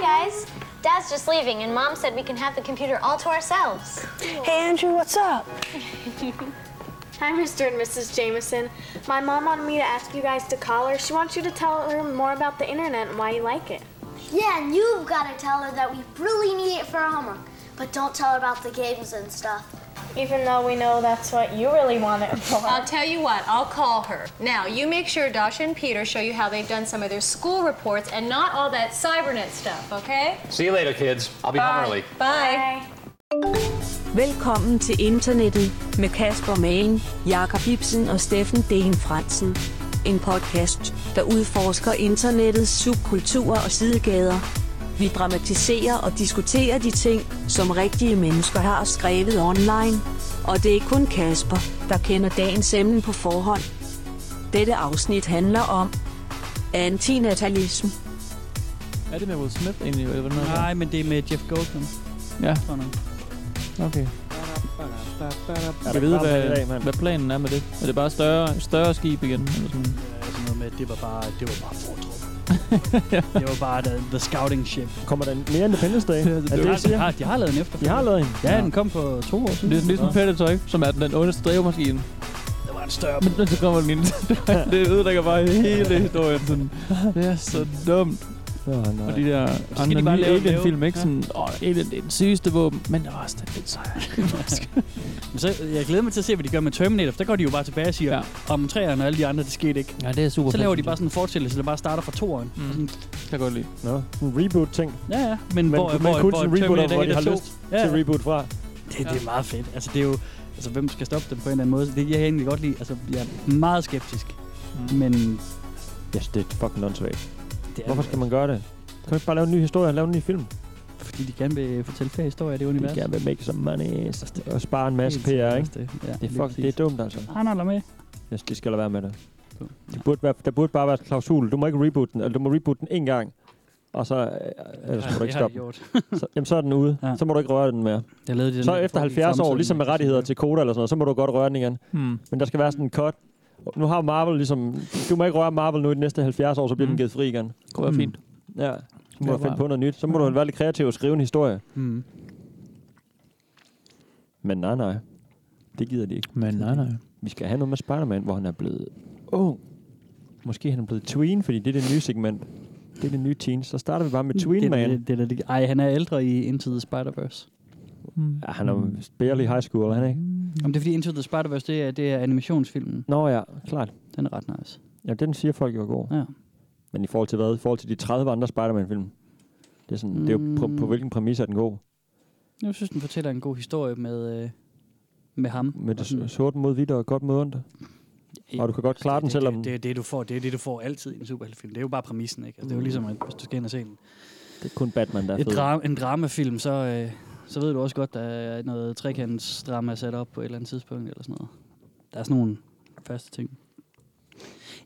guys. Dad's just leaving, and Mom said we can have the computer all to ourselves. Hey, Andrew, what's up? Hi, Mr. and Mrs. Jameson. My mom wanted me to ask you guys to call her. She wants you to tell her more about the internet and why you like it. Yeah, and you've got to tell her that we really need it for our homework. But don't tell her about the games and stuff. Even though we know that's what you really want it for. I'll tell you what, I'll call her. Now, you make sure Dasha and Peter show you how they've done some of their school reports and not all that cybernet stuff, okay? See you later, kids. I'll be home early. Bye. Velkommen til internettet med Kasper Magen, Jakob Ibsen og Steffen Dehn Fransen. En podcast, der udforsker internettets subkulturer og sidegader. Vi dramatiserer og diskuterer de ting, som rigtige mennesker har skrevet online. Og det er kun Kasper, der kender dagens emne på forhånd. Dette afsnit handler om antinatalisme. Er det med Will Smith egentlig? Eller hvad Nej, men det er med Jeff Goldblum. Ja, Sådan noget. okay. Kan vi vide, hvad, hvad planen er med det? Er det bare større, større skib igen? Eller sådan? Ja, sådan noget med, at det var bare, det var bare Fordrup. det var bare the, the scouting ship. Kommer der mere Independence Day? er det, det, de, du har, de, siger? har, de har lavet en efter. De har lavet en. Ja, den kom for to år siden. Det er sådan ligesom Predator, ikke? Som er den, den ondeste drivmaskine. Det var en større. Men så kommer den ind. det ødelægger bare hele historien. Sådan. Det er så dumt. Åh, nej. Og de der de andre bare nye lave en Alien-film, lave- ikke? Sådan, åh, Alien, det er den sygeste våben, men der var også den lidt sejere. Men så, jeg glæder mig til at se, hvad de gør med Terminator, for der går de jo bare tilbage og siger, Ja. ja. om træerne og alle de andre, det skete ikke. ja, det er super Så laver de bare sådan en fortællelse, der bare starter fra toeren. Mm. Mm. Jeg kan godt lide. Nå, en reboot-ting. Ja, ja. Men, Men, hvor, men hvor, kun hvor sådan en reboot, Terminator hvor 1 de og har 2 lyst til reboot fra. Det, det er meget fedt. Altså, det er jo... Altså, hvem skal stoppe dem på en eller anden måde? Det kan jeg egentlig godt lide. Altså, jeg er meget skeptisk. Mm. Men Jeg synes, det er fucking åndssvagt. det er, Hvorfor skal man gøre det? Kan man ikke bare lave en ny historie og lave en ny film? Fordi de gerne vil fortælle flere historier af det univers. Altså, gerne vil make some money. Og spare en masse Helt PR, ikke? sikkert også Det, ja, Det er, fuck, det er dumt, altså. Han holder med. Jeg synes, de skal lade være med det. Ja. det burde være, der burde bare være et klausul. Du må ikke reboot den, eller du må reboot den én gang. Og så, øh, ellers må du ikke stoppe. gjort. den. Så, jamen, så er den ude. Ja. Så må du ikke røre den mere. Jeg lavede de den Så der efter 70 fucking år, fremstilling, ligesom med man kan rettigheder sige. til koder eller sådan noget, så må du godt røre den igen. Hmm. Men der skal være sådan en cut. Nu har Marvel ligesom... Du må ikke røre Marvel nu i de næste 70 år, så bliver mm. Mm. Hmm. den givet fri igen. Hmm. Det kunne være Mm. fint. Ja. Så må Ja, du finde bare- på noget nyt. Så må Hmm. du være lidt kreativ og skrive en historie. Mm. Men nej, nej. Det gider de ikke. Men nej, nej. Vi skal have noget med Spider-Man, hvor han er blevet ung. Måske han er blevet tween, fordi det er det nye segment. Det er det nye teens. Så starter vi bare med Tween Det, Man. det, det, det, det, ej, han er ældre i Into the Spider-Verse. Mm. Ja, han er jo barely high school, er han ikke? Om det er fordi Into the Spider-Verse, det er, det er animationsfilmen. Nå ja, klart. Den er ret nice. Ja, den siger folk jo er god. Ja. Men i forhold til hvad? I forhold til de 30 andre Spider-Man-film? Det er, sådan, mm. det er jo på, på, Mm. hvilken præmis er den god? Jeg synes, den fortæller en god historie med, øh, med ham. Med Og det sådan- s- sorte mod hvidt og godt mod ondt? Og du kan godt klare det, den, Altså, det, selvom... Det, det, er det, du får, det er det, du får altid i en superheltefilm. Det er jo bare præmissen, ikke? Altså, det er jo ligesom, at hvis du skal ind og se en, Det er kun Batman, der Mm. er et fed. dra- en dramafilm, så, øh, så ved du også godt, der er noget trekantsdrama sat op på et eller andet tidspunkt, eller sådan noget. Der er sådan nogle faste ting.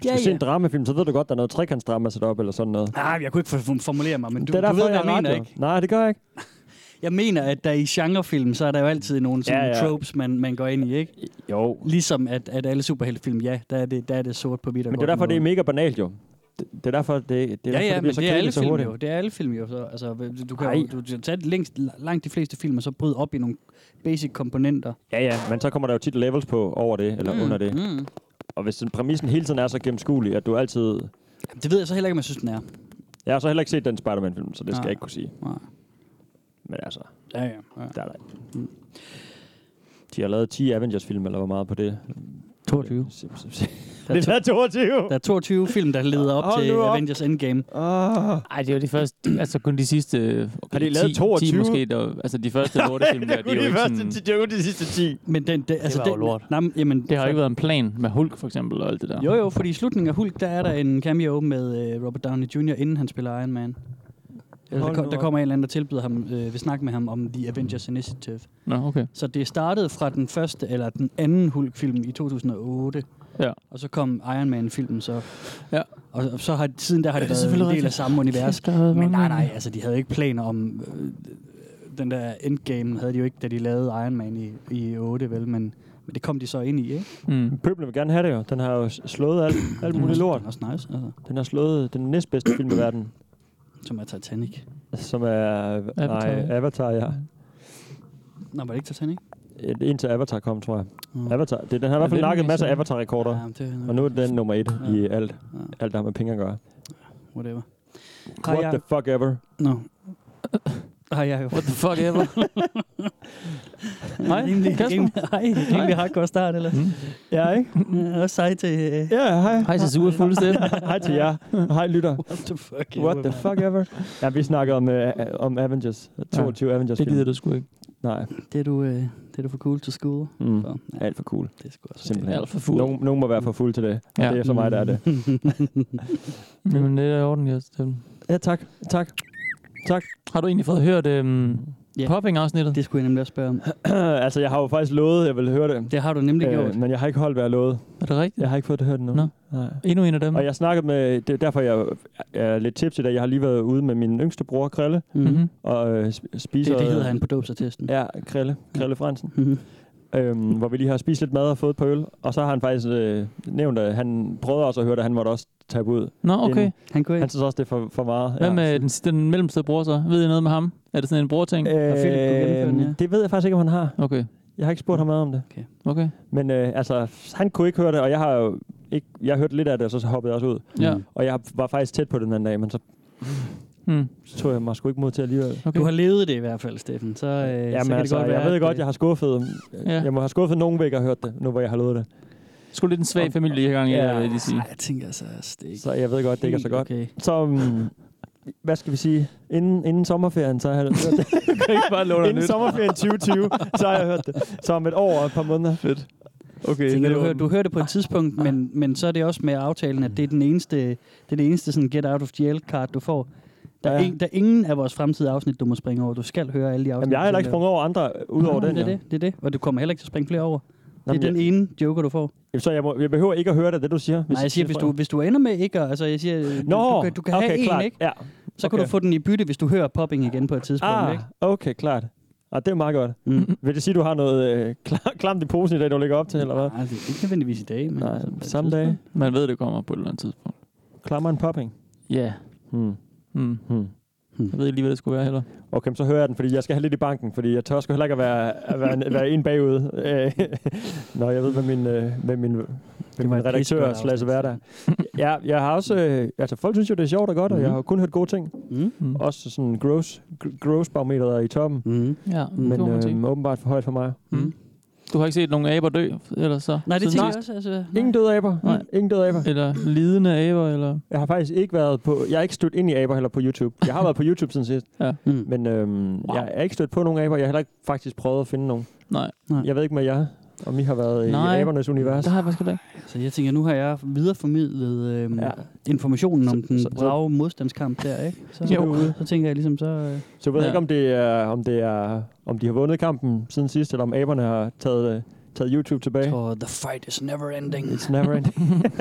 Hvis du ser en dramafilm, så ved du godt, der er noget trekantsdrama sat op eller sådan noget. Nej, Ah, jeg kunne ikke for- formulere mig, men du, det er du derfor, ved, hvad jeg er mener, radio. ikke? Nej, det gør jeg ikke. Jeg mener, at der i genrefilm, så er der jo altid nogle sådan Ja, ja, ja. ja. tropes, man, man går ind i, ikke? Jo, Ligesom at, at alle superheltefilm, ja, der er det, der er det sort på hvidt og Men det er godt derfor, med det er noget. mega banalt jo. Det, det er derfor, det, det, er derfor, ja, det ja, men bliver så det er alle kedeligt så film hurtigt. jo. Det er alle film jo. Så, altså, du- du kan Ej. jo du, du tage længst, langt de fleste film, og så bryde op i nogle basic komponenter. Ja, ja, men så kommer der jo tit levels på over det, eller mm. under det. Mm. Og hvis den præmissen hele tiden er så gennemskuelig, at du altid... Jamen, det ved jeg så heller ikke, om jeg synes, den er. Jeg har så heller ikke set den Spider-Man-film, så det skal Nej. jeg ikke kunne sige. Nej. Men altså, Ja, ja. ja. Mm. der er der. De har lavet 10 Avengers-film, eller hvor meget på det? 22. Sim- sim- sim. Der er, Det er 22! der er 22 film, der leder op Hold til nu op. Avengers Endgame. Ah. Ej, det var de første, altså kun de sidste okay, Har de lavet 10, 10 22? måske, der, altså de første lortefilm, der, de er jo ikke sådan, de er jo de sidste 10. Men den, det, altså, var jo den, lort. Nej, men- jamen, det har jo ikke været en plan med Hulk for eksempel og alt det der. Jo, jo, fordi i slutningen af Hulk, der er der en cameo med øh, Robert Downey Jr., inden han spiller Iron Man. Eller, der, Hold ko- nu der op. kommer en eller anden, der tilbyder ham, øh, vil snakke med ham om The Avengers Initiative. Nå, okay. Så det startede fra den første, eller den anden Hulk-film i 2008. Ja. Og så kom Iron Man-filmen så. Ja. Og, og så har, siden der har det er det, det været selvfølgelig en del af rigtigt. samme univers. Kæft, der har været Men mange. nej, nej, altså de havde ikke planer om... Øh, den der Endgame havde de jo ikke, da de lavede Iron Man i, i 8, vel? Men, men det kom de så ind i, ikke? Mm. Pøblen vil gerne have det jo. Den har jo s- slået alt, alt muligt lort. Det er også nice, altså. Den har slået den næstbedste film i verden. Som er Titanic. Som er... Avatar. Nej, Avatar. Avatar, ja. Nå, var det ikke Titanic? Et- Indtil Avatar kom, tror jeg. Mm. Avatar. Det, den har i hvert det fald den, nakket en vi masse ser? Avatar-rekorder. Ja, men det er nok Og nu er den nummer et Ja. i alt. Ja. Alt, der har med penge at gøre. Whatever. Har What jeg, the fuck ever. no. har jeg jo What the fuck ever? Nej, rimelig, Kasper? Mm. rimelig, hej, rimelig hardcore start, eller? Ja, ikke? Ja, også sej til... øh, Ja, hej. Hej til Sure Fuld Steffen. Hej til jer. Hej, lytter. What the fuck? What the fuck ever? Ja, vi snakkede om, øh, om Avengers. 22 Avengers. Det gider du sgu ikke. Nej. Det er du, øh, det er du for cool til skole. Mm. For. Ja, Alt for cool. det er sgu også Simpelthen. Alt for fuld. Nogen, nogen må være for fuld til det. Ja. Ja. Det er så mig, der er det. Jamen, det er i orden, ja, Steffen. Ja, tak. Tak. Tak. Har du egentlig fået hørt øhm, Ja. popping-afsnittet? Det skulle jeg nemlig også spørge om. altså, jeg har jo faktisk lovet, at jeg ville høre det. Det har du nemlig øh, gjort. men jeg har ikke holdt, hvad jeg lovede. Er det rigtigt? Jeg har ikke fået det hørt endnu. Nå. Nej. Endnu en af dem? Og jeg snakkede med, det er derfor, jeg er lidt tipsy, da jeg har lige været ude med min yngste bror, Krille, Mm-hmm. Mhm. og øh, sp- Det, spiser... det hedder han på dåbsattesten. Ja, Krille. Krille Fransen. Mm-hmm. øhm, hvor vi lige har spist lidt mad og fået et par øl. Og så har han faktisk øh, nævnt, at han prøvede også at høre, at han måtte også tabe ud. Nå, okay. Inden- Han kunne Han ikke. synes også, det er for, for meget. Hvad med den, den mellemste bror så? Ved I noget med ham? Er det sådan en brorting? Og Philip kunne gennemføre den, Mm. ja. Øhm, Det ved jeg faktisk ikke, om han har. Okay, Jeg har ikke spurgt ham meget om det. okay. Men øh, altså, han kunne ikke høre det, og jeg har jo ikke, jeg hørte lidt af det, og så hoppede jeg også ud. Ja. Og jeg var faktisk tæt på den anden dag, men så Hmm. tog jeg mig sgu ikke mod til alligevel. Okay. Du har levet det i hvert fald, Steffen. Så, øh, så kan Jamen, det altså, godt være, jeg ved at, godt, øh, jeg har skuffet. Ja. Jeg må have skuffet nogen væk og hørt det, nu hvor jeg har lovet det. Skulle lidt en svag familie i gang, Ja. ja. vil jeg lige sige. Ej, jeg tænker altså, altså, det er ikke Så jeg ved godt, det ikke er så helt godt. Okay. Så, um, hvad skal vi sige? Inden, inden sommerferien, så har jeg hørt det. kan ikke bare love inden sommerferien 2020, så har jeg hørt det. Så om et år og et par måneder. Fedt. Okay, Tænker, det du, var hører, den. du hører det på et tidspunkt, men, men så er det også med aftalen, at det er den eneste, det er det eneste sådan get out of jail card, du får. Der er, Ja. ja. en, der er ingen af vores fremtidige afsnit, du må springe over. Du skal høre alle de afsnit. Jamen, jeg har heller ikke sprunget over andre, øh, udover den. det, er her. det, det er det. Og du kommer heller ikke til at springe flere over. Jamen, det er den jeg, ene joker, du får. jamen, så jeg, må, jeg behøver ikke at høre det, det du siger. Nej, jeg siger, hvis du, hvis du ender med ikke, at- altså jeg siger, øh, du- Nå, du, kan, du kan okay, have en, klart. ikke? Ja. Så kan Okay. du få den i bytte, hvis du hører popping igen på et tidspunkt, Ah, ikke? okay, klart. Ah, det er meget godt. Mm. Vil det sige, du har noget øh, kla- klamt i posen i dag, du ligger op til, eller hvad? Nej, det er ikke nødvendigvis i dag, men Nej, altså, på et samme tidspunkt. dag. Man ved, det kommer på et eller andet tidspunkt. Klammer en popping. Ja. Hmm. Mm. Hmm. Jeg ved ikke lige, hvad det skulle være heller. Okay, men så hører jeg den, fordi jeg skal have lidt i banken, fordi jeg tør sgu heller ikke at være, at være, en, være en bagud. Øh, Nå, jeg ved, hvad min, øh, hvad min, hvad var min et redaktør pissegodt slash afsnit. hverdag. Ja, jeg har også, øh, altså folk synes jo, det er sjovt og godt, mm-hmm. og jeg har jo kun hørt gode ting. Mm. Mm. Også sådan gross, gr- gross barometeret er i toppen, Mm. Mm-hmm. Ja, det må man men sige. øh, åbenbart for højt for mig. Mm. Du har ikke set nogen aber dø, eller så? Nej, det siden tænker jeg sidst? også. Altså, nej. Ingen døde aber. Nej. Ingen døde aber. Eller lidende aber, eller... Jeg har faktisk ikke været på, jeg er ikke stødt ind i aber heller på YouTube. Jeg har været på YouTube siden sidst, Mm. men øhm, wow. jeg er ikke stødt på nogen aber. Jeg har heller ikke faktisk prøvet at finde nogen. Nej. Jeg ved ikke med jer, om I har altså. været Nej. Nej. i abernes univers. Der har jeg faktisk heller ikke. Så jeg tænker, nu har jeg videreformidlet øhm, Ja. ja. informationen om Så- den så- så- brave modstandskamp der, ikke? Så, Jo. så tænker jeg ligesom, så... Øh, Så jeg ved Ja. ikke, om det er, om det er, om de har vundet kampen siden sidst, eller om aberne har taget, øh, taget YouTube tilbage. for the fight is never ending. It's never ending.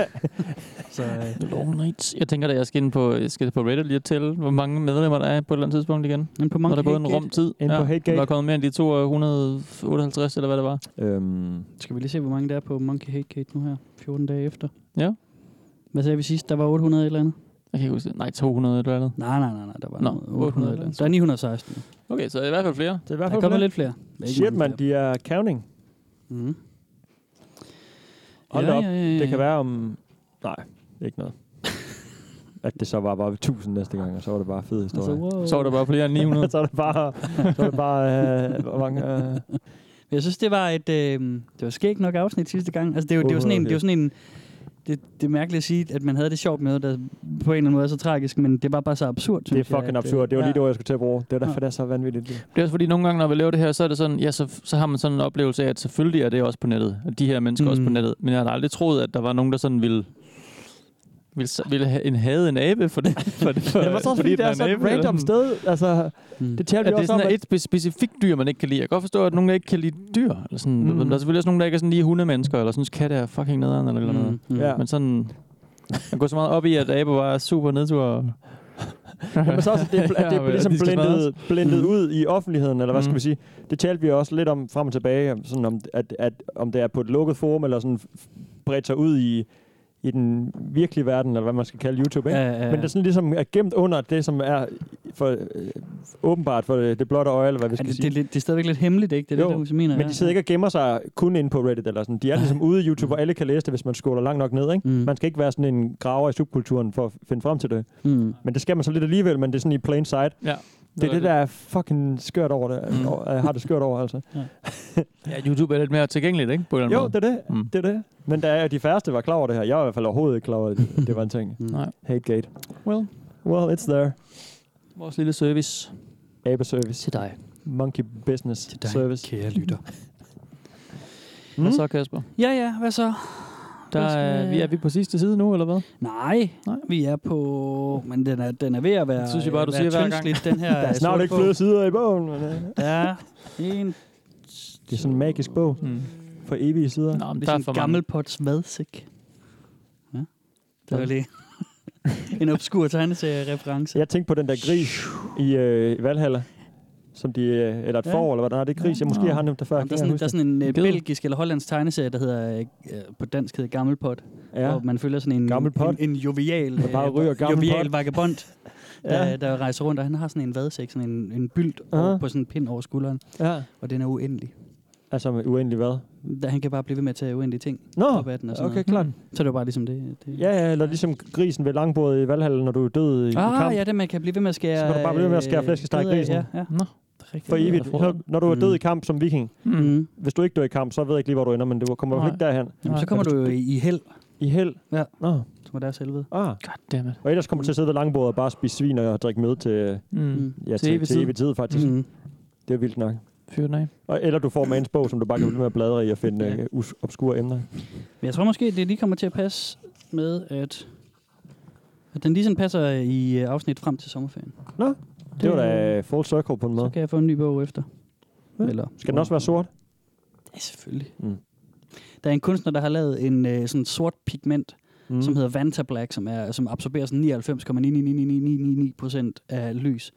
Så, øh, Long nights. Jeg tænker da, jeg skal ind på, jeg skal på Reddit lige til, hvor mange medlemmer der er på et eller andet tidspunkt igen. men på Når mange der er gået en rum tid. Inde på Hategate. Der er kommet mere end de 258, eller hvad det var. øhm, Skal vi lige se, hvor mange der er på Monkey Hate Gate nu her, 14 dage efter? Ja. Hvad sagde vi sidst? Der var 800 et eller andet? Jeg kan ikke huske det. Nej, 200 eller andet. Nej, nej, nej, nej der var Nå, noget. 800, 800 et eller andet. Der er 916. Okay, så i hvert fald flere. det er i hvert Der er fald kommet flere. lidt flere. Men ikke Shit, mange mand, de er counting. flere. Mm. Hold da op. ja, Det kan være om... Nej, ikke noget. At det så var bare 1000 næste gang, og så var det bare fed historie. Altså, wow. Så var der bare flere end 900. så er det bare... Så er det bare øh, hvor mange... Øh, Jeg synes, det var et... Øh, det var skægt nok afsnit sidste gang. Altså, det er jo, det er jo sådan en... Det er jo sådan en det, det er mærkeligt at sige, at man havde det sjovt med, noget, der på en eller anden måde er så tragisk, men det var bare så absurd, det er synes jeg, fucking at, øh, absurd. Det var lige ja. det ord, jeg skulle til at bruge. Det er derfor, det er så vanvittigt. Det er også fordi, nogle gange, når vi laver det her, så er det sådan, ja, så, så har man sådan en oplevelse af, at selvfølgelig er det også på nettet. Og de her mennesker mm. også på Mm. nettet. Men jeg har da aldrig troet, at der var nogen, der sådan ville ville, s- ville have en, havde en abe for det. For det for, Det var så også fordi, det er den sådan abe, et eller random sted. Altså, Mm. det taler At vi det er også om. sådan at- et spe- specifikt dyr, man ikke kan lide. Jeg kan godt forstå, at nogen der ikke kan lide dyr. Eller sådan, Mm. mm. Der er selvfølgelig også nogen, der ikke er sådan lige hundemennesker, eller synes katte er fucking nederen, eller, eller noget. Mm. Ja. Men sådan... Man går så meget op i, at aber var super nedtur. og- Men så også, at det, at det Ja, blev ligesom de skal blindet, blindet Mm. ud i offentligheden, eller hvad skal Mm. Mm-hmm. vi sige. Det talte vi også lidt om frem og tilbage, om sådan om, at, at, om det er på et lukket forum, eller sådan f- bredt sig ud i, i den virkelige verden, eller hvad man skal kalde YouTube. Ikke? Ja, ja, ja. Men der sådan ligesom er gemt under det, som er for, øh, åbenbart for øh, det, det blotte øje, eller hvad vi Ja, skal det, det, sige. er lidt- det er stadigvæk lidt hemmeligt, ikke? Det er Jo, det, du så mener. Men ja. de sidder ikke og gemmer sig kun inde på Reddit eller sådan. De er ligesom ude i YouTube, og alle kan læse det, hvis man scroller langt nok ned. Ikke? Mm. Man skal ikke være sådan en graver i subkulturen for at finde frem til det. Mm. Men det skal man så lidt alligevel, men det er sådan i plain sight. Ja. Det er det, der er fucking skørt over det. Mm. Mm. Jeg har det skørt over, altså. Ja, YouTube er lidt mere tilgængeligt, ikke? På en eller Jo, anden det er det. Mm. det, er det. Men der er, de færreste var klar over det her. Jeg var i hvert fald overhovedet ikke klar over, at det var en ting. Mm. Nej. Hategate. Well. Well, it's there. Vores lille service Abe service. til dig. Monkey business Til dig, service. kære lytter. Mm. Hvad så, Kasper? Ja, ja, hvad så? Der er, vi, er vi på sidste side nu, eller hvad? Nej, Nej, vi er på... Men den er, den er ved at være... Det synes jeg bare, du være siger hver gang. tyndslidt, den her Der er snart sort ikke bog. flere sider i bogen. Men, øh, Ja, en... det er sådan en magisk bog Mm. for evige sider. Nå, men Det der er er sådan for en gammel pots vadsæk. Ja, det var lige en obskur tegneserie-reference. Jeg tænkte på den der gris i øh, Valhalla, som de, øh, eller et Ja. ja. får, eller hvad der er, det er gris. Jeg måske Nå. har nævnt det før. Jamen, Der er, kan jeg sådan, der huske er sådan en øh, Ged. belgisk eller hollandsk tegneserie, der hedder øh, øh, på dansk hedder Gammelpot, det. ja. hvor man følger sådan en, Gammel pot. en, en jovial, øh, Der bare ryger gammel jovial pot. vagabond, der, Ja. der rejser rundt, og han har sådan en vadsæk, sådan en, en bylt Ja. over, på sådan en pind over skulderen, ja. ja. og den er uendelig. Altså med uendelig hvad? Der, han kan bare blive ved med at tage uendelige ting Nå, op af den og sådan okay, noget. klart. Så det var bare ligesom det. det. Ja, ja, eller ligesom grisen ved langbordet i Valhalla, når du er død i, i kamp. Ah, ja, det man kan blive ved med at skære... Så kan du bare blive ved med at skære øh, flæskesteg i ned af, grisen. Ja, ja. Nå, det er rigtigt. For evigt. Jeg tror- Så, når du er død Mm. i kamp som viking. Mm. Hvis du ikke dør i kamp, så ved jeg ikke lige, hvor du ender, men du kommer i Mm. hvert fald ikke derhen. Jamen, så kommer du jo i, i held, I held. Ja. Nå. som er deres helvede. Ah. Goddammit. Og ellers kommer du til at sidde ved langbordet og bare spise svin og drikke med til, øh, Mm. ja, Til til, evig til, tid. evig tid, faktisk. Mm. Mm. Det er vildt nok. Fyr den af. Og, eller du får Mans bog, som du bare kan blive med at bladre i og finde Ja. øh, us- obskure emner. Men jeg tror måske, det lige kommer til at passe med, at, at den lige sådan passer i øh, afsnit frem til sommerferien. Nå, Det var da øh, full circle på en Så måde. kan jeg få en ny bog efter. Ja. Eller, Skal den også være sort? Ja, selvfølgelig. Mm. Der er en kunstner, der har lavet en øh, sådan sort pigment, mm. som hedder Vanta Black, som, er, som absorberer sådan 99,99999 procent af lys.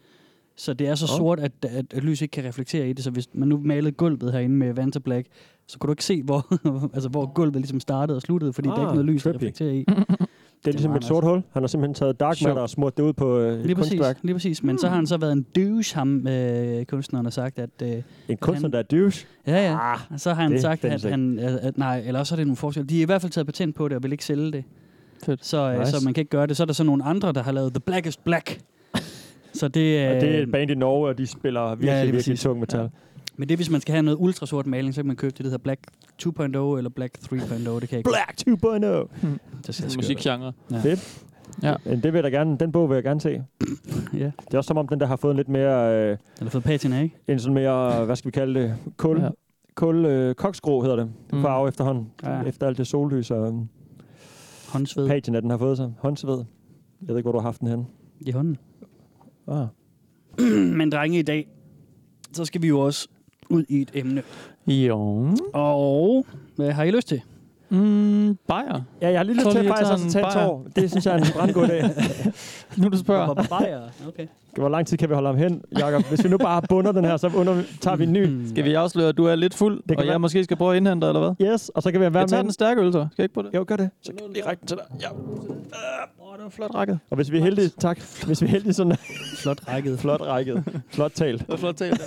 Så det er så Nå. sort, at, at, at lys ikke kan reflektere i det. Så hvis man nu malede gulvet herinde med Vanta Black, så kunne du ikke se, hvor, altså, hvor gulvet ligesom startede og sluttede, fordi ah, der er Ah, ikke noget lys, der trippy. reflekterer i. Det er ligesom meget et sort hul. Han har simpelthen taget dark Sjovt. matter og smurt det ud på øh, altså. Lige et præcis, kunstværk. Hmm. lige præcis. Men så har han så været en douche, ham øh, kunstneren har sagt, at... Øh, En kunstner, der er douche. ja, ja. Ah, Og så har han det sagt, at findes ikke. han... At, at, nej, eller også er det nogle forskelle. De er i hvert fald taget patent på det og vil ikke sælge det. Fedt. Så, øh, nice. Nice. Ah, så man kan ikke gøre det. Så er der så nogle andre, der har lavet The Blackest Black. så det, Og øh, det er et band i Norge, og de spiller virkelig, lige ja, virkelig præcis. tung metal. Ja. Men det er, hvis man skal have noget ultrasort maling, så kan man købe det, der hedder Black 2.0 eller Black 3.0. Det kan jeg ikke. Black 2.0! Hmm. Det ser skørt ud. Musikgenre. Men Det vil jeg da gerne, den bog vil jeg gerne se. Ja. Det er også som om, den der har fået en lidt mere, øh, Den har fået patina, ikke? en sådan mere, hvad skal vi kalde det, kul, Ja. ja. kul øh, koksgrå hedder det, Mm. mm. farve efterhånden. Ja. Ja. Efter alt det sollys og øh, Håndsved patina, den har fået sig. Håndsved. Jeg ved ikke, hvor du har haft den henne. i hånden. Ah. Men drenge, i dag, så skal vi jo også ud i et emne. Jo. Og hvad har I lyst til? Mm, Bayer. Ja, jeg har lige Tror lyst til lige, jeg faktisk tager også at en tage en bajer. tår. Det synes jeg er en brandgod dag. Nu du spørger. Hvor Bayer? Okay. Hvor lang tid kan vi holde ham hen, Jakob? Hvis vi nu bare bunder den her, så under, tager vi en ny. Skal vi afsløre, at du er lidt fuld, kan og jeg være- måske skal prøve at indhente dig, eller hvad? Yes, og så kan vi være Jeg tager med. den stærke øl, så. Skal jeg ikke på det? Jo, gør det. Så kan lige række den til dig. Ja. Åh, det var flot rækket. Og hvis vi er heldige, tak. Hvis vi er heldige, sådan Flot rækket. flot rækket. Flot talt. Det var flot talt.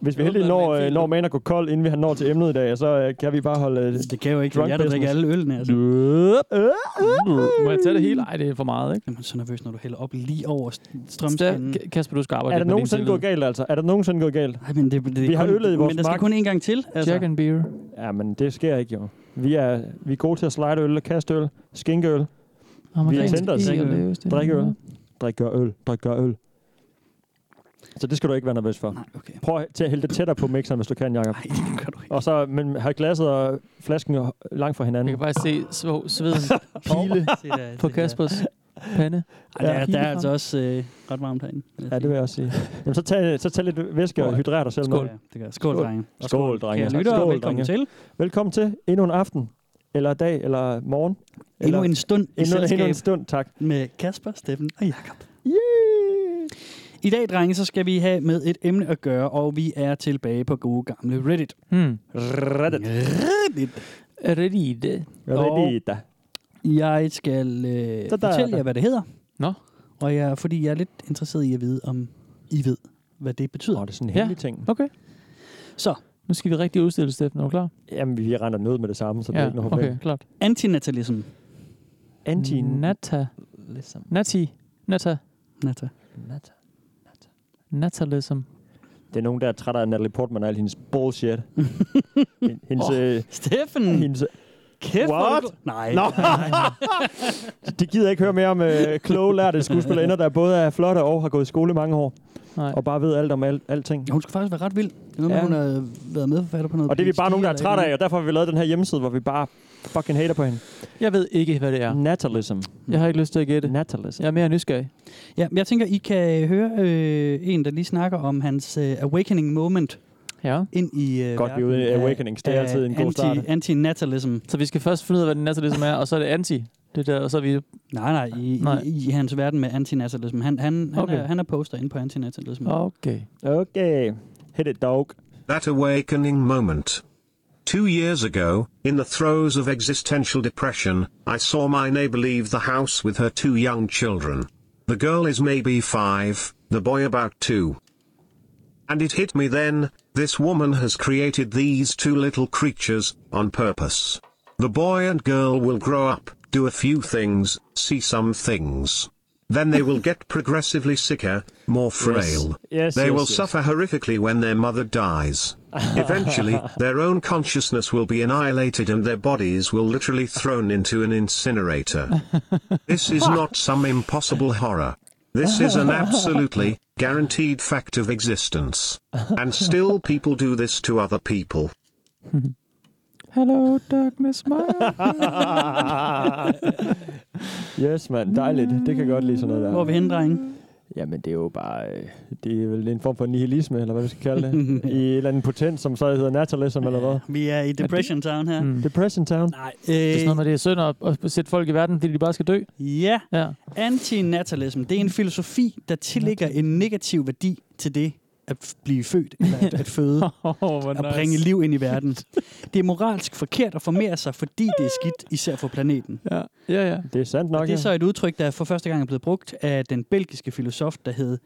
Hvis vi er heldige, Håber, når, man øh, finder. når man er gået kold, inden vi har nået til emnet i dag, så øh, kan vi bare holde... øh, Det kan jo ikke være Drunk jer, der drikker business. alle ølene. Altså. Øh, Må jeg tage det hele? Ej, det er for meget, ikke? Jeg er så nervøs, når du hælder op lige over st- strømstanden. Strømstanden. Kasper, du skal arbejde Er der lidt med din nogensinde tillid. gået galt, altså? Er der nogensinde gået galt? Ej, men det, det, det Vi har kun, øllet i vores Men der skal mark. kun en gang til. Altså. Jack and beer. Ja, men det sker ikke, jo. Vi er, vi er gode til at slide øl, kaste øl, skænke øl, Amerikansk tændt os. is og Drikke øl. løs, det er drikke øl, noget. drikke øl, drikke øl. Så det skal du ikke være nervøs for. Nej, okay. Prøv til at hælde det tættere på mixeren, hvis du kan, Jacob. Nej, det gør du ikke. Og så men have glasset og flasken jo langt fra Jeg hinanden. kan bare se sv- sveden pile Se der, på se der. Kaspers pande. Ej, der, er- der er Pile altså også øh, ret varmt herinde. vil jeg Ja, det vil jeg også sige. Jamen, så tag, så tag lidt væske og Skål. hydrer dig selv. sige. Skål. Ja, det gør. jeg. Skål, Skål. drenge. Og Skål, drenge. Kære lyttere, Skål, velkommen drenge. til. Velkommen til endnu en aften, eller dag, eller morgen. Eller Endnu en stund i endnu, endnu en selskab stund, tak. med Kasper, Steffen og Jakob. Yeah. I dag, drenge, så skal vi have med et emne at gøre, og vi er tilbage på gode gamle Reddit. Hmm. Reddit. Reddit. Er det lige det? Reddit. Jeg skal øh, Da, da, fortælle da. jer, hvad det hedder. Nå. Og jeg, fordi jeg er lidt interesseret i at vide, om I ved, hvad det betyder. Åh, det er sådan en Ja. hemmelig ting. Okay. Så. Nu skal vi rigtig udstille, Steffen. Er du klar? Jamen, vi render den ud med det samme, så det er ikke noget problem. okay, klart. Antinatalism. Mm. Anti... Nata. Natalism. Nati. Nata. Nata. Nat. Natalism. Det er nogen, der er træt af Natalie Portman og al hendes bullshit. Hen- hendes, oh. Steffen! hendes, Kæft, hvor er du- What? Nej. Nå. de gider ikke høre mere om øh, kloge lærte skuespillerinder, der både er flotte og har gået i skole i mange år, Nej. og bare ved alt om alt, alting. Hun skulle faktisk være ret vild. Det er noget, ja. Ja. hun har været medforfatter på noget. Og det er vi bare PhD nogen, der er eller træt et af, og derfor har vi lavet den her hjemmeside, hvor vi bare fucking hater på hende. Jeg ved ikke, hvad det er. Ja. Natalism. Jeg har ikke lyst til at gætte. Natalism. Jeg er mere nysgerrig. eller andet. Ja, men jeg tænker, I kan høre øh, en, der lige snakker om hans øh, awakening moment Ja. ind i øh, Godt, vi er ude i verden af- awakenings. Det er af altid en god anti, start. Antinatalism. Så vi skal først finde ud af, hvad den natalism er, og så er det anti. Det der, og så er vi... Nej, nej, i, nej. Nej. i, i hans verden med antinatalism. Han, han, okay. Okay. Ah, han, er, han er poster inde på antinatalism. Oh. Okay. Okay. Hit it, dog. That awakening moment. Two years ago, in the throes of existential depression, I saw my neighbor leave the house with her two young children. The girl is maybe five, the boy about two. And it hit me then this woman has created these two little creatures, on purpose. The boy and girl will grow up, do a few things, see some things. Then they will get progressively sicker, more frail. Yes, they yes, will yes. suffer horrifically when their mother dies. Eventually, their own consciousness will be annihilated and their bodies will literally thrown into an incinerator. This is not some impossible horror. This is an absolutely guaranteed fact of existence. And still people do this to other people. Hello, darkness, my... Yes, mand. Dejligt. Det kan jeg godt lide sådan noget der. Hvor er vi henne, drenge? Jamen, det er jo bare... øh, Det er vel en form for nihilisme, eller hvad vi skal kalde det. I en eller anden potens, som så hedder natalism, eller hvad? Vi er i Depression Town her. Mm. Depression Town. Nej, Det er sådan noget øh, med, det er synd at, at sætte folk i verden, fordi de bare skal dø. ja. Ja. Antinatalism, det er en filosofi, der tillægger en negativ værdi til det at f- blive født, eller at, at føde. Oh, hvor at bringe liv ind i verden. Det er moralsk forkert at formere sig, fordi det er skidt, især for planeten. Ja, ja, ja. Det er sandt Og nok, det er så et udtryk, der for første gang er blevet brugt af den belgiske filosof, der hed,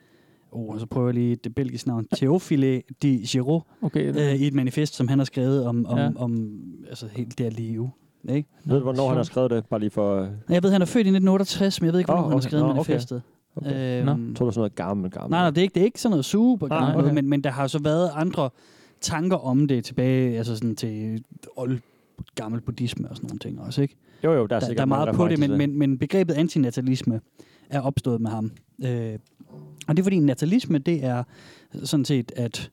oh, så prøver jeg lige det belgiske navn, Théophile de Giraud, Okay. øh, i et manifest, som han har skrevet om, om, Ja. ja. om altså helt der live. Ikke? Jeg ved du, hvornår han har skrevet det? Bare lige for... øh, Og Jeg ved, han er født i 1968, men jeg ved ikke, Nå, hvornår oh, okay. han har okay. Nå, skrevet Nå, okay. manifestet. Okay. Øhm, Nå. Jeg tror, det er sådan noget gammel, gammel. Nej, nej, det er ikke, det er ikke sådan noget super Nej, gammelt, okay. noget, men, men der har så været andre tanker om det tilbage, altså sådan til old gammel buddhisme og sådan nogle ting også, ikke? Jo, jo, der er Der, der, sikkert der er meget mange på det, men, referencer. men, men begrebet antinatalisme er opstået med ham. Øh, og det er fordi natalisme, det er sådan set, at,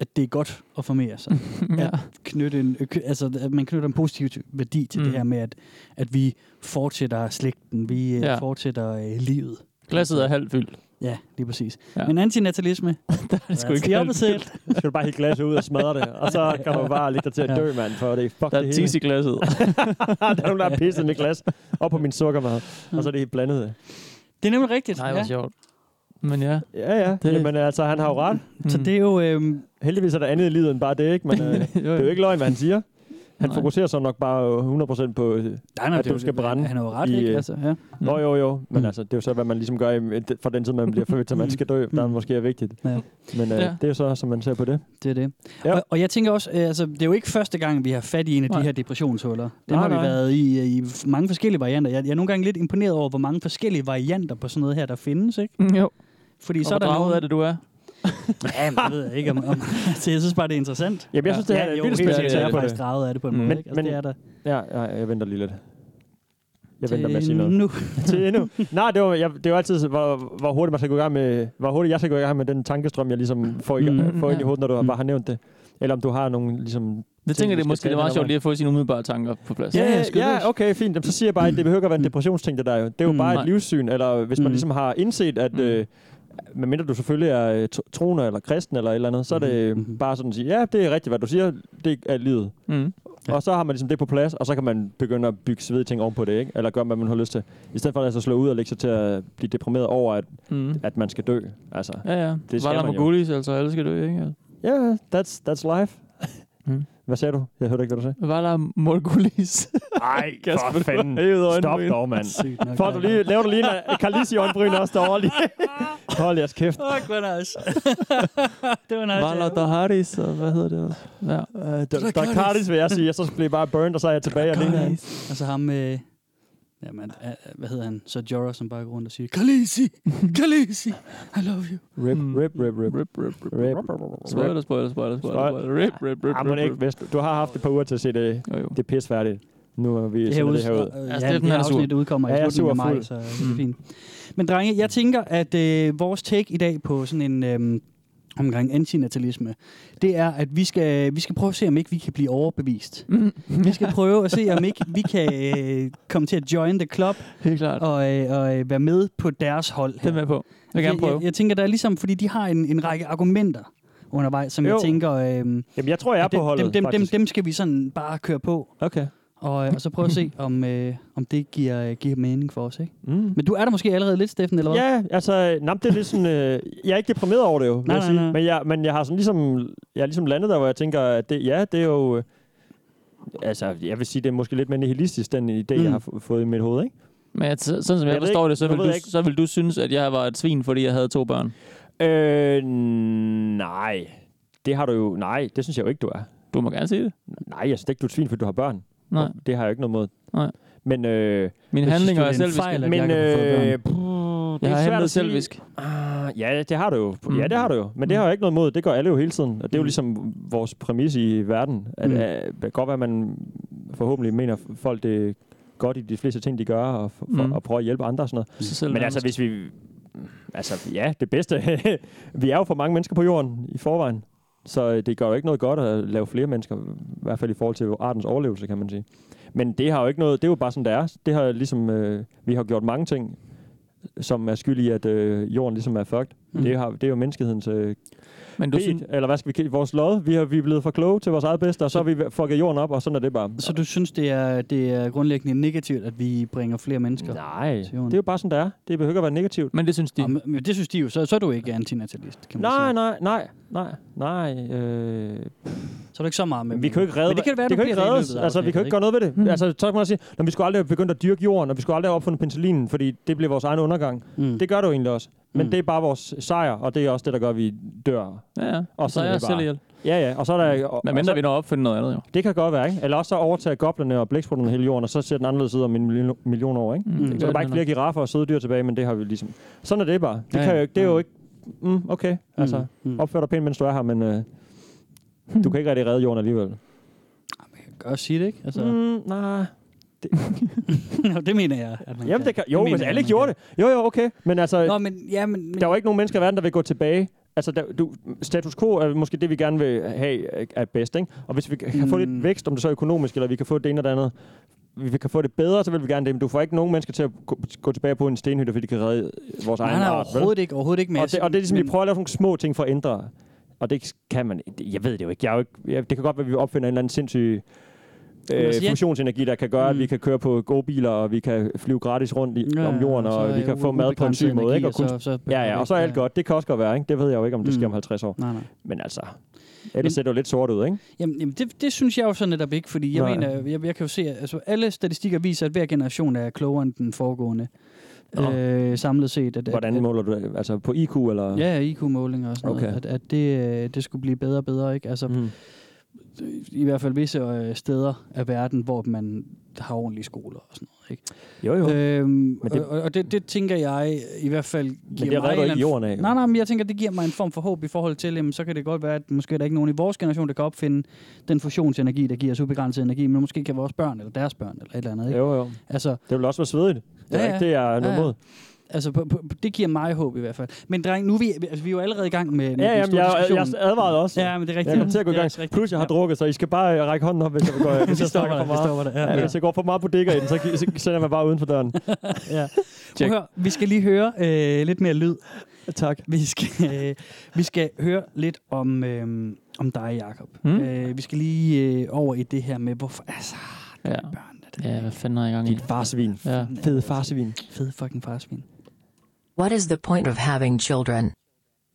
at det er godt at formere sig. ja. Knytte en, ø- k- altså, at man knytter en positiv t- værdi til mm. Mm. det her med, at, at vi fortsætter slægten, vi ja. Ja. fortsætter øh, livet. Altså, Glasset er halvt fyldt. Ja, lige præcis. Ja. Ja. Men antinatalisme, Det er sgu that's ikke the halvt opposite. fyldt. Skal du bare helt glasset ud og smadre det, og så kan du bare ligge dig til at dø, mand, for det er fuck Der det er hele. tis i glasset. der er nogen, der har pisset med glas op på min sukkermad, og så er det helt blandet. Det er nemlig rigtigt. Nej, hvor ja. sjovt. Men ja. Ja, ja. Det- Det... Jamen altså, han har jo ret. Så Mm. det er jo... Øh, Heldigvis er der andet i livet end bare det, ikke? Men øh, det jo, er jo ikke løgn, hvad han siger. Han Nej. fokuserer så nok bare 100% på... øh, nej, nej, At du skal brænde Han er jo ret, i, i, ikke? øh, Altså, ja. Nå jo jo, men Mm. altså, det er jo så, hvad man ligesom gør i, for den tid, man bliver født, så man skal dø, der er måske er vigtigt. Mm. Ja. Men øh, Ja. det er jo så, som man ser på det. Det er det. Ja. Ja. Og, og jeg tænker også, øh, altså, det er jo ikke første gang, vi har fat i en af Nej. de her depressionshuller. Dem Nej, har vi nej. været i øh, i f- mange forskellige varianter. Jeg, jeg er nogle gange lidt imponeret over, hvor mange forskellige varianter på sådan noget her, der findes. Ikke? Mm, Jo. Fordi Og så hvor er der draget nogle... er det, du er? Ja, men det ved jeg ikke om... om altså, jeg synes bare, det er interessant. Jamen, jeg synes, det Ja, her er jo, et vildt helt specielt sikkert, jeg tag er på faktisk det. draget af det på en Mm. måde. Men- ikke? altså, men- det er der Ja, ja, jeg venter lige lidt. Jeg venter med at sige til noget. nu. Til endnu. Nej, det, var, jeg, det er jo altid, hvor, hvor hurtigt man skal gå i gang med, hvor hurtigt jeg skal gå i gang med den tankestrøm, jeg ligesom får, i, Mm, får ind i ja. hovedet, når du har, Mm. bare har nævnt det. Eller om du har nogle ligesom... Det vi tænker det skal måske, det tale er meget om. sjovt lige at få sine umiddelbare tanker på plads. Ja, Ja, skyd løs. ja, okay, fint. Jamen, så siger jeg bare, at det behøver ikke at være en depressionsting, det der jo. Det er jo Mm. bare Mm. Nej. et livssyn, eller hvis man Mm. ligesom har indset, at... Mm. Øh, medmindre du selvfølgelig er øh, tro- troende eller kristen eller et eller andet, så er Mm-hmm. det øh, Mhm. Mhm. bare sådan at sige, ja, det er rigtigt, hvad du siger, det er livet. Mm. Ja. Og så har man ligesom det på plads, og så kan man begynde at bygge svede ting ovenpå det, ikke? Eller gøre, hvad man har lyst til. I stedet for at lade sig slå ud og lægge sig til at blive deprimeret over, at, Mm. at man skal dø. Altså, Ja, ja. Det Det skal var der man jo. Mogulis, altså alle skal dø, ikke? ja, yeah, that's, that's life. Mm. Hvad sagde du? Jeg hørte ikke, hvad du sagde. Var der Morgulis? Ej, Kasper, for du fanden. har hævet Stop øjenbryn. dog, Sygt mand. nok, Får du lige, laver du lige en Carlisi øjenbryn også derovre lige. Hold jeres kæft. Fuck, hvor nice. det var nice. Valar Daharis, og hvad hedder det også? Ja. Uh, Dracarys vil jeg sige, og så bliver jeg bare burned, og så er jeg tilbage alene. Og så ham med... Jamen, øh, hvad hedder han? Så Jorah, som bare går rundt og siger, Khaleesi! Khaleesi! I love you. Rip, rip, rip, rip. Rip, rip, rip. Rip. Spoiler, spoiler, spoiler, spoiler. spoiler. Rip, rip, rip, Ah, men rip, ikke, rip. hvis du, du har haft et par uger til at se det, Jo, jo. det er pisfærdigt. Nu er vi Det det her, her ud, det her ud. øh, Ja, ja, Steffen, det her han Altså, er sur. afsnit udkommer Ja, jeg i er slutningen af sur og maj, fuld. så det Mm. er fint. Men drenge, jeg tænker, at øh, vores take i dag på sådan en øhm, omgang antinatalisme, det er, at vi skal, vi skal prøve at se, om ikke vi kan blive overbevist. Mm. Vi skal prøve at se, om ikke vi kan øh, komme til at join the club Helt klart. og, øh, og øh, være med på deres hold. Det er Her. med på. Jeg vil gerne prøve. Jeg, jeg tænker, der er ligesom, fordi de har en, en række argumenter undervejs, som jo. Jo. jeg tænker, øh, Jamen, jeg tror, jeg er på dem, holdet, dem, dem, faktisk. dem skal vi sådan bare køre på. Okay. Og, øh, og så prøve at se, om, øh, om det giver, øh, giver mening for os, ikke? Mm. Men du er der måske allerede lidt, Steffen, eller hvad? Ja, altså, nej, det er lidt sådan, øh, jeg er ikke deprimeret over det jo, vil Nej, jeg nej, sige. nej. Men, jeg, men jeg har sådan ligesom, jeg er ligesom landet der, hvor jeg tænker, at det, ja, det er jo, øh, altså, jeg vil sige, det er måske lidt mere nihilistisk, den idé, mm. Mm. jeg har fu- fået i mit hoved, ikke? Men jeg, sådan som jeg, Jeg ved forstår ikke. det, så Nu vil, ved du, jeg ikke. så vil du synes, at jeg var et svin, fordi jeg havde to børn. Øh, nej. Det har du jo, nej, det synes jeg jo ikke, du er. Du må gerne sige det. Nej, jeg synes ikke, du er et svin, fordi du har børn. Nej. Det har jeg ikke noget mod. Nej. Men, øh, Mine Jeg synes, handlinger det er er en selviske. fejl, at men, jeg kan få børn. øh, puh, det jeg er har svært handlet at sige. selvisk. Ah, ja, det har du jo. Ja, Mm. det har du jo. Men det har jeg ikke noget imod. Det gør alle jo hele tiden. Og det er jo Mm. ligesom vores præmis i verden. At, Mm. mm. at, at godt være, at man forhåbentlig mener f- folk det godt i de fleste ting, de gør, og, for, Mm. mm. og prøver at hjælpe andre og sådan noget. Så selv Men altså, hvis vi... Altså, ja, det bedste. vi er jo for mange mennesker på jorden i forvejen. Så det gør jo ikke noget godt at lave flere mennesker, i hvert fald i forhold til artens overlevelse, kan man sige. Men det har jo ikke noget, det er jo bare sådan, det er. Det har ligesom, øh, vi har gjort mange ting, som er skyld i, at øh, jorden ligesom er fucked. Mm. Mm. Det, har, det er jo menneskehedens øh, men du bed, synes, eller hvad skal vi kalde vores lod. Vi, har, vi er blevet for kloge til vores eget bedste, og så har vi fucket jorden op, og sådan er det bare. Så du synes, det er, det er grundlæggende negativt, at vi bringer flere mennesker? Nej, til jorden. det er jo bare sådan, det er. Det behøver ikke at være negativt. men det synes de. Nå, men- men det synes de jo, så, så er du ikke antinatalist, kan man Nej, sige. nej, nej, nej, nej. Øh, Så er du ikke så meget med. Men vi kan jo ikke redde, Men det kan være, det du kan jo ikke bliver det Mhm. i reddes. løbet af Altså, vi kan jo ikke gøre noget ved det. Mm. Altså, så kan man sige, når vi skulle aldrig have begyndt at dyrke jorden, og vi skulle aldrig have opfundet penicillinen, fordi det blev vores egen undergang. Mm. Mm. Det gør du egentlig også. Men Mm. mm. det er bare vores sejr, og det er også det, der gør, at vi dør. Ja, ja. Og så er sådan er jeg det selv bare. ihjel. Ja, ja, og så er der... Og, Men og mindre så, Mm. vi når at opfinde noget andet, jo. Det kan godt være, ikke? Eller også så overtager goblerne og blæksprutterne hele jorden, og så ser den anderledes ud om en million, million år, ikke? Mm, Så er gør Så er der den bare ikke heller. flere giraffer og søde dyr tilbage, men det har vi ligesom... Sådan er det bare. Det, Ja, ja, kan ja. jo ikke, det er Ja. jo ikke... Mm, okay, altså... Mm. Opfør dig pænt, mens du er her, men... Øh, du kan ikke rigtig redde jorden alligevel. Gør sige det, ikke? Altså, Mm, nej. Nå, det mener jeg. At man Jamen, det kan, jo, mener hvis jeg, alle man gjorde kan. det. Jo, jo, okay. Men altså, Nå, men, ja, men, men der er jo ikke nogen mennesker i verden, der vil gå tilbage. Altså, der, du, status quo er måske det, vi gerne vil have øh, er bedst, ikke? Og hvis vi kan kan få Mm. lidt vækst, om det så er økonomisk, eller vi kan få det ene eller det andet, vi kan få det bedre, så vil vi gerne det. Men du får ikke nogen mennesker til at gå, gå tilbage på en stenhytte, fordi de kan redde vores nej, egen nej, art. vel? overhovedet ikke, overhovedet ikke. Men jeg Og det, og det er ligesom, men, vi prøver at lave sådan nogle små ting for at ændre. Og det kan man... det- Jeg ved det jo ikke. Jeg er jo ikke jeg, det kan godt være, at vi opfinder en eller anden sindssyg Men øh, altså, ja. fusionsenergi, der kan gøre, mm. at Mm. vi kan køre på gode biler, og vi kan flyve gratis rundt i, ja, om jorden, så og vi er kan u- få mad på en syg ubegrænset måde. Ikke? Og energi, kun, så, så ja, ja, og så er alt ja. godt. Det kan også godt være, ikke? Det ved jeg jo ikke, om det sker om Mm. 50 år. Nej, nej. Men altså... Men- Ellers ser det jo lidt sort ud, ikke? Jamen, jamen det, det synes jeg jo så netop ikke, fordi jeg Nej. mener, jeg, jeg kan jo se, at altså, alle statistikker viser, at hver generation er klogere end den foregående. Nå. Øh, samlet set. At, Hvordan at, måler du det? Altså på IQ, eller? at, Ja, IQ-målinger og sådan okay. Okay. noget. At, at det, øh, det skulle blive bedre og bedre, ikke? Altså, Mm. i hvert fald visse øh, steder af verden, hvor man har ordentlige skoler og sådan noget, ikke? Jo, jo. Øh, Øhm, Men men det- det, og, og det, det tænker jeg i hvert fald giver men mig det en redder du eller ikke anden jorden af. jo. Nej, nej, men jeg tænker, det giver mig en form for håb i forhold til, jamen, så kan det godt være, at måske er der ikke nogen i vores generation, der kan opfinde den fusionsenergi, der giver os ubegrænset energi, men måske kan vores børn eller deres børn eller et eller andet. Ikke? Jo, jo. Altså, Det vil også være svedigt. Det er Ja, ja, ja. ikke det, jeg er noget Ja, ja. mod. altså på, på, på, det giver mig håb i hvert fald. Men dreng, nu er vi, altså, vi er jo allerede i gang med, med Ja, den jamen, store jeg, diskussion. jeg advarede også. Ja, men det er rigtigt. Jeg kommer til at gå i Det er gang. rigtigt. Plus, jeg har Ja. drukket, så I skal bare øh, række hånden op, hvis jeg går. Hvis Vi jeg stopper snakker for der, vi meget. stopper der. Ja, Ja, ja. Hvis jeg går for meget på dækker ind, så, så sender jeg mig bare uden for døren. ja. Prøv Check. at høre, vi skal lige høre øh, lidt mere lyd. Tak. Vi skal, øh, vi skal høre lidt om, øh, om dig, Jacob. Hmm? Øh, vi skal lige øh, over i det her med, hvorfor... Altså, Ja. børn, det ja, er hvad fanden har jeg gang i? Dit farsvin. Ja. Fed farsvin. fede fucking farsvin. What is the point of having children?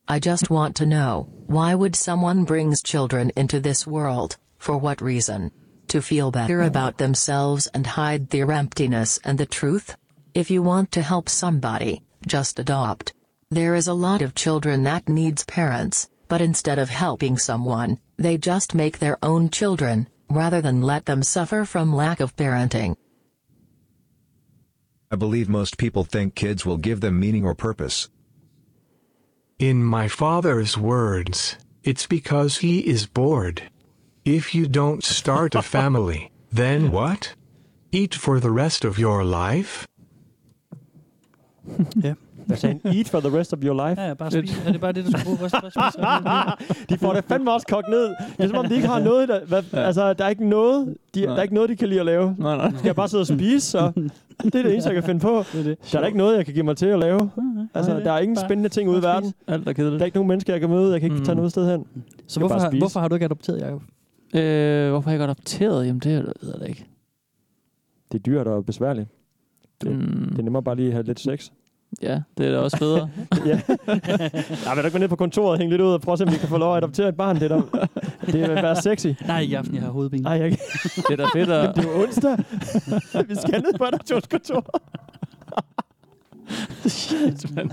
I just want to know why would someone brings children into this world? For what reason? To feel better about themselves and hide their emptiness and the truth? If you want to help somebody, just adopt. There is a lot of children that needs parents, but instead of helping someone, they just make their own children, rather than let them suffer from lack of parenting. I believe most people think kids will give them meaning or purpose. In my father's words, it's because he is bored. If you don't start a family, then what? Eat for the rest of your life? ja. Hvad sagde han? Eat for the rest of your life? Ja, ja, bare spise. er det bare det, du skal bruge? Bare spise. de får det fandme også kogt ned. Det er som om, de ikke har noget. Der, hvad, ja. Altså, der er ikke noget, de, der er ikke noget, de kan lide at lave. Nej, nej. De skal bare sidde og spise, så det er det eneste, jeg kan finde på. Det er, det. Der er da ikke noget, jeg kan give mig til at lave. Altså, Nej, det der er ingen bare- spændende ting ude i bare verden. Alt er kedeligt. Der er ikke nogen mennesker, jeg kan møde. Jeg kan ikke Mm. tage noget sted hen. Så hvorfor har- hvorfor har du ikke adopteret, Jacob? Øh, hvorfor har jeg ikke adopteret? Jamen, det ved jeg da ikke. Det er dyrt og besværligt. Det, mm. det er nemmere bare lige at have lidt sex. Ja, det er da også bedre. ja. Nej, vil du ikke gå ned på kontoret og hænge lidt ud og prøve at se, om vi kan få lov at adoptere et barn? Det er da, det vil være sexy. Nej, i aften, jeg har hovedpine. Nej, jeg Det er da fedt at- Jamen, det er jo onsdag. vi skal ned på adoptionskontoret. Shit, mand.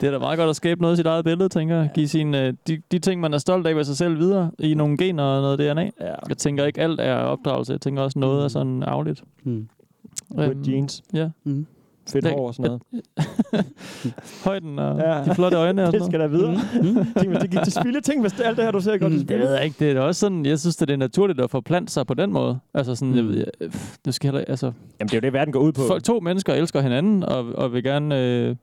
Det er da meget godt at skabe noget af sit eget billede, tænker jeg. Give sine, øh, de, de ting, man er stolt af ved sig selv videre i nogle gener og noget DNA. Ja. Jeg tænker ikke alt er opdragelse. Jeg tænker også noget er sådan Øhm, arveligt. Mm. Good jeans. Ja. Mm. Fedt hår og sådan noget. Højden og ja. de flotte øjne og det sådan skal der noget. videre. Tænk, hvis det gik til spilde. Tænk, hvis det, alt det her, du ser, går til Mm, det spilde. ved jeg ikke. Det er da også sådan, jeg synes, det er naturligt at forplante sig på den måde. Altså sådan, Mm. jeg ved, jeg, pff, det skal heller, altså... Jamen, det er jo det, verden går ud på. For, to mennesker elsker hinanden, og, og vil gerne, øh,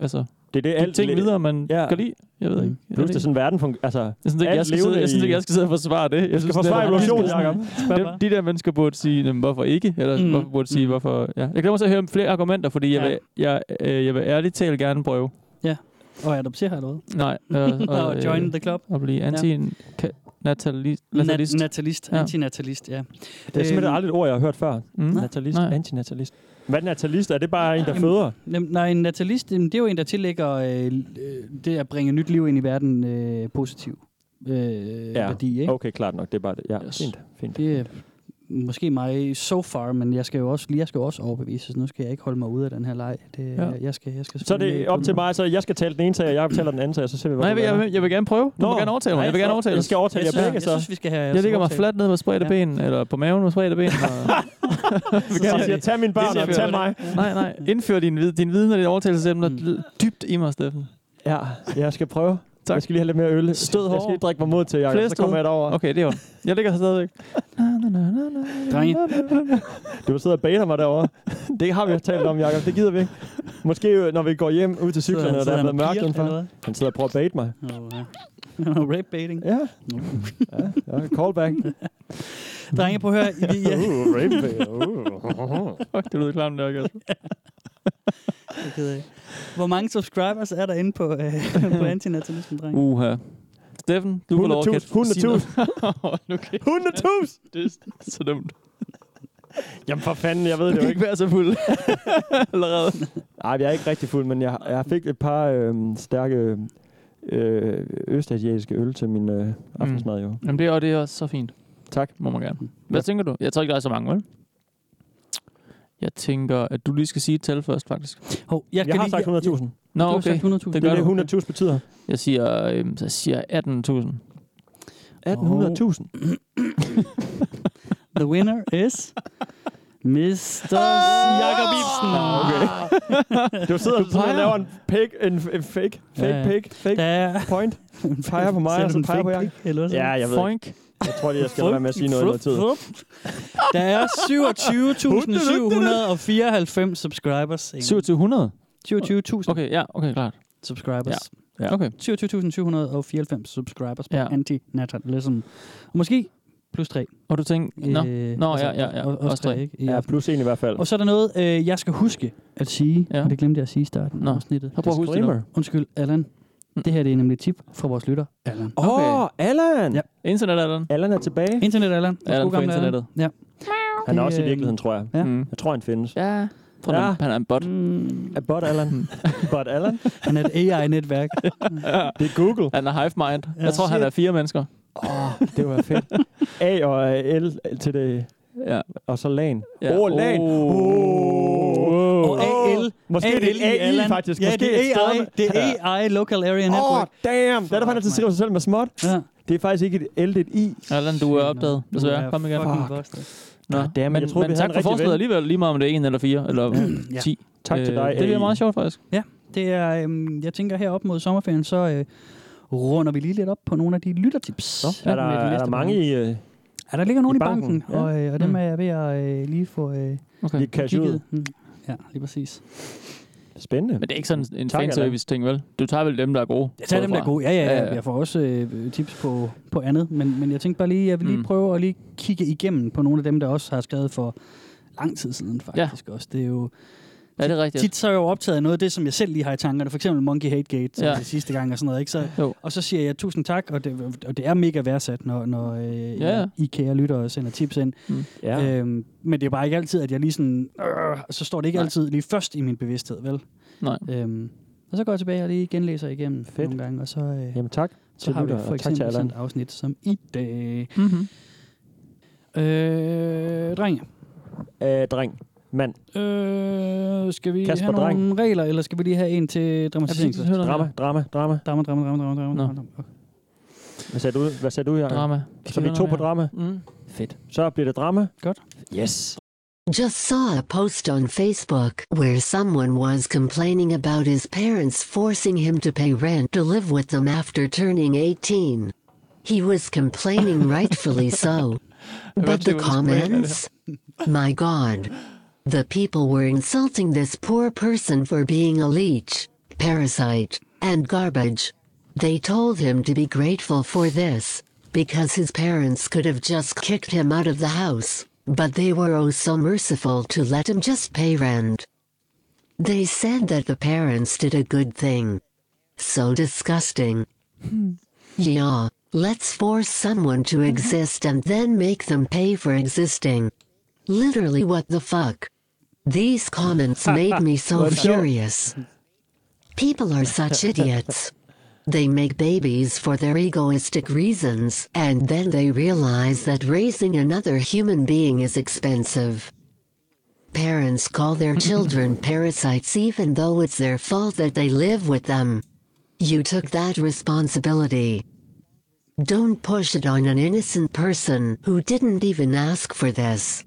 altså... Det er det, de alt ting lidt- videre, man Ja. Mm. ja. kan lide. Jeg ved ikke. Plus, Jeg ved det er ikke. sådan, verden fungerer. Altså, Jeg synes, ikke, jeg, skal sidde, jeg synes ikke, jeg skal sidde og forsvare det. Jeg skal forsvare evolutionen, Jacob. Jacob. De, de der mennesker burde sige, "Jamen, hvorfor ikke? Eller Mm. mm. hvorfor burde sige, hvorfor... Ja. Jeg glemmer så at høre flere argumenter, fordi jeg, vil, jeg, øh, jeg vil ærligt talt gerne prøve. Ja. Og adoptere har jeg lovet. Nej. øh, og join the club. Og blive anti-natalist. Natalist. Natalist. Ja. Antinatalist, ja. Øh, Det er simpelthen aldrig et ord, jeg har hørt før. Mm. Natalist, Øhm. Nej. antinatalist. Hvad er natalist? Er det bare en, der Jamen, føder? nem- Nej, en natalist, jamen, det er jo en, der tillægger øh, øh, det at bringe nyt liv ind i verden øh, positiv øh, ja. værdi, ikke? Okay, klart nok. Det er bare det. Ja, yes. fint. fint. Det er måske mig so far, men jeg skal jo også, jeg skal jo også overbevise, så nu skal jeg ikke holde mig ude af den her leg. Det, ja. Ja. jeg skal, jeg skal Så er det selvfølgelig- op til mig, så jeg skal tale den ene sag, og jeg taler den anden sag, og så ser vi, hvor Nej, jeg det vil, jeg, lander. vil, jeg vil gerne prøve. Du Nå, må Nå, gerne overtale mig. nej, Jeg vil gerne så- overtale jeg skal overtale jer synes- begge, jeg så. synes, vi skal have Jeg ligger mig overtale. fladt ned med spredte Ja. ben, eller på maven med spredte ben. Og Så siger jeg, tag mine børn, og tag mig. Nej, nej. Indfør din, vid- din viden og dit overtagelsesemne mm. dybt i mig, Steffen. Ja, jeg skal prøve. Tak. Jeg skal lige have lidt mere øl. Stød jeg skal hårdere. lige drikke mig mod til, Jacob. Flere Så kommer stød. jeg derover. Okay, det er Jeg ligger stadigvæk. Drenge. Du sidder og baner mig derovre. Det har vi jo talt om, Jacob. Det gider vi ikke. Måske øh, når vi går hjem ud til Sidder cyklerne, og han- der sidder er han blevet og mørkt piger, eller indenfor. Han sidder og prøver at bait mig. Åh, ja. Rape baiting. Ja. ja. ja. Callback. Drenge, prøv at høre. I, ja. Uh, rape. Uh. Fuck, det lyder klamt nok, altså. Jeg er ked af det. Hvor mange subscribers er der inde på, øh, på antinatalismen, drenge? Uha. Steffen, du får lov at 100.000. kæft. sige noget. 100.000. 100.000! Det er så dumt. Jamen for fanden, jeg ved det kan jo ikke ikke. være så fuld allerede. Nej, jeg er ikke rigtig fuld, men jeg, jeg fik et par øh, stærke øh, østasiatiske øl til min øh, aftensmad. Jo. Jamen det er, og det er også så fint. Tak. Må man gerne. Hvad tænker du? Jeg tror ikke, der er så mange, vel? Jeg tænker, at du lige skal sige et tal først, faktisk. Hov, Jeg, jeg har sagt 100.000. Nå, Du har okay. sagt 100.000. Det er gør det, du. 100.000 betyder. Jeg siger, øhm, så siger jeg 18.000. 1800.000. The winner is... Mr. Ah! Jakob Ibsen. Okay. Du sidder Du du sådan og peger. laver en, pig, en, en fake, fake Ja. ja. pig, fake Der- point. Peger på mig, Ser og du så en peger på fake jer. pig, eller sådan? Ja, jeg ved Foink. ikke. Jeg tror lige, jeg skal lade være med at sige noget i noget tid. Fup, fup. Der er 27.794 subscribers. 2700? 27.000. Okay, ja, okay, klart. Subscribers. Ja. Okay. 27.794 subscribers på Ja. anti-natalism. Og måske plus 3. Og du tænker, nå, Øh, nå, altså, altså, ja, ja, ja, Også også tre. 3, ikke? I Ja, aften. plus en i hvert fald. Og så er der noget, øh, jeg skal huske at sige, ja. og det glemte jeg at sige i starten Nå, af afsnittet. så prøv at huske det nu. Mm. Disclaimer. Undskyld, Allan. Det her det er nemlig et tip fra vores lytter, Allan. Åh, okay. Allan! Ja. Internet Allan. Allan er tilbage. Internet Allan. Allan på internettet. Ja. Han er også i Det, øh, virkeligheden, tror jeg. ja. Jeg tror, han findes. Ja. Mm. Tror du, han er en bot? Er bot Allan? bot Allan? Han er et AI-netværk. Det er Google. Han er hive mind. Jeg tror, han er fire mennesker. Åh, oh, det var fedt. A og L til det. Ja. Og så LAN. Åh, Ja. yeah. oh, LAN. Oh. Oh. Og AL. Måske er det AL i AI, Allan. faktisk. Ja, Måske det et er sted AI. med- Det Ja. er AI, Local Area Åh, Network. oh, damn! Der er der faktisk, der skriver sig selv med småt. Ja. Det er faktisk ikke et L, det er et I. Allan, du er opdaget, desværre. Kom igen. Fuck. Nå, Ah, damn, men, jeg troede, men vi havde en tak for rigtig forslaget ven. alligevel, lige meget om det er en eller fire, eller Ja. ti. Tak til Øh, dig, Det bliver AI. meget sjovt, faktisk. Ja, det er, øhm, jeg tænker her op mod sommerferien, så øh, runder vi lige lidt op på nogle af de lyttertips. Så, Er der, er der mange i... Øh, Ja, der ligger nogen i i banken, banken, banken og, øh, og dem er jeg ved at øh, lige få øh, okay. lige cash ud? Mm. Ja, lige præcis. Spændende. Men det er ikke sådan en Tak, Allan. fanservice-ting, vel? Du tager vel dem, der er gode? Jeg tager går dem, der er fra. gode. Ja, ja, ja. Jeg får også øh, tips på, på andet, men, men jeg tænkte bare lige, jeg vil lige Mm. prøve at lige kigge igennem på nogle af dem, der også har skrevet for lang tid siden faktisk også. Det er jo... Ja, det er rigtigt. Tit så er jeg jo optaget af noget af det, som jeg selv lige har i tankerne. For eksempel Monkey Hate Gate, som Ja. ja. det sidste gang og sådan noget. Ikke? Så, Jo. og så siger jeg tusind tak, og det, og det er mega værdsat, når, når øh, Ja, ja. ja. I kære lytter og sender tips ind. Mm. Ja. Øhm, men det er bare ikke altid, at jeg lige sådan... Øh, så står det ikke Nej. Nej. altid lige først i min bevidsthed, vel? Nej. Øhm, og så går jeg tilbage og lige genlæser igennem Fedt. nogle gange, og så, øh, Jamen tak så til har vi Lytter, for og tak til eksempel sådan Allan. et afsnit som i dag. Mm-hmm. Øh, drenge. Øh, dreng. Mand. Øh, skal vi Kasper have Dreng. nogle regler, eller skal vi lige have en til dramatisering? Drama, drama, drama. Drama, drama, drama, drama, drama. Nå. drama. Hvad sagde du, hvad sagde du Jacob? Drama. Så vi er to på drama? Mm. Fedt. Så bliver det drama. Godt. Yes. Just saw a post on Facebook where someone was complaining about his parents forcing him to pay rent to live with them after turning 18. He was complaining rightfully so. But Eventually the we'll just play it. comments? My god. The people were insulting this poor person for being a leech, parasite, and garbage. They told him to be grateful for this, because his parents could have just kicked him out of the house, but they were oh so merciful to let him just pay rent. They said that the parents did a good thing. So disgusting. Hmm. Yeah, let's force someone to Mm-hmm. exist and then make them pay for existing. Literally, what the fuck? These comments made me so Let's go. furious. People are such idiots. They make babies for their egoistic reasons, and then they realize that raising another human being is expensive. Parents call their children parasites even though it's their fault that they live with them. You took that responsibility. Don't push it on an innocent person who didn't even ask for this.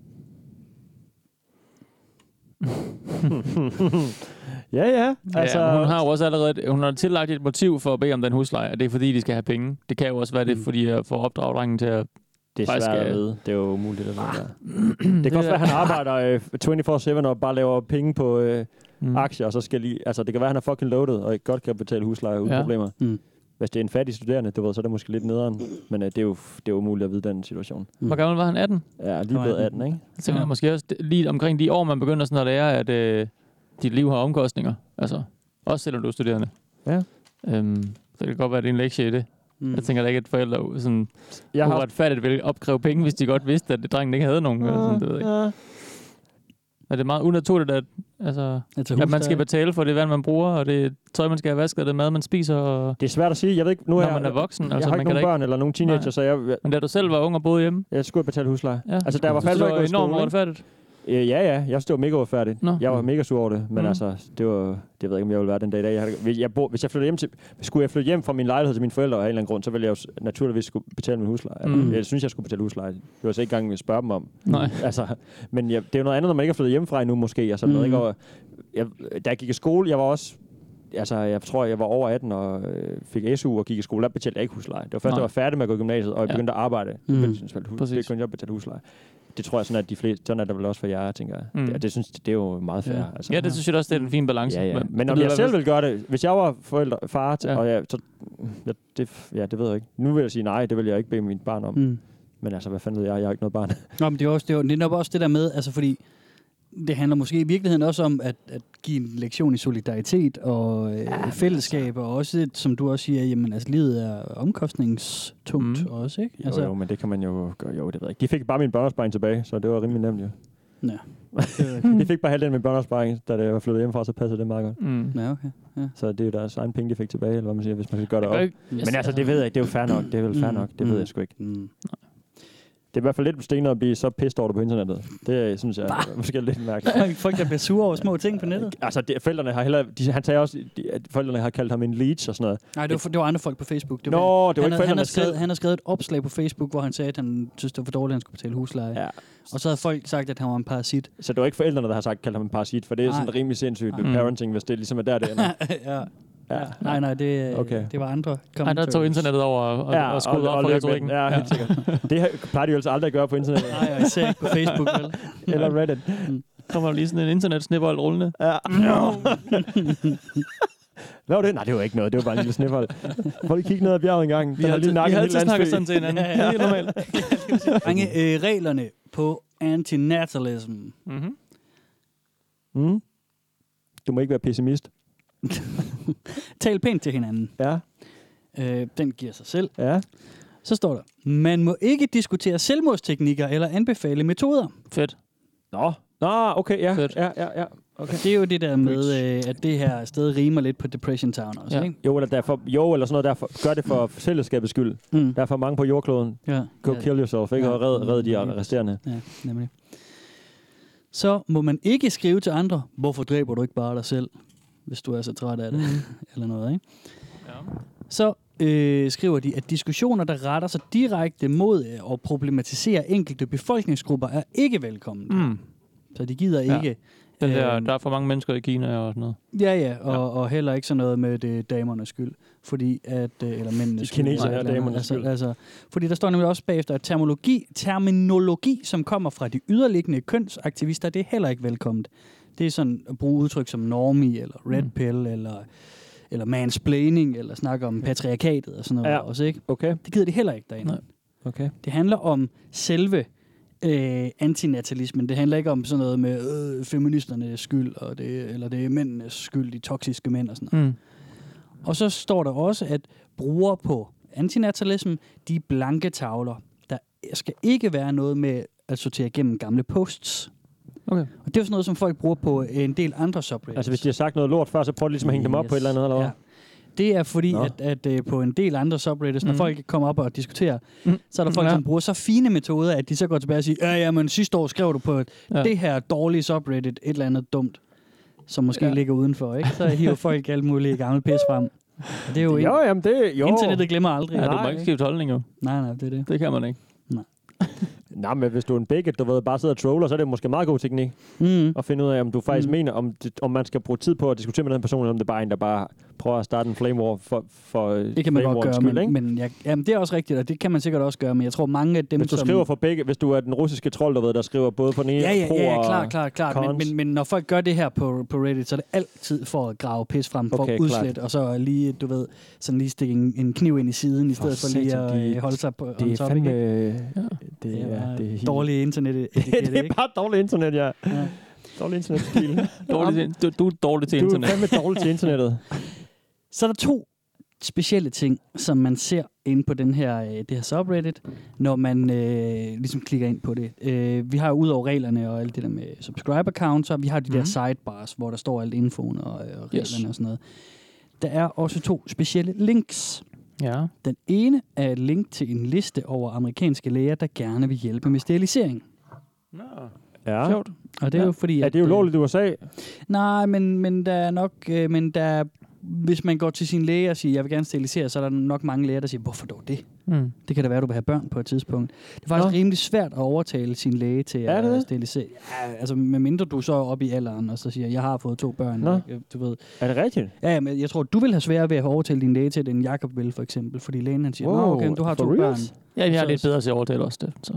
ja, ja. Altså, ja, hun har jo også allerede hun har tillagt et motiv for at bede om den husleje, og det er fordi, de skal have penge. Det kan jo også være det, er, fordi jeg får opdraget drengen til at... Det er faktisk, svært at øh, Ah. vide. Det er jo umuligt at vide. der. Det Det kan også er- være, at han arbejder øh, 24-7 og bare laver penge på øh, Mm. aktier, og så skal lige... Altså, det kan være, at han er fucking loaded og ikke godt kan betale husleje uden Ja. problemer. Mm. Hvis det er en fattig studerende, du ved, så er det måske lidt nederen. Men øh, det, er jo, det er jo umuligt at vide den situation. Hvor gammel var han? 18? Ja, lige blevet 18, ikke? Jeg tænker, ja. måske også det- lige omkring de år, man begynder sådan at lære, at øh, dit liv har omkostninger. Altså, også selvom du er studerende. Ja. Øhm, så det kan godt være, at det er en lektie i det. Mm. Jeg tænker da ikke, at forældre sådan, Jeg jeg har- uretfærdigt ville opkræve penge, hvis de godt vidste, at drengen ikke havde nogen. Eller sådan, det ved jeg ikke. Er det meget unaturligt, at, altså, at, hus, at man der- skal betale for det vand, man bruger, og det tøj, man skal have vasket, og det mad, man spiser? Og Det er svært at sige. Jeg ved ikke, nu Når er jeg, man er voksen, Jeg altså, har man ikke kan nogen da børn eller nogen teenager, Nej. så jeg... Men da du selv var ung og boede hjemme? Jeg skulle betale husleje. Ja. Altså, da jeg var Du synes, fandme det var ikke gået i enormt skole, ikke? uretfærdigt. Øh, ja, ja. Jeg stod mega uretfærdigt. Nå. Jeg var mega sur over det, men Mm. mm. altså, det var, det ved jeg ikke, om jeg ville være den dag i dag. Jeg, har- hvis jeg bor, hvis jeg flyttede hjem til, skulle jeg flytte hjem fra min lejlighed til mine forældre af en eller anden grund, så ville jeg jo s- naturligvis skulle betale min husleje. Mm. Mm. Jeg synes, jeg skulle betale husleje. Det var så ikke engang at spørge dem om. Nej. Altså, men jeg, det er jo noget andet, når man ikke er flyttet hjemmefra endnu, måske. Altså, mm. Mm. ikke, og jeg, da jeg gik i skole, jeg var også Altså, jeg tror, jeg var over 18 og øh, fik SU og gik i skole. Der betalte jeg ikke husleje. Det var først, Nej. da jeg var færdig med at gå i gymnasiet, og jeg Ja. begyndte at arbejde. Mm. Mm. Hus, Præcis. det begyndte jeg at betale husleje. Det tror jeg sådan, at de fleste, sådan er det vel også for jer, tænker jeg. Mm. Mm. Det, det, synes, det er jo meget fair. altså. Ja. Ja, det synes jeg da også, det er en fin balance. Ja, ja. Men- Men det om jeg lyder i hvert selv fald- ville gøre det, hvis jeg var forældre, far, til, Ja. ja. og jeg, så, ja, det, ja, det ved jeg ikke. Nu vil jeg sige nej, det vil jeg ikke bede mit barn om. Mm. Mm. Men altså, hvad fanden ved jeg? Jeg har ikke noget barn. Nå, men det er, også, det, er, jo- det er nok også det der med, altså fordi det handler måske i virkeligheden også om at, at give en lektion i solidaritet og øh, ja, fællesskab, og også, som du også siger, jamen altså livet er omkostningstungt mm. også, ikke? Altså- Jo, jo, men det kan man jo gøre. Jo, det ved jeg ikke. De fik bare min børnesbein tilbage, så det var rimelig nemt, jo. Ja. de fik bare halvdelen med børneopsparing, da det var flyttet hjemmefra, så passede det meget godt. Mm. Ja, okay. Ja. Så det er jo deres egen penge, de fik tilbage, eller hvad man siger, hvis man skal gøre det kan op. jo ikke- Men altså, det ved jeg ikke. Det er jo fair nok. Det er vel fair Mm. nok. Det ved jeg sgu ikke. Det er i hvert fald lidt stenet at blive så pissed over det på internettet. Det øh, synes jeg er måske lidt mærkeligt. Folk, der bliver sure over små ting på nettet. altså, det, forældrene har heller... De, han sagde også, de, at forældrene har kaldt ham en leech og sådan noget. Nej, det var, for- det var andre folk på Facebook. Det Nå, det var han, ikke havde- han, forældrene, har der skrevet, skrev. han har skrevet et opslag på Facebook, hvor han sagde, at han synes, det var for dårligt, at han skulle betale husleje. Ja. Og så havde folk sagt, at han var en parasit. Så det var ikke forældrene, der har sagt, kaldt ham en parasit, for det er Nej. sådan rimelig sindssygt Nej. mm. parenting, hvis det ligesom er der, det ender. ja. ja. Nej, nej, det, Okay. okay. det var andre Ej, der tog internettet over og, ja, og skruede op for løb ind. retorikken. Ja, helt sikkert. Det har- plejer de jo altså aldrig at gøre på internettet. Nej, og især ikke på Facebook, vel? Eller Reddit. Mm. Kommer lige sådan en internetsnibbold rullende. Ja. Hvad var det? Nej, det var ikke noget. Det var bare en lille sneffold. Prøv lige at kigge ned ad bjerget en gang. Den har har altid- lige nakket vi har en altid lille snakket landsby. sådan til hinanden. Det er helt normalt. Drenge, øh, reglerne på antinatalism. Mm-hmm. Mm. Du må ikke være pessimist. Tal pænt til hinanden. Ja. Øh, den giver sig selv. Ja. Så står der, man må ikke diskutere selvmordsteknikker eller anbefale metoder. Fedt. Nå. Nå, okay, ja. Fedt. Ja, ja, ja. Okay. Det er jo det der med, øh, at det her sted rimer lidt på Depression Town også, ja. ikke? Jo, eller, derfor, jo, eller sådan noget. Derfor, gør det for fællesskabets skyld. Mm. Der er for mange på jordkloden. Ja. Go Ja. kill yourself, ikke? Ja. Og red, red de resterende. Ja, nemlig. Så må man ikke skrive til andre, hvorfor dræber du ikke bare dig selv, hvis du er så træt af det, Mhm. eller noget, ikke? Så øh, skriver de, at diskussioner, der retter sig direkte mod øh, at problematisere enkelte befolkningsgrupper, er ikke velkommen. Mm. Så de gider Ja. ikke... Den der, øh, der er for mange mennesker i Kina og sådan noget. Ja, ja, og, ja. og heller ikke sådan noget med det er damernes skyld, fordi at, øh, eller mændenes De kinesere er eller et eller andet. damernes altså, skyld. Altså, fordi der står nemlig også bagefter, at terminologi, terminologi, som kommer fra de yderliggende kønsaktivister, det er heller ikke velkomment. Det er sådan at bruge udtryk som normi, eller red Mm. pill, eller, eller mansplaining, eller snakke om patriarkatet og sådan noget Ja. også, ikke? Okay. Det gider de heller ikke derinde. Nej. Okay. Det handler om selve øh, antinatalismen. Det handler ikke om sådan noget med øh, feministernes skyld, og det, eller det er mændenes skyld, de toksiske mænd og sådan noget. Mm. Og så står der også, at brugere på antinatalism, de er blanke tavler. Der skal ikke være noget med at sortere gennem gamle posts. Okay. Og det er jo sådan noget, som folk bruger på øh, en del andre subreddits. Altså, hvis de har sagt noget lort før, så prøv ligesom at hænge dem op på et eller andet, eller hvad? Ja. Det er fordi, Nå. at, at øh, på en del andre subreddits, når Mm. mm. folk kommer op og diskuterer, Mm. mm. så er der folk, Ja. ja. som bruger så fine metoder, at de så går tilbage og siger, ja, ja, men sidste år skrev du på et, Ja. ja. det her dårlige subreddit et eller andet dumt, som måske Ja. ja. ligger udenfor, ikke? Så hiver folk alt muligt gammelt pis frem. Og det er jo, Jo, jamen det... Jo. Internettet glemmer aldrig. Ja, du må ikke skifte holdning jo. Nej, nej, det er det. Det kan man ikke. Nej, men hvis du er en bigot, du ved, bare sidder og troller, så er det måske meget god teknik mm. at finde ud af, om du faktisk Mm. mm. mener, om, det, om man skal bruge tid på at diskutere med den person, eller om det bare er en, der bare prøver at starte en flame war for, for øh, Det kan man flame godt warens gøre, skyld, men, ikke? men jeg, jamen, det er også rigtigt, og det kan man sikkert også gøre, men jeg tror mange af dem, hvis du som... skriver for begge, hvis du er den russiske trold, der ved, der skriver både på den ene Ja, ja, pro ja, ja, og klart, klart, klart. Men, cons. men, men når folk gør det her på, på Reddit, så er det altid for at grave pis frem, for Okay, okay, klart. udslet, og så lige, du ved, sådan lige stikke en, en kniv ind i siden, i stedet for, lige at øh, holde sig på on det er top, fandme, ikke? ja. det, Det er er, bare det er helt- dårlig internet det er bare dårligt internet, ja. ja. Dårlig internetstil. Dårlig til, du, du er dårlig til Du er internet. fandme dårlig til internettet. Så er der to specielle ting, som man ser inde på den her, øh, det her subreddit, når man øh, ligesom klikker ind på det. Øh, vi har jo ud over reglerne og alt det der med subscriber counts, og vi har de der Mhm. sidebars, hvor der står alt infoen og, øh, og reglerne Yes. yes. og sådan noget. Der er også to specielle links. Ja. Den ene er et link til en liste over amerikanske læger, der gerne vil hjælpe med sterilisering. Ja. Sjovt. Og det er jo fordi... Er at, det jo øh, lovligt i USA? Nej, men, men der er nok... Øh, men der er, hvis man går til sin læge og siger, jeg vil gerne sterilisere, så er der nok mange læger, der siger, hvorfor dog det? Mm. Det kan da være, du vil have børn på et tidspunkt. Det er faktisk Nå. Nå. rimelig svært at overtale sin læge til Er at det det? sterilisere. Ja, altså, medmindre du så er oppe i alderen og så siger, jeg har fået to børn. Nå. og, øh, Du ved. Er det rigtigt? Ja, ja, men jeg tror, du vil have sværere ved at overtale din læge til det, end Jacob vil, for eksempel. Fordi lægen han siger, Nå, Wow, okay, men du har for to reals? børn. Ja, jeg er Så- lidt bedre til at overtale også det. Så.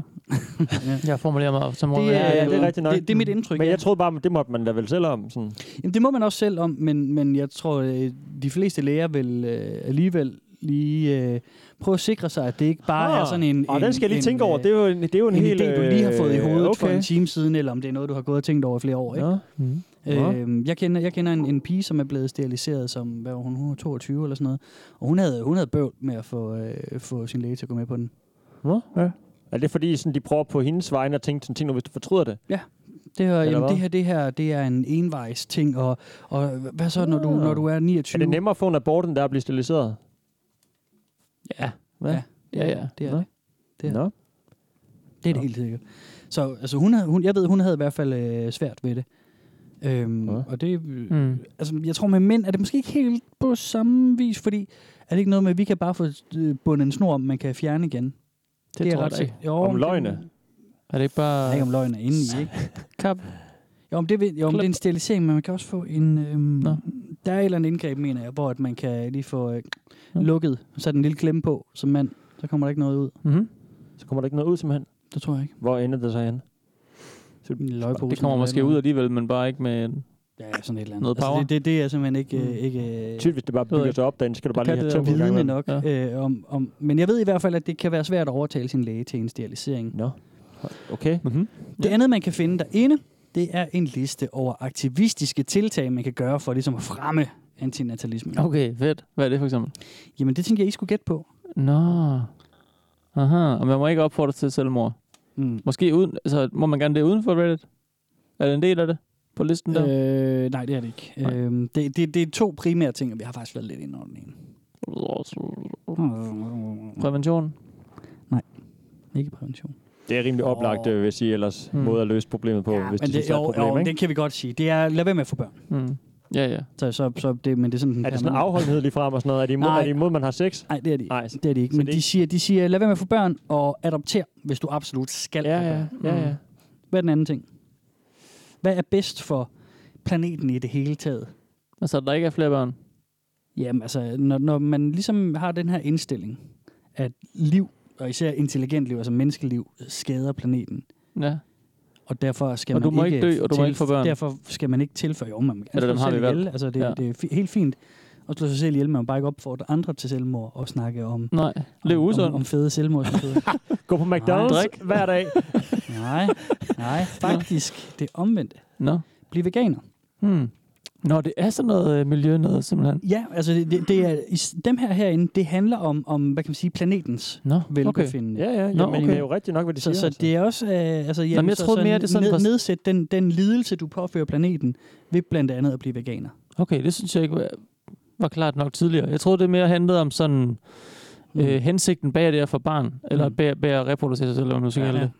Jeg formulerer mig som Det er- Ja, Ja, ja, det er rigtigt nok. det- det er mit indtryk, Men ja. jeg troede bare, at det måtte man da vel selv om. Sådan. Jamen, det må man også selv om, men, men jeg tror, øh, de fleste læger vil øh, alligevel lige øh, prøve at sikre sig, at det ikke bare Ah, er sådan en... Og den skal jeg lige en, tænke over. øh, Det er jo en, det er jo en, en hel... idé, du lige har fået i øh, hovedet okay. for okay. en time siden, eller om det er noget, du har gået og tænkt over i flere år. Ikke? Nå. Mm. Nå. Øhm, jeg kender, jeg kender en, en pige, som er blevet steriliseret som, hvad var hun, hun var 22 eller sådan noget. Og hun havde, hun havde bøvl med at få, øh, få sin læge til at gå med på den. Nå? Ja. Er det fordi, sådan, de prøver på hendes vegne at tænke sådan ting, nu, hvis du fortryder det? Ja, Det her, Eller jamen, hvad? det her, det her, det er en envejs ting, og, og hvad så, når du, når du er 29? Ah. Er det nemmere at få en abort, end der at blive steriliseret? Ja. Hvad? Ja, Ja, ja. Det er Nå. det. Det er, Nå. det, er det helt sikkert. Så altså, hun, havde, hun, jeg ved, hun havde i hvert fald øh, svært ved det. Øhm, og det, mm. Mm. altså, jeg tror med mænd er det måske ikke helt på samme vis, fordi er det ikke noget med, at vi kan bare få øh, bundet en snor, man kan fjerne igen? Det, tror jeg da sikkert. ikke. Om men løgne? Det, Er det ikke bare... ikke om løgne er inde i, ikke? Kap. Jo, men det, ved- jo, men det er en sterilisering, men man kan også få en... Øhm, Nå. der er et eller andet indgreb, mener jeg, hvor at man kan lige få øh, lukket, så en lille klemme på som mand. Så kommer der ikke noget ud. Mm-hmm. Mhm. Så kommer der ikke noget ud, simpelthen? Det tror jeg ikke. Hvor ender det så hen? løgposen Det kommer eller måske noget. ud alligevel, men bare ikke med ja, sådan et eller andet. noget power. Altså, det, det, det er simpelthen ikke... Mm. Øh, ikke øh, Tydeligt, Mm. hvis det bare ved jeg bygger ikke. sig op, den skal du bare kan lige have det tømt. en gang vidne imellem. nok. Ja. Øh, om, om, men jeg ved i hvert fald, at det kan være svært at overtale sin læge til en sterilisering. Nå, okay. Mm-hmm. Det andet, man kan finde derinde, det er en liste over aktivistiske tiltag, man kan gøre for ligesom at fremme antinatalismen. Okay, fedt. Hvad er det for eksempel? Jamen, det tænker jeg, I skulle gætte på. Nå. Aha, og man må ikke opfordre til selvmord. Mm. Måske uden, altså, må man gerne det uden for Reddit? Er det en del af det på listen der? Øh, nej, det er det ikke. Øhm, det, det, det er to primære ting, og vi har faktisk været lidt inde over den ene. Prævention? Mm. Nej, ikke prævention. Det er rimelig oplagt, øh, vil jeg sige, ellers Mm. måde at løse problemet på, hvis Men de synes, det, der er et jo, problem, jo, ikke? Hmm. det kan vi godt sige. Det er, lad være med at få børn. Mm. Ja, ja. Så, så, så det, men det er sådan, den Er det sådan en permanente- afholdenhed lige frem og sådan noget? Er de imod, Nej. er de imod man har sex? Nej, det er de ikke. Nej, Det er de ikke, men de siger, de siger, lad være med at få børn og adopter, hvis du absolut skal ja, have børn. Mm. ja, ja. Hvad er den anden ting? Hvad er bedst for planeten i det hele taget? Altså, at der ikke er flere børn? Jamen altså, når, når man ligesom har den her indstilling, at liv, og især intelligent liv, altså menneskeliv, skader planeten. Ja. Og derfor skal Og du man må ikke dø, og du må ikke få børn. Derfor skal man ikke tilføje, jo, man kan Eller dem slå har sig vi selv valgt. ihjel. Altså, det, ja. Ja. det er fi- helt fint at slå sig selv ihjel, men man bare ikke opfordre andre til selvmord og snakke om, Nej, det er om, usundt. om, om fede selvmord. Gå på McDonald's Drik. hver dag. nej, nej, faktisk. Det er omvendt. Nå. Bliv veganer. Hmm. Nå, det er sådan noget øh, miljø noget, simpelthen. Ja, altså det, det, det er, is- dem her herinde, det handler om, om hvad kan man sige, planetens Nå, velbefindende. Ja, ja, jamen, okay. det er jo rigtigt nok, hvad de så, siger, Så altså. det er også, øh, altså, jamen, Jamen, jeg så, troede så mere, det er sådan ned, på- nedsæt den, den lidelse, du påfører planeten, ved blandt andet at blive veganer. Okay, det synes jeg ikke var, var klart nok tidligere. Jeg troede, det mere handlede om sådan Mm. øh, hensigten bag det at få barn, eller bag, bag at reproducere sig selv, eller hvad man skal kalde det.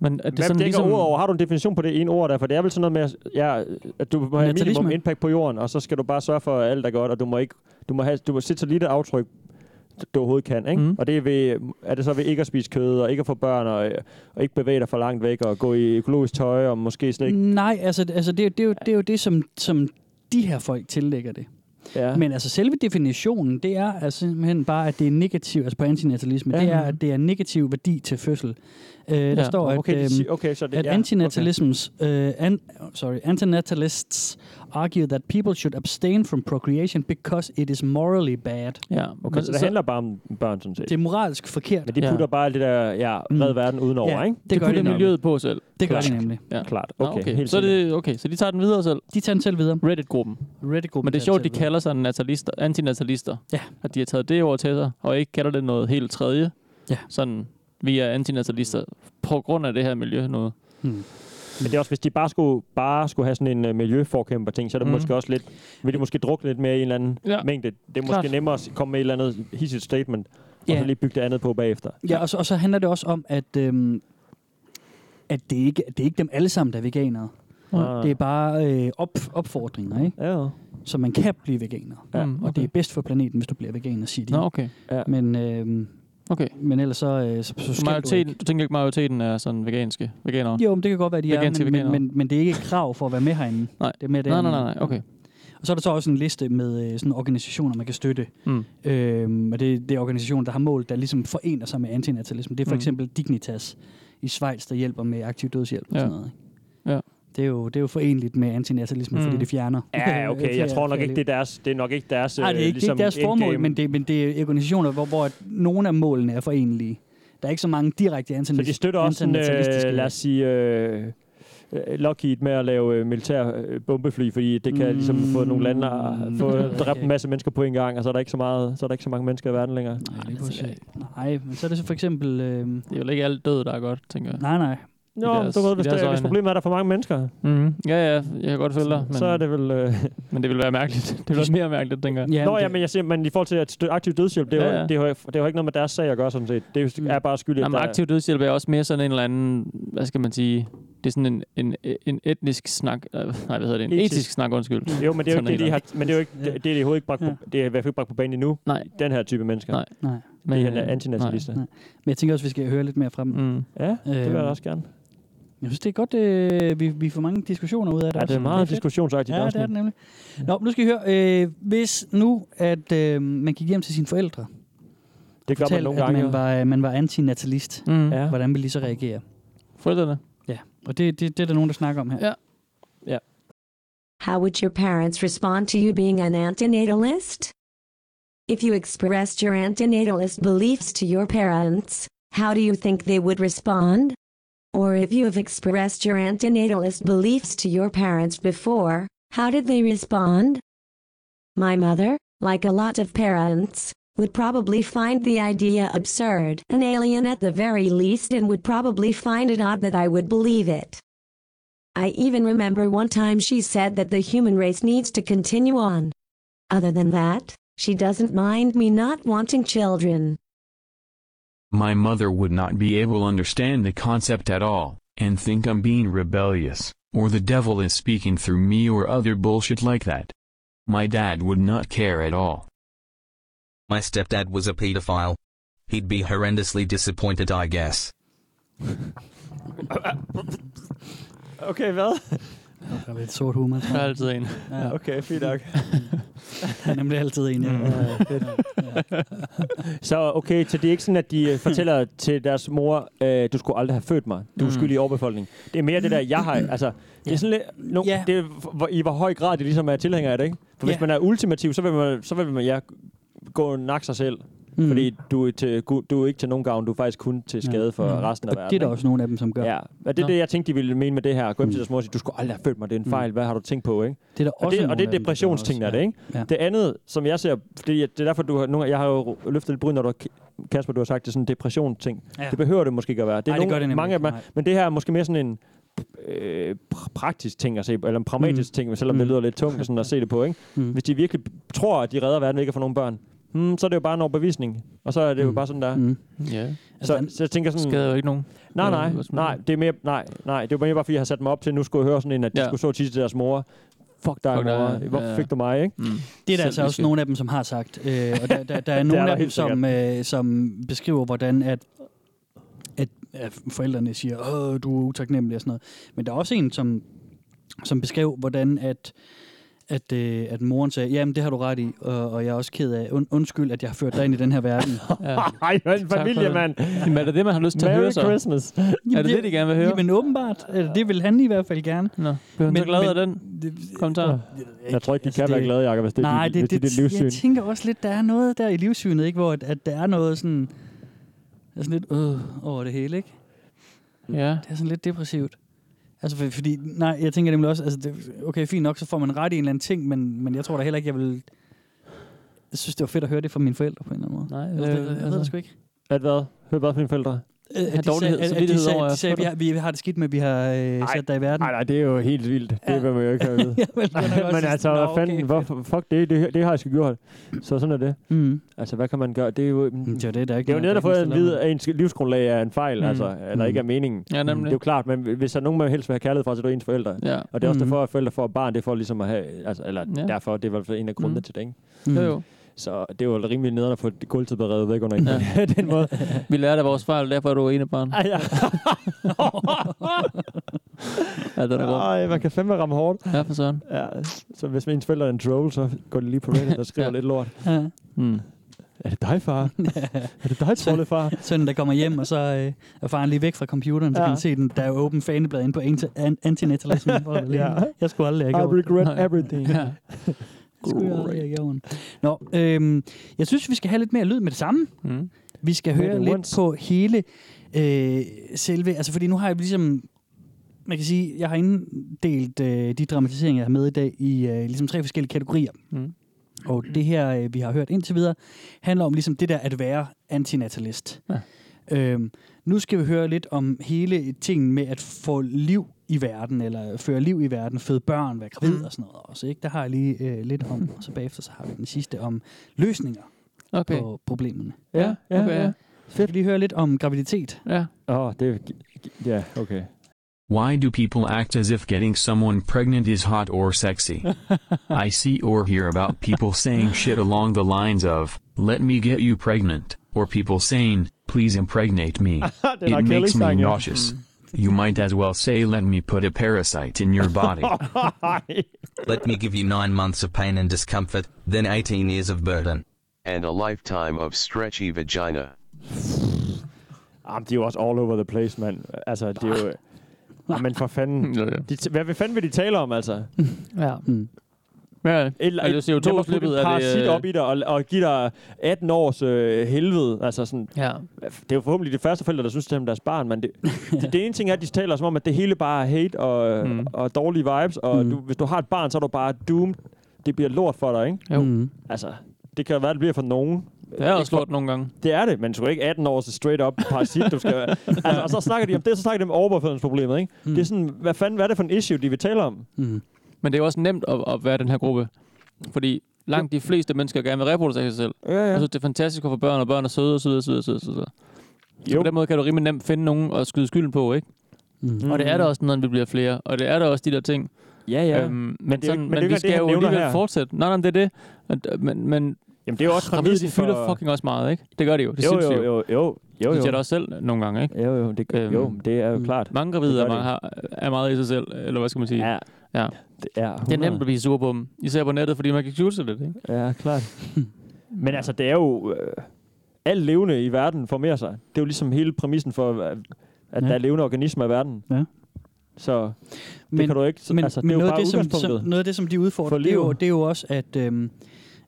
Men at Hvad det sådan dækker ligesom... ord over? Har du en definition på det ene ord der? For det er vel sådan noget med, ja, at du må have Natalisme. minimum impact på jorden, og så skal du bare sørge for, at alt er godt, og du må, ikke, du må, have, du må sætte så lidt aftryk, du overhovedet kan. Ikke? Mm. Og det er, ved, er det så ved ikke at spise kød, og ikke at få børn, og, og ikke bevæge dig for langt væk, og gå i økologisk tøj, og måske slet Mm. ikke. Nej, altså, altså det, er jo- det, er jo, det er jo det, som, som de her folk tillægger det. Ja. Men altså selve definitionen, det er altså simpelthen bare, at det er negativ, altså på antinatalisme, ja. Ja. det er, at det er negativ værdi til fødsel. Øh, der Ja. står, at, Okay, det øhm, siger- okay, så det- at ja, okay. antinatalisms, øh, an, sorry, antinatalists argue that people should abstain from procreation because it is morally bad. okay, så det handler bare om børn, sådan set. Det er moralsk forkert. Mm. Men de putter ja. bare alt det der, ja, red verden udenover, Ja, ikke? det gør de putter nemlig. miljøet på selv. Det gør Klart. de nemlig. Ja. Klart, Nå, okay, okay. helt Så er det, okay. Så de tager den videre selv? De tager den selv videre. Reddit-gruppen. Reddit-gruppen Men det er tager sjovt, de den selv kalder sig natalister, antinatalister. Ja. At de har taget det ord til sig, og ikke kalder det noget helt tredje. Ja. Sådan, vi er antinatalister på grund af det her miljø noget. Hmm. Men det er også, hvis de bare skulle, bare skulle have sådan en uh, miljøforkæmper ting, så er det Mm. mm. måske også lidt, vil de måske drukne lidt mere i en eller anden Mhm. Ja. ja. mængde. Det er måske Klart. nemmere at s- komme med et eller andet hissigt statement, og Ja. så lige bygge det andet på bagefter. Ja, og så, og så handler det også om, at, øhm, at det, ikke, det er ikke dem alle sammen, der er veganere. Ah. Det er bare øh, op, opfordringer, ikke? Ja. Så man kan blive veganer. Ja, Og det er bedst for planeten, hvis du bliver veganer, siger de. Mm, Nå, okay. Ja. Men, øhm, okay. men ellers så, øh, så, så Så skal du majoriteten, ikke. du tænker ikke, majoriteten er sådan veganske veganere? Jo, men det kan godt være, de Veganske er, men, men, veganere. men, men det er ikke et krav for at være med herinde. Nej. det er mere det Nej, nej, andet. nej, nej, okay. Og så er der så også en liste med øh, sådan organisationer, man kan støtte. Mm. Øhm, og det, det er organisationer, der har mål, der ligesom forener sig med antinatalisme. Det er for Mm. eksempel Dignitas i Schweiz, der hjælper med aktiv dødshjælp og Ja. sådan noget. Ikke? Ja. Det, er jo, det er jo forenligt med antinatalisme, mm. fordi Mm. det fjerner. Ja, okay. Jeg tror nok ikke, det er deres, det er nok ikke deres, Nej, det er øh, ikke, ligesom det er ikke deres formål, endgame. men det, men det er organisationer, hvor, hvor at nogle af målene er forenlige. Der er ikke så mange direkte Så antinalis- de støtter også sådan, antinatalistiske- øh, lad os sige, øh, øh, Lockheed med at lave øh, militær øh, bombefly, fordi det kan mm. ligesom få nogle lande at få dræbt en masse mennesker på en gang, og så er der ikke så, meget, så, er der ikke så mange mennesker i verden længere. Altså, Nej, det er Nej, men så er det så for eksempel... Øh, det er jo ikke alt død, der er godt, tænker jeg. Nej, nej. Nå, i deres, du ved, i hvis, deres der, hvis øjne. problemet er, at der er for mange mennesker. Mm-hmm. Ja, ja, jeg kan godt følge dig. Men, så er det vel... Øh... Men det ville være mærkeligt. Det ville være mere mærkeligt, tænker jeg. Ja, Nå, ja, men jeg siger, men i forhold til at stø- aktiv dødshjælp, det er, Ja, ja, ja. Mm. ja. Det, er jo, det er jo ikke noget med deres sag at gøre, sådan set. Det er, er bare skyld, at Jamen, der- aktiv dødshjælp er også mere sådan en eller anden, hvad skal man sige, det er sådan en, en, en etnisk snak, øh, nej, hvad hedder det, en etisk, etisk snak, undskyld. Mm, Jo, men det er jo Sådan ikke det, de en eller har, men det er jo ikke, det, det er de overhovedet ikke bragt, på, det er i hvert fald ikke bragt på banen endnu. Nej. Den her type mennesker. øh, Nej. Nej. Men, de er antinationalister. nej. Men jeg tænker også, vi skal høre lidt mere Øh, fra dem. Mm. Ja, det vil jeg da også gerne. Jeg synes, det er godt, øh, vi, vi får mange diskussioner ud af det. Ja, det er også. meget fedt. diskussionsagtigt Ja, det er afsnit. det nemlig. Nå, men nu skal I høre. Øh, hvis nu, at øh, man gik hjem til sine forældre, Det gør man fortalte, nogle at gange, man jo. var, øh, man var antinatalist, Mm. Ja. hvordan ville de så reagere? Forældrene? Ja, og det, det, det er der nogen, der snakker om her. Ja. Ja. How would your parents respond to you being an antinatalist? If you expressed your antinatalist beliefs to your parents, how do you think they would respond? Or if you have expressed your antinatalist beliefs to your parents before, how did they respond? My mother, like a lot of parents, would probably find the idea absurd and alien at the very least and would probably find it odd that I would believe it. I even remember one time she said that the human race needs to continue on. Other than that, she doesn't mind me not wanting children. My mother would not be able to understand the concept at all, and think I'm being rebellious, or the devil is speaking through me or other bullshit like that. My dad would not care at all. My stepdad was a pedophile. He'd be horrendously disappointed, I guess. Okay, hvad? Der er lidt sort humor. tror jeg. Der er altid en. Ja. Okay, fint nok. Mm. Der er nemlig altid en, ja. så okay, så det er ikke sådan, at de øh, fortæller til deres mor, øh, du skulle aldrig have født mig. Du er Mm. skyldig i overbefolkningen. Det er mere det der, jeg har... Altså, det er sådan lidt... No, Ja. det er, hvor, I hvor høj grad det ligesom er tilhænger af det, ikke? For hvis Ja. man er ultimativ, så vil man, så vil man ja, gå og nakke sig selv. Mm. Mm. Fordi du er, til, gu- du er ikke til nogen gavn, du er faktisk kun til skade for Mm. resten af Og verden. det er ikke? der også nogle af dem, som gør. Ja, og det er Nå. Mm. det, jeg tænkte, de ville mene med det her. Gå hjem til deres mor og sige, du skulle aldrig have født mig, det er en fejl, hvad har du tænkt på, ikke? Det er der og også det, nogle og det af er dem, der gør depressionsting, der også. er det, Ja. ikke? Ja. Det andet, som jeg ser, fordi jeg- det er derfor, du har, nogle, jeg har jo løftet lidt bryn, når du har, Kasper, du har sagt, det er sådan en depressionsting. Ja. Ja. Det behøver det måske ikke at være. Det er Nej, det nogle, gør det nemlig mange af dem, er- ikke, nej. men det her er måske mere sådan en øh, pr- praktisk ting at se, eller en pragmatisk Mm. mm. ting, selvom mm. det lyder lidt tungt sådan at se det på, ikke? Mm. Hvis de virkelig tror, at de redder verden ved ikke at få nogen børn, hmm, så er det jo bare en overbevisning, og så er det jo Mm. bare sådan der. Mm. Ja. Så, så jeg tænker sådan... Skader jo ikke nogen. Nej, Øh, nej, Eller- nej, det er mere, nej, nej, det var mere bare, fordi jeg har sat mig op til, at nu skulle jeg høre sådan en, at de Ja. ja. skulle så tit til deres mor. Fuck dig, Fuck dig, mor. Hvorfor ja. fik du mig, ikke? Mm. Det er der altså også nogle af dem, som har sagt. Øh, og der, der, der er nogle der af dem, helt som, øh, som beskriver, hvordan at, at, at forældrene siger, Åh, du er utaknemmelig og sådan noget. Men der er også en, som, som beskrev, hvordan at, at, øh, at moren sagde, jamen det har du ret i, og, og jeg er også ked af, und, undskyld, at jeg har ført dig ind i den her verden. Ej, hvad en Tak for familie, det. mand. Jamen, er det det, man har lyst til at Merry høre så? Christmas. er det det, de gerne vil høre? Jamen åbenbart, øh, det vil han i hvert fald gerne. Nå, blev han så glad af den kommentar? Jeg tror ikke, de kan være glade, Jacob, hvis det er Altså, dit- Nej, hvis det, det er det, dit det, jeg livssyn. tænker også lidt, der er noget der i livssynet, ikke, hvor at, at der er noget sådan, der er sådan lidt øh, over det hele, ikke? Ja. Det er sådan lidt depressivt. Altså, for, fordi, nej, jeg tænker nemlig også, altså, det, okay, fint nok, så får man ret i en eller anden ting, men, men jeg tror da heller ikke, jeg vil... øh, Jeg synes, det var fedt at høre det fra mine forældre på en eller anden måde. Nej, altså, det, jeg ved det sgu ikke. At hvad? Hør hvad for dine forældre? Øh, at de sagde, at, at de sagde, de sagde vi, har, vi har det skidt med, at vi har øh, sat dig i verden. Nej, nej, det er jo helt vildt. Det vil man jo ikke have at vide. også Men altså, sådan, hvad nå, okay, fanden, hvorfor, fuck det, det, det har jeg sgu gjort. Så sådan er det. Mm. Altså, hvad kan man gøre? Det er jo, det er det, der er det er jo noget, netop der fået ikke at stiller vide, at ens livsgrundlag er en fejl, Mm. mm. altså, eller Mm. ikke er meningen. Ja, nemlig. Det er jo klart, men hvis der er nogen, man helst vil have kærlighed fra, så er det jo ens forældre. Ja. Og det er også Mm. derfor, at forældre får et barn, det er for ligesom at have, altså, eller Ja. ja. derfor, det er i hvert fald en af grundene Mm. mm. til det, ikke? Mm. Jo, jo. Så det er jo rimelig nederen at få gulvtæppet revet væk under en ja. den måde. Vi lærte af vores fejl, derfor er du ene barn. Ah, ja. ja, den er god. Ej, man kan fandme ramme hårdt. Ja, for søren. Ja, så hvis ens forældre er en troll, så går det lige på Reddit og skriver Ja. lidt lort. Ja. Mm. Er det dig, far? er det dig, troldefar? Sønnen, der kommer hjem, og så øh, er faren lige væk fra computeren, så ja. Ja. kan han se, den, der er jo åbent faneblad inde på anti- an- antinatalisme. ja. Ja. Jeg skulle aldrig have I gjort det. regret Nej. everything. Ja. Det skulle jeg aldrig have gjort. Nå, øhm, jeg synes, vi skal have lidt mere lyd med det samme. Mm. Vi skal Med høre det lidt once. på hele øh, selve... Altså, fordi nu har jeg ligesom... Man kan sige, jeg har inddelt øh, de dramatiseringer, jeg har med i dag, i øh, ligesom tre forskellige kategorier. Mm. Og det her, øh, vi har hørt indtil videre, handler om ligesom det der at være antinatalist. Ja. Øhm, nu skal vi høre lidt om hele tingen med at få liv i verden, eller føre liv i verden, føde børn, være Mm. gravid og sådan noget også. Ikke? Der har jeg lige øh, lidt om, og så bagefter så har vi den sidste om løsninger Okay. på problemerne. Ja, ja, okay, ja. Fedt. Vi hører lidt om graviditet. Ja. Åh, oh, det Ja, okay. Why do people act as if getting someone pregnant is hot or sexy? I see or hear about people saying shit along the lines of, let me get you pregnant, or people saying, please impregnate me. They're it not makes me killing nauseous. You might as well say, let me put a parasite in your body. Let me give you nine months of pain and discomfort, then 18 years of burden. And a lifetime of stretchy vagina. Jamen, de er jo også all over the place, mand. Altså, det er jo... Jamen, for fanden. De t- hvad fanden vil de tale om, altså? Ja. Mm. Ja, et, Et, altså CO2-udslippet er det... parasit øh, op i dig og, og give dig 18 års øh, helvede. Altså sådan, Ja. Det er jo forhåbentlig de første forældre, der synes, det er om deres barn, men det, det, det ene ting er, at de taler som om, at det hele bare er hate og, mm. og dårlige vibes, og mm. du, hvis du har et barn, så er du bare doomed. Det bliver lort for dig, ikke? Jo. Mm. Altså, det kan jo være, det bliver for nogen. Det er Ikke også for- lort nogle gange. Det er det, men du er ikke 18 år, så straight up parasit, du skal altså, Og så snakker de om det, så snakker de om overbefødelsesproblemet, ikke? Mm. Det er sådan, hvad fanden, hvad er det for en issue, de vil tale om? Mm. Men det er jo også nemt at, at være den her gruppe. Fordi langt de fleste mennesker gerne vil reproducere sig selv. Ja, ja. Og synes, det er fantastisk at få børn, og børn er søde, og søde, og søde, og søde, og søde. Så på den måde kan du rimelig nemt finde nogen og skyde skylden på, ikke? Mm. Mm. Og det er der også, når vi bliver flere. Og det er der også de der ting. Øhm, Ja, ja. men, Men det er jo men, ikke- sådan, men det er jo men, men ikke vi det, skal han jo nævner alligevel her. fortsætte. Nej, nej, men det er det. At- Men, men Jamen, det er jo også gravide, de præmissen fylder for- fucking også meget, ikke? Det gør de jo. Det Jo, synes jo, jo, de jo, jo, De jo. siger det også selv nogle gange, ikke? Jo, jo, det, øhm, jo, det er jo klart. Mange Det gravide gør er, de. mange, har, er meget i sig selv, eller hvad skal man sige? Ja. ja. Det er, det er 100. nemt at blive sur på dem. Især på nettet, fordi man kan skjule sig lidt, ikke? Ja, klart. Men altså, det er jo... Øh, alt levende i verden formerer sig. Det er jo ligesom hele præmissen for, at at Ja. der er levende organismer i verden. Ja. Så det men, kan du ikke... Men, altså, men det er jo noget, bare af det, som, udgangspunktet. som, noget af det, som de udfordrer, For det er, jo, livet. det er jo også, at, øhm,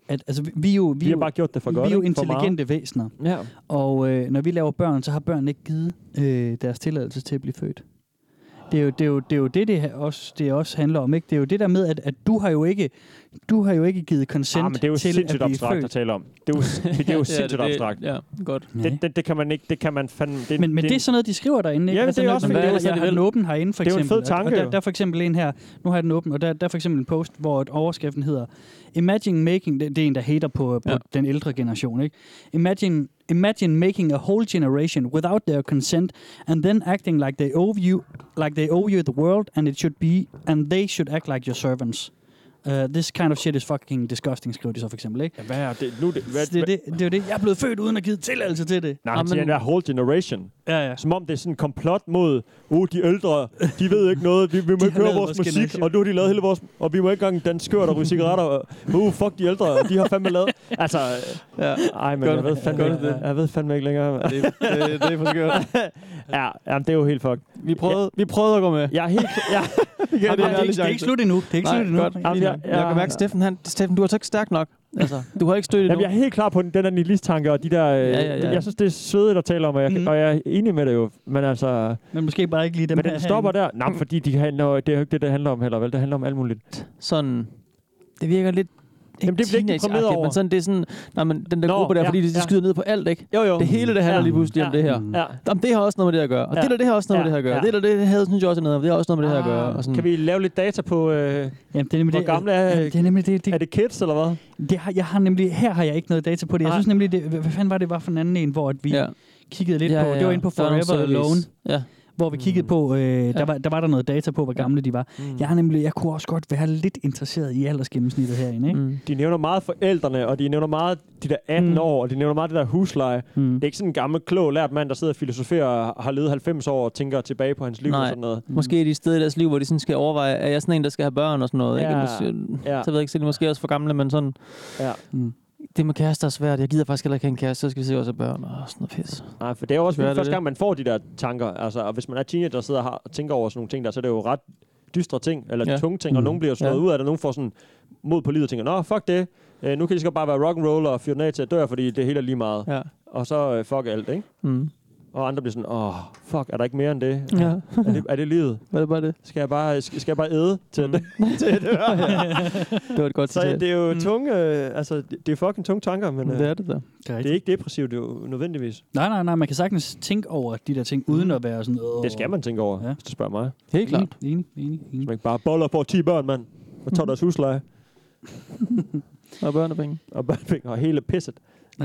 at altså, vi, vi, er jo, vi, Vi er har jo- bare gjort det for godt, Vi er jo ikke? For meget. Ah, intelligente væsener. Ja. Og øh, når vi laver børn, så har børn ikke givet øh, deres tilladelse til at blive født. Det er jo det, er jo, det, er jo det, det, her også, det også handler om. Ikke? Det er jo det der med, at, at du har jo ikke du har jo ikke givet consent Ah, men det er jo til at sindssygt blive abstrakt født. at tale om. Det er jo, det er jo sindssygt abstrakt. Ja, godt. Det, det, det, kan man ikke... Det kan man fandme... Det, Men, men det er sådan noget, de skriver derinde. Ikke? Altså, Ja, men det er også... når, fordi- jeg, jeg, det er- har den åben herinde, for Det er jo en eksempel. fed tanke, og, og jo. der, der er for eksempel en her, nu har jeg den åben, og der, der er for eksempel en post, hvor et overskriften hedder, Imagine making, det, det er en, der hater på, på ja. den ældre generation, ikke? Imagine, imagine making a whole generation without their consent, and then acting like they owe you, like they owe you the world, and it should be, and they should act like your servants. Uh, this kind of shit is fucking disgusting, skriver de så for eksempel, ikke? Hvad er det? Nu, det, hvad, Så det, er det, det er jo det, jeg er blevet født uden at give tilladelse til det. Nej, men... det er whole generation. Ja, ja. Som om det er sådan en komplot mod, uh, de ældre, de ved ikke noget, vi, vi må har ikke høre lavet vores vores musik, generation. og nu har de lavet hele vores, og vi må ikke engang danse skørt og ryge cigaretter, og, uh, fuck de ældre, de har fandme lavet, altså, ja. ej, men Gør jeg du- ved, fandme, gør du ikke, det? jeg, jeg ved fandme ikke længere. mand. Det, det, det er for skørt. ja, jamen, det er jo helt fucked. Vi prøvede, vi prøvede at gå med. Jeg er helt... Jeg, det, Jamen, det er ikke- det er ikke slut endnu. Det er ikke Nej, slut endnu. Godt. Det er Jamen, ikke jeg, slut jeg, endnu. jeg kan mærke, Steffen, han, Steffen, du er så ikke stærk nok. Altså, du har ikke stødt endnu. Jamen, jeg er helt klar på den, den der nihilist tanke, og de der... Ja, ja, ja. Jeg synes, det er svedigt at tale om, og jeg, mm. og jeg er enig med det jo, men altså... Men måske bare ikke lige dem Men her den stopper der. Hmm. herinde. Nej, fordi de handler, det er jo ikke det, det handler om heller, vel? Det handler om alt muligt. Sådan... Det virker lidt... Jamen, det bliver ikke deprimeret over. Men sådan, det er sådan... Nej, men den der Nå, Nå, gruppe der, ja, ja, fordi de, ja. de skyder ned på alt, ikke? Jo, jo. Det hele, det handler Ja. ja, lige pludselig ja, om det her. Ja. Jamen, det har også noget med det at gøre. Og Ja. ja, det der, det har også noget med Ja, det her at gøre. ja. Ja. Det der, det havde, synes jeg også er noget, det har også noget med det her at gøre. Ah, Og sådan. Kan vi lave lidt data på, øh, Jamen, det er nemlig hvor det, gamle er, Jamen, det er, nemlig det, det, er det kids, eller hvad? Det har, jeg har nemlig, her har jeg ikke noget data på det. Jeg Nej. synes nemlig, det, hvad hvad fanden var det var for en anden en, hvor at vi ja. Ja. kiggede lidt Ja, på, ja, det var ja. inde på Der er nogle Forever Alone, surveys. ja. hvor vi kiggede på, øh, der, var, der var der noget data på, hvor gamle de var. Mm. Jeg, har nemlig, jeg kunne også godt være lidt interesseret i aldersgennemsnittet herinde, ikke? Mm. De nævner meget forældrene, og de nævner meget de der 18 mm. Hmm. år, og de nævner meget det der husleje. Mm. Det er ikke sådan en gammel, klog, lært mand, der sidder og filosoferer og har levet 90 år og tænker tilbage på hans liv og Nej, sådan noget. måske er de steder i deres liv, hvor de sådan skal overveje, er jeg sådan en, der skal have børn og sådan noget? Ja, Ikke? Måske, ja. Så ved jeg ikke, så er de måske også for gamle, men sådan... Ja. Mm. Det med kærester er svært. Jeg gider faktisk heller ikke have en kæreste, så skal vi se også have børn og sådan noget pis. Nej, for det er jo også Hvad er fordi, det, første det? gang, man får de der tanker. Altså, og hvis man er teenager og sidder og, har, og tænker over sådan nogle ting der, så er det jo ret dystre ting, eller ja. Ja. tunge ting, og Mm. nogen bliver slået ja. Ja. ud af det, og nogen får sådan mod på livet og tænker, nå, fuck det, øh, nu kan de skal bare være rock'n'roll og fyre den af til at dør, fordi det hele er lige meget. Ja. Og så øh, fuck alt, ikke? Mm. Og andre bliver sådan, åh, fuck, er der ikke mere end det? Ja. Er det, er det livet? Hvad var det? Mm. Skal jeg bare, skal jeg bare æde til det? til det? Det var et godt Så citat. Mm. det er jo tunge, øh, altså, det det er fucking tunge tanker, men øh, Det er det da. Det er, det er ikke depressivt, det er jo nødvendigvis. Nej, nej, nej, man kan sagtens tænke over de der ting, uden at være sådan... Åh. Mm. Det skal man tænke over, ja. hvis du spørger mig. Helt klart. Enig, enig, enig. Så man ikke bare boller for 10 børn, mand. Og tager deres husleje. og børnepenge. Og børnepenge, og hele pisset.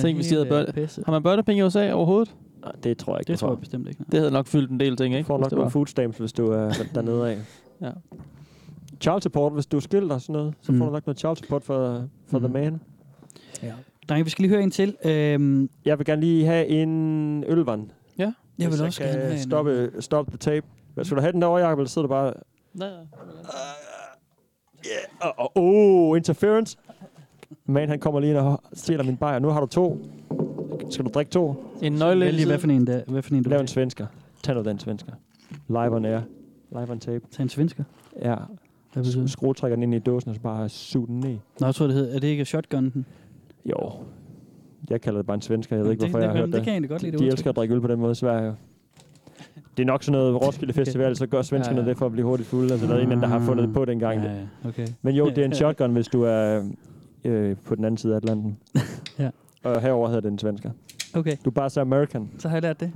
Tænk, hvis de havde børn. Har man børnepenge i USA overhovedet? Nej, det tror jeg ikke. Det tror jeg bestemt ikke. Det havde nok fyldt en del ting, ikke? Du får Hvis nok det nogle var. food stamps, hvis du er dernede af. ja. Child support, hvis du er skilt og sådan noget, så får Mm. du nok noget child support for, for the man. Ja. Drenge, vi skal lige høre en til. Øhm, jeg vil gerne lige have en ølvand. Ja. Jeg Hvis vil også kan gerne have en stoppe, stoppe the tape. Hvad, Skal du have den derovre, Jacob, eller sidder du bare... Nej, Åh, oh, oh, interference. Man, han kommer lige ind og stjæler min bajer. Nu har du to. Skal du drikke to? En nøgle. Vælg lige, hvad for en, der, hvad for en du Lav en svensker. Tag noget af den svensker. Live on air. Live on tape. Tag en svensker? Ja. Sk- Skruetrækker den ind i dåsen, og så bare suge den ned. Nå, jeg tror, det hedder. Er det ikke shotgun? Den? Jo. Jeg kalder det bare en svensker. Jeg ved Jamen, ikke, det- hvorfor det- jeg har hørt jamen, det. det kan jeg egentlig godt lide, det De udtryk. elsker at drikke øl på den måde i Sverige. Det er nok sådan noget Roskilde Festival, så gør svenskerne Ja, ja, ja. ja. det for at blive hurtigt fulde. Altså, der er en eller anden, der har fundet det på dengang. Ja, ja. Okay. Men jo, det er en shotgun, hvis du er øh, på den anden side af Atlanten. Ja. Og herover hedder det en svensker. Okay. Du er bare så American. Så har jeg lært det.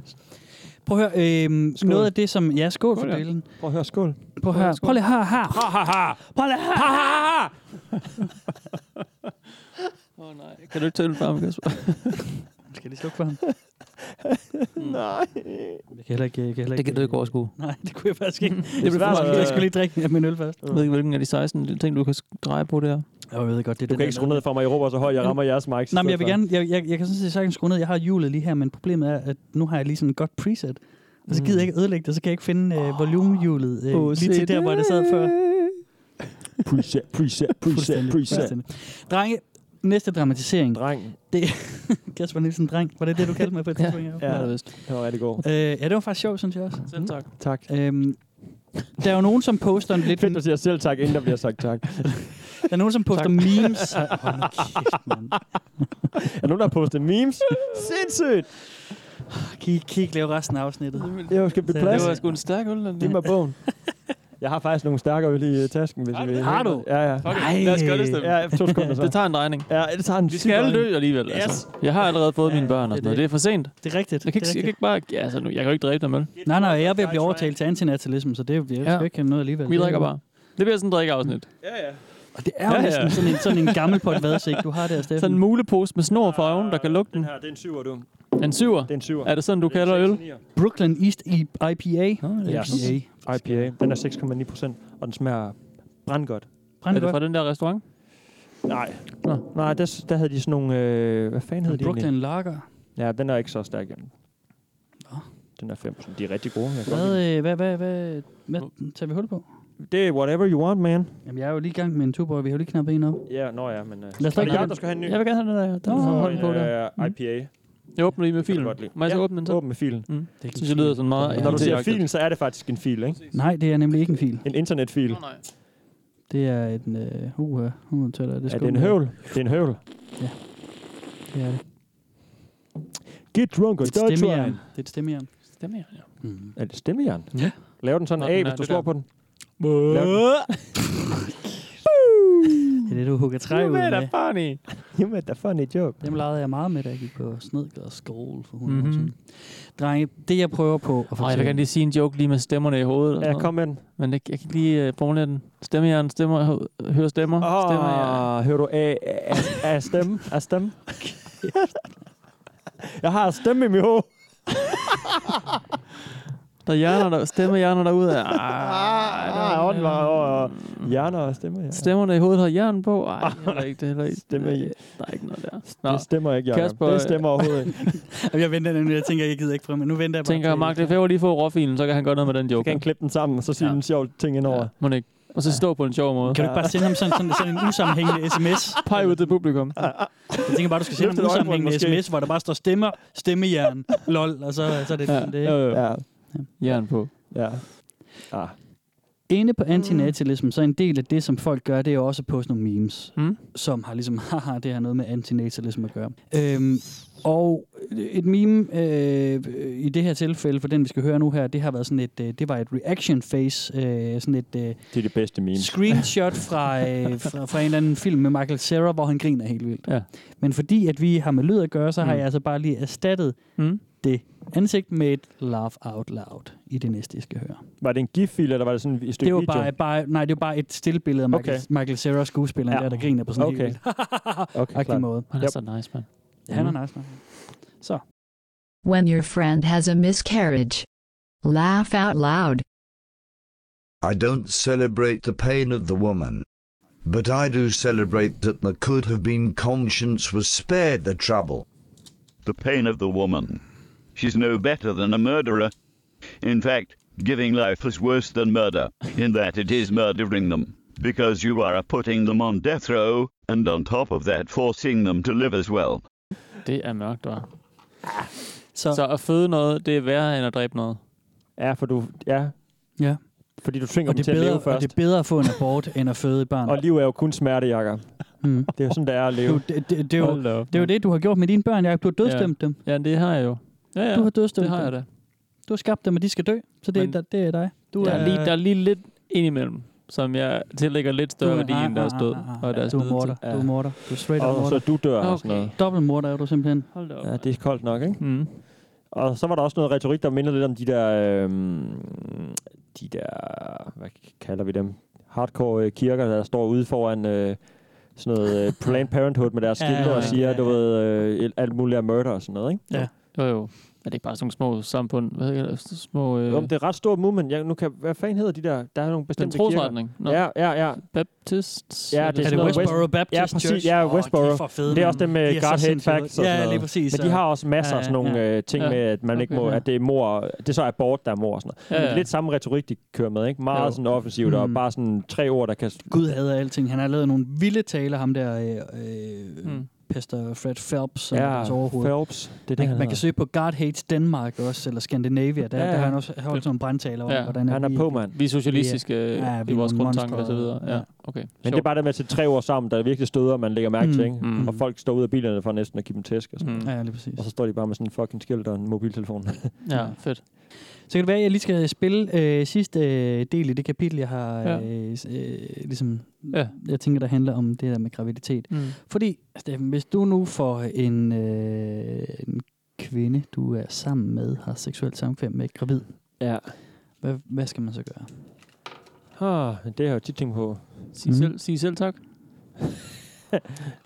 Prøv at høre, øhm, noget af det som... Ja, skål for Skål, ja. delen. Prøv at høre, skål. Prøv at høre, prøv lige at høre her. Ha, ha, ha. Prøv lige at høre her. Åh, nej. Kan du ikke tælle frem, Kasper? Skal jeg lige slukke for ham? Nej. Jeg kan heller ikke... Jeg kan heller Det kan du ikke overskue. Nej, det kunne jeg faktisk ikke. Det, er blev for svært, meget. øh, Jeg skulle lige drikke min øl først. Jeg ved ikke, hvilken af de 16 ting, du kan dreje på der. Jeg ved godt, det er Du kan ikke skrue ned for mig. Jeg råber så højt, jeg rammer jeres mics. Nej, men jeg i vil stedet gerne... Jeg, jeg, jeg kan sådan set sagtens skrue ned. Jeg har hjulet lige her, men problemet er, at nu har jeg lige sådan et godt preset. Og så gider Mm. jeg ikke ødelægge det, så kan jeg ikke finde øh, volumehjulet øh, Åh, lige se til der, hvor det sad før. for. Preset, preset, preset, Fuldstændig, preset. fuldstændig. Drenge, næste dramatisering. Dreng. Det, Kasper Nielsen, dreng. Var det det, du kaldte mig på et tidspunkt? Ja, det Det var rigtig god. Øh, ja, det var faktisk sjovt, synes jeg også. Selv tak. Tak. Øhm, der er jo nogen, som poster en lidt... Fedt, du siger selv tak, inden der bliver sagt tak. Der er nogen, som poster Tak. memes. Hold nu kæft, mand. Er der nogen, der har postet memes? Sindssygt! Kan I, kan I ikke lave resten af afsnittet? Jeg skal blive plads. Det var sgu en stærk øl. den Giv der. mig bogen. Jeg har faktisk nogle stærkere øl i øh, tasken, hvis I vil. Har du? Ja, ja. Fuck it. Lad os gøre det, Steffen. Ja, to sekunder så. Det tager en drejning. Ja, det tager en Vi syg skal alle drejning. dø alligevel. Yes. Altså. Jeg har allerede fået mine børn og sådan noget. Det er for sent. Det er rigtigt. Jeg kan ikke, Det er jeg kan ikke bare... Ja, altså, nu, jeg kan jo ikke dræbe dem, vel? Nej, nej, jeg er ved at blive overtalt til antinatalisme, så det bliver Ja. ja. ikke noget alligevel. Vi Det er- drikker bare. Det bliver sådan en drikkeafsnit. Og det er jo ja, næsten ja. Sådan, en, sådan en gammel pot vadsæk, du har der, Steffen. Sådan en mulepose med snor for øven, der kan lukke den. Ja, det er en syver, du. En syver? Det er en syver. Er det sådan, du kalder øl? Brooklyn East E- I- IPA. Yes. IPA. Den er 6,9 procent, og den smager brandgodt. Er det fra den der restaurant? Nej. Nej, der, der havde de sådan nogle... Øh, hvad fanden hed de Brooklyn egentlig? Lager. Ja, den er ikke så stærk. Jamen. Den er 5 procent. De er rigtig gode. Jeg kan godt lide Hvad, øh, hvad, hvad, hvad, hvad tager vi hul på? dem. Det er whatever you want, man. Jamen, jeg er jo lige i gang med en tuborg, vi har jo lige knappet en op. Ja, nå ja, men... Øh, Lad os er drikke det den. Jacob, der skal have en ny? Jeg vil gerne have den der. Den Nå, har hånden på øh, der. Mm. IPA. Jeg åbner lige med Kan du filen. godt lide. Må jeg så Ja, åbne den så? åbn med filen. Mm. Det synes jeg lyder sådan meget... Når du siger IT-agtigt. filen, så er det faktisk en fil, ikke? Nej, det er nemlig ikke en fil. En internetfil. Oh, Det er en... Øh, uh, uh, tæller, det det er skum det en der. høvl? Det er en høvl. Ja, det er det. Get drunk or Det er die et stemmejern. trying. Det er et stemmejern. Stemmejern, ja. Mm. Er det stemmejern? Ja. Lav den sådan Nå, af, hvis den er du det slår der. på den. Øh. Lav den. Det er det, du hugger træ ud You med. made a funny. You made a funny joke. Dem legede jeg meget med, da jeg gik på Snedgade skole for 100 Mhm. år siden. Mm-hmm. Drenge, det jeg prøver på at Åh, jeg fortælle... vil gerne lige sige en joke lige med stemmerne i hovedet. og Ja, sådan noget. kom med den. Men det, jeg kan ikke lige uh, formulere den. Stemmejern, stemmer, hø- hører stemmer. Åh, stemmer ja. hører du af, af- af stemme? Af stemme? Jeg har stemme i mit hoved. Der er hjerner, der, stemmehjerner derude. Ah, Ah, ånden var over hjerner og stemmer. Ja. Mm. Stemmerne i hovedet har hjernen på. Ej, heller ikke det. Heller ikke. Stemmer i. Der er ikke noget der. Det stemmer ikke, Jacob. Kasper, Det stemmer overhovedet ikke. Jamen, jeg venter nemlig, jeg tænker, jeg gider ikke prøve, men nu venter jeg bare Tænker, til- Mark Lefebvre lige får råfilen, så kan han gøre noget med den joke. Så kan han klippe den sammen, og så sige ja. en sjov ting indover. Må den ikke. Og så stå på en sjov måde. Kan du ikke bare sende ham sådan, sådan, sådan en usammenhængende sms? Pej ud til publikum. Jeg tænker bare, du skal sende Løftet ham en øjenbryn usammenhængende måske. sms, hvor der bare står stemmer, stemmejern, lol, og så, så er det Ja, sådan det. jo, jo. ikke? Ja. Jern på. Ja. Ah. inde på antinatalism, så er en del af det, som folk gør, det er jo også at poste nogle memes, mm. som har ligesom, haha, det har noget med antinatalism at gøre. Øhm, og et meme øh, i det her tilfælde, for den vi skal høre nu her, det har været sådan et, øh, det var et reaction face, øh, sådan et øh, Det er det bedste meme. screenshot fra, øh, fra, fra en eller anden film med Michael Cera, hvor han griner helt vildt. Ja. Men fordi at vi har med lyd at gøre, så har Mm. jeg altså bare lige erstattet Mm. det ansigt med et laugh out loud i det næste, I skal høre. Var det en GIF-fil, eller var det sådan et stykke Det var video? bare, bare, nej, det var bare et stillbillede af Michael, Okay. okay. Michael Cera skuespilleren ja. der, der griner på sådan en okay. helt okay, agtig klart. måde. Han er så nice, mand. Ja, han Mm. er nice, man. Så. When your friend has a miscarriage. Laugh out loud. I don't celebrate the pain of the woman. But I do celebrate that the could have been conscience was spared the trouble. the pain of the woman. She's no better than a murderer. In fact, giving life is worse than murder, in that it is murdering them, because you are putting them on death row, and on top of that, forcing them to live as well. Det er mørkt, var. Så. så at føde noget, det er værre end at dræbe noget. Ja, for du... Ja. Ja. Fordi du tvinger Og dem det, til er at bedre, leve og først. det er bedre at få en abort, end at føde et barn. Og liv er jo kun smerte, Jacob. Mm. Det er jo sådan, det er at leve. Du, det, det, det, er jo, Hold da op. det er jo det, du har gjort med dine børn, Jacob. Du har dødstemt ja. dem. Ja, det har jeg jo. Ja, ja. Du har dødstemt Det har dem. jeg da. Du har skabt dem, og de skal dø. Så det, er, det er Øh, dig. Du der, er lige, der er lige lidt indimellem, som jeg tillægger lidt større Du er- værdi end ah, deres ah, død. ah, ah. og deres Du er lidelse. morder. Du er morder. Du er straight up Og så morder. du dør og sådan Okay. noget. Dobbeltmorder er du simpelthen. Hold da op. Ja, det er koldt nok, ikke? Mm. Og så var der også noget retorik, der mindede lidt om de der... Øh, de der... Hvad kalder vi dem? Hardcore øh, kirker, der står ude foran... Øh, sådan noget øh, Planned Parenthood med deres Ja, skilte ja, og ja, siger, ja, du ved, øh, alt muligt er murder og sådan noget, ikke? Ja. Jo, jo. Er det ikke bare sådan nogle små samfund? Hvad hedder det? Små... Øh. Øh, Jo, men det er ret stort movement. Jeg, nu kan, hvad fanden hedder de der? Der er nogle bestemte trosretning? kirker. Nå. Ja, ja, ja. Baptists? Ja, Er det det er, sådan noget Westboro West- Baptist Ja, præcis. Church? Ja, Åh, de er Westboro. for fede, det er mand. også det med De er så God Hate sindssygt Facts og fede. sådan Ja, noget. lige præcis, Men de ja. har også masser af sådan Ja, ja, nogle ja. øh, ting Ja. med, at man ikke Okay, må, ja. at det er mor, det er så er abort, der er mor og sådan noget. Ja, Men det er ja. lidt samme retorik, de kører med, ikke? Jo. Meget sådan offensivt og Mm. bare sådan tre ord, der kan... Gud hader alting. Han har lavet nogle vilde taler, ham der øh, øh, Mm. Pastor Fred Phelps, som Ja, ja, er hans overhoved. Phelps. Det er det, man, han man hedder. kan søge på God Hates Denmark også, eller Scandinavia. Der, Ja, ja, ja. der har han også holdt sådan nogle brandtaler om, Ja, hvordan han er vi, på, mand. Vi er socialistiske vi er- øh, ja, vi i er vores nogle grundtanker og så monstre, videre. Ja, ja. okay. Men det er bare det med at sætte tre ord sammen, der virkelig støder, man lægger mærke Mm. til, ikke? Mm. Og folk står ud af bilerne for næsten at give dem tæsk og sådan Mm. Ja, ja, lige præcis. Og så står de bare med sådan en fucking skilt og en mobiltelefon. Ja, fedt. Så kan det være, at jeg lige skal spille øh, sidste øh, del i det kapitel, jeg har Ja. ja. øh, s- øh, ligesom, Ja. jeg tænker, der handler om det der med graviditet. Mm. Fordi, Steffen, hvis du nu får en, øh, en kvinde, du er sammen med, har seksuelt samkvem med, gravid, ja. hvad, hvad skal man så gøre? Ah, det har jeg jo tit tænkt på. Mhm. Sig, mm. selv, sig selv tak.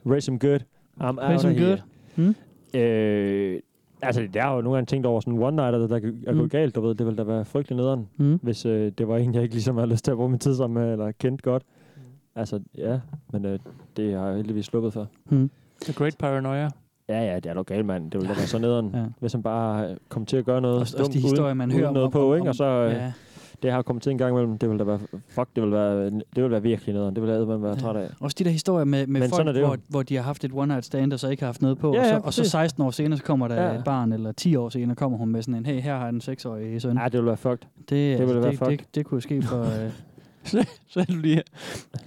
Raise 'em good. I'm out Raise 'em good. Hmm? Øh, altså, jeg har jo nogle gange tænkt over sådan en one-nighter, der, der er gået Hmm. Mm. galt, du ved. Det ville da være frygtelig nederen, Mm. hvis øh, det var en, jeg ikke ligesom havde lyst til at bruge min tid sammen med, eller kendte godt. Hmm. Altså, ja, men øh, det har jeg heldigvis sluppet for. Mm. The Great Paranoia. Ja, ja, det er lokal, mand. Det ville da være så nederen, ja. Ja. hvis han bare øh, kom til at gøre noget Også- også dumt de historier, uden, man uden hører om- noget om- på, om- ikke? Og så, øh, ja. det har kommet til en gang imellem. Det ville da være, fuck, det ville være, det ville være virkelig nederen. Det ville jeg eddermame være træt af. Også de der historier med, med Men folk, sådan er det jo. hvor, hvor de har haft et one-night stand, og så ikke har haft noget på, Ja, og, så, ja, og så præcis. 16 år senere, så kommer der Ja. ja. et barn, eller 10 år senere, kommer hun med sådan en, hey, her har jeg en 6-årig søn. Ja, det ville være fucked. Det, det, ville altså, være det, fucked. det, det, det kunne ske for... Øh, så er du lige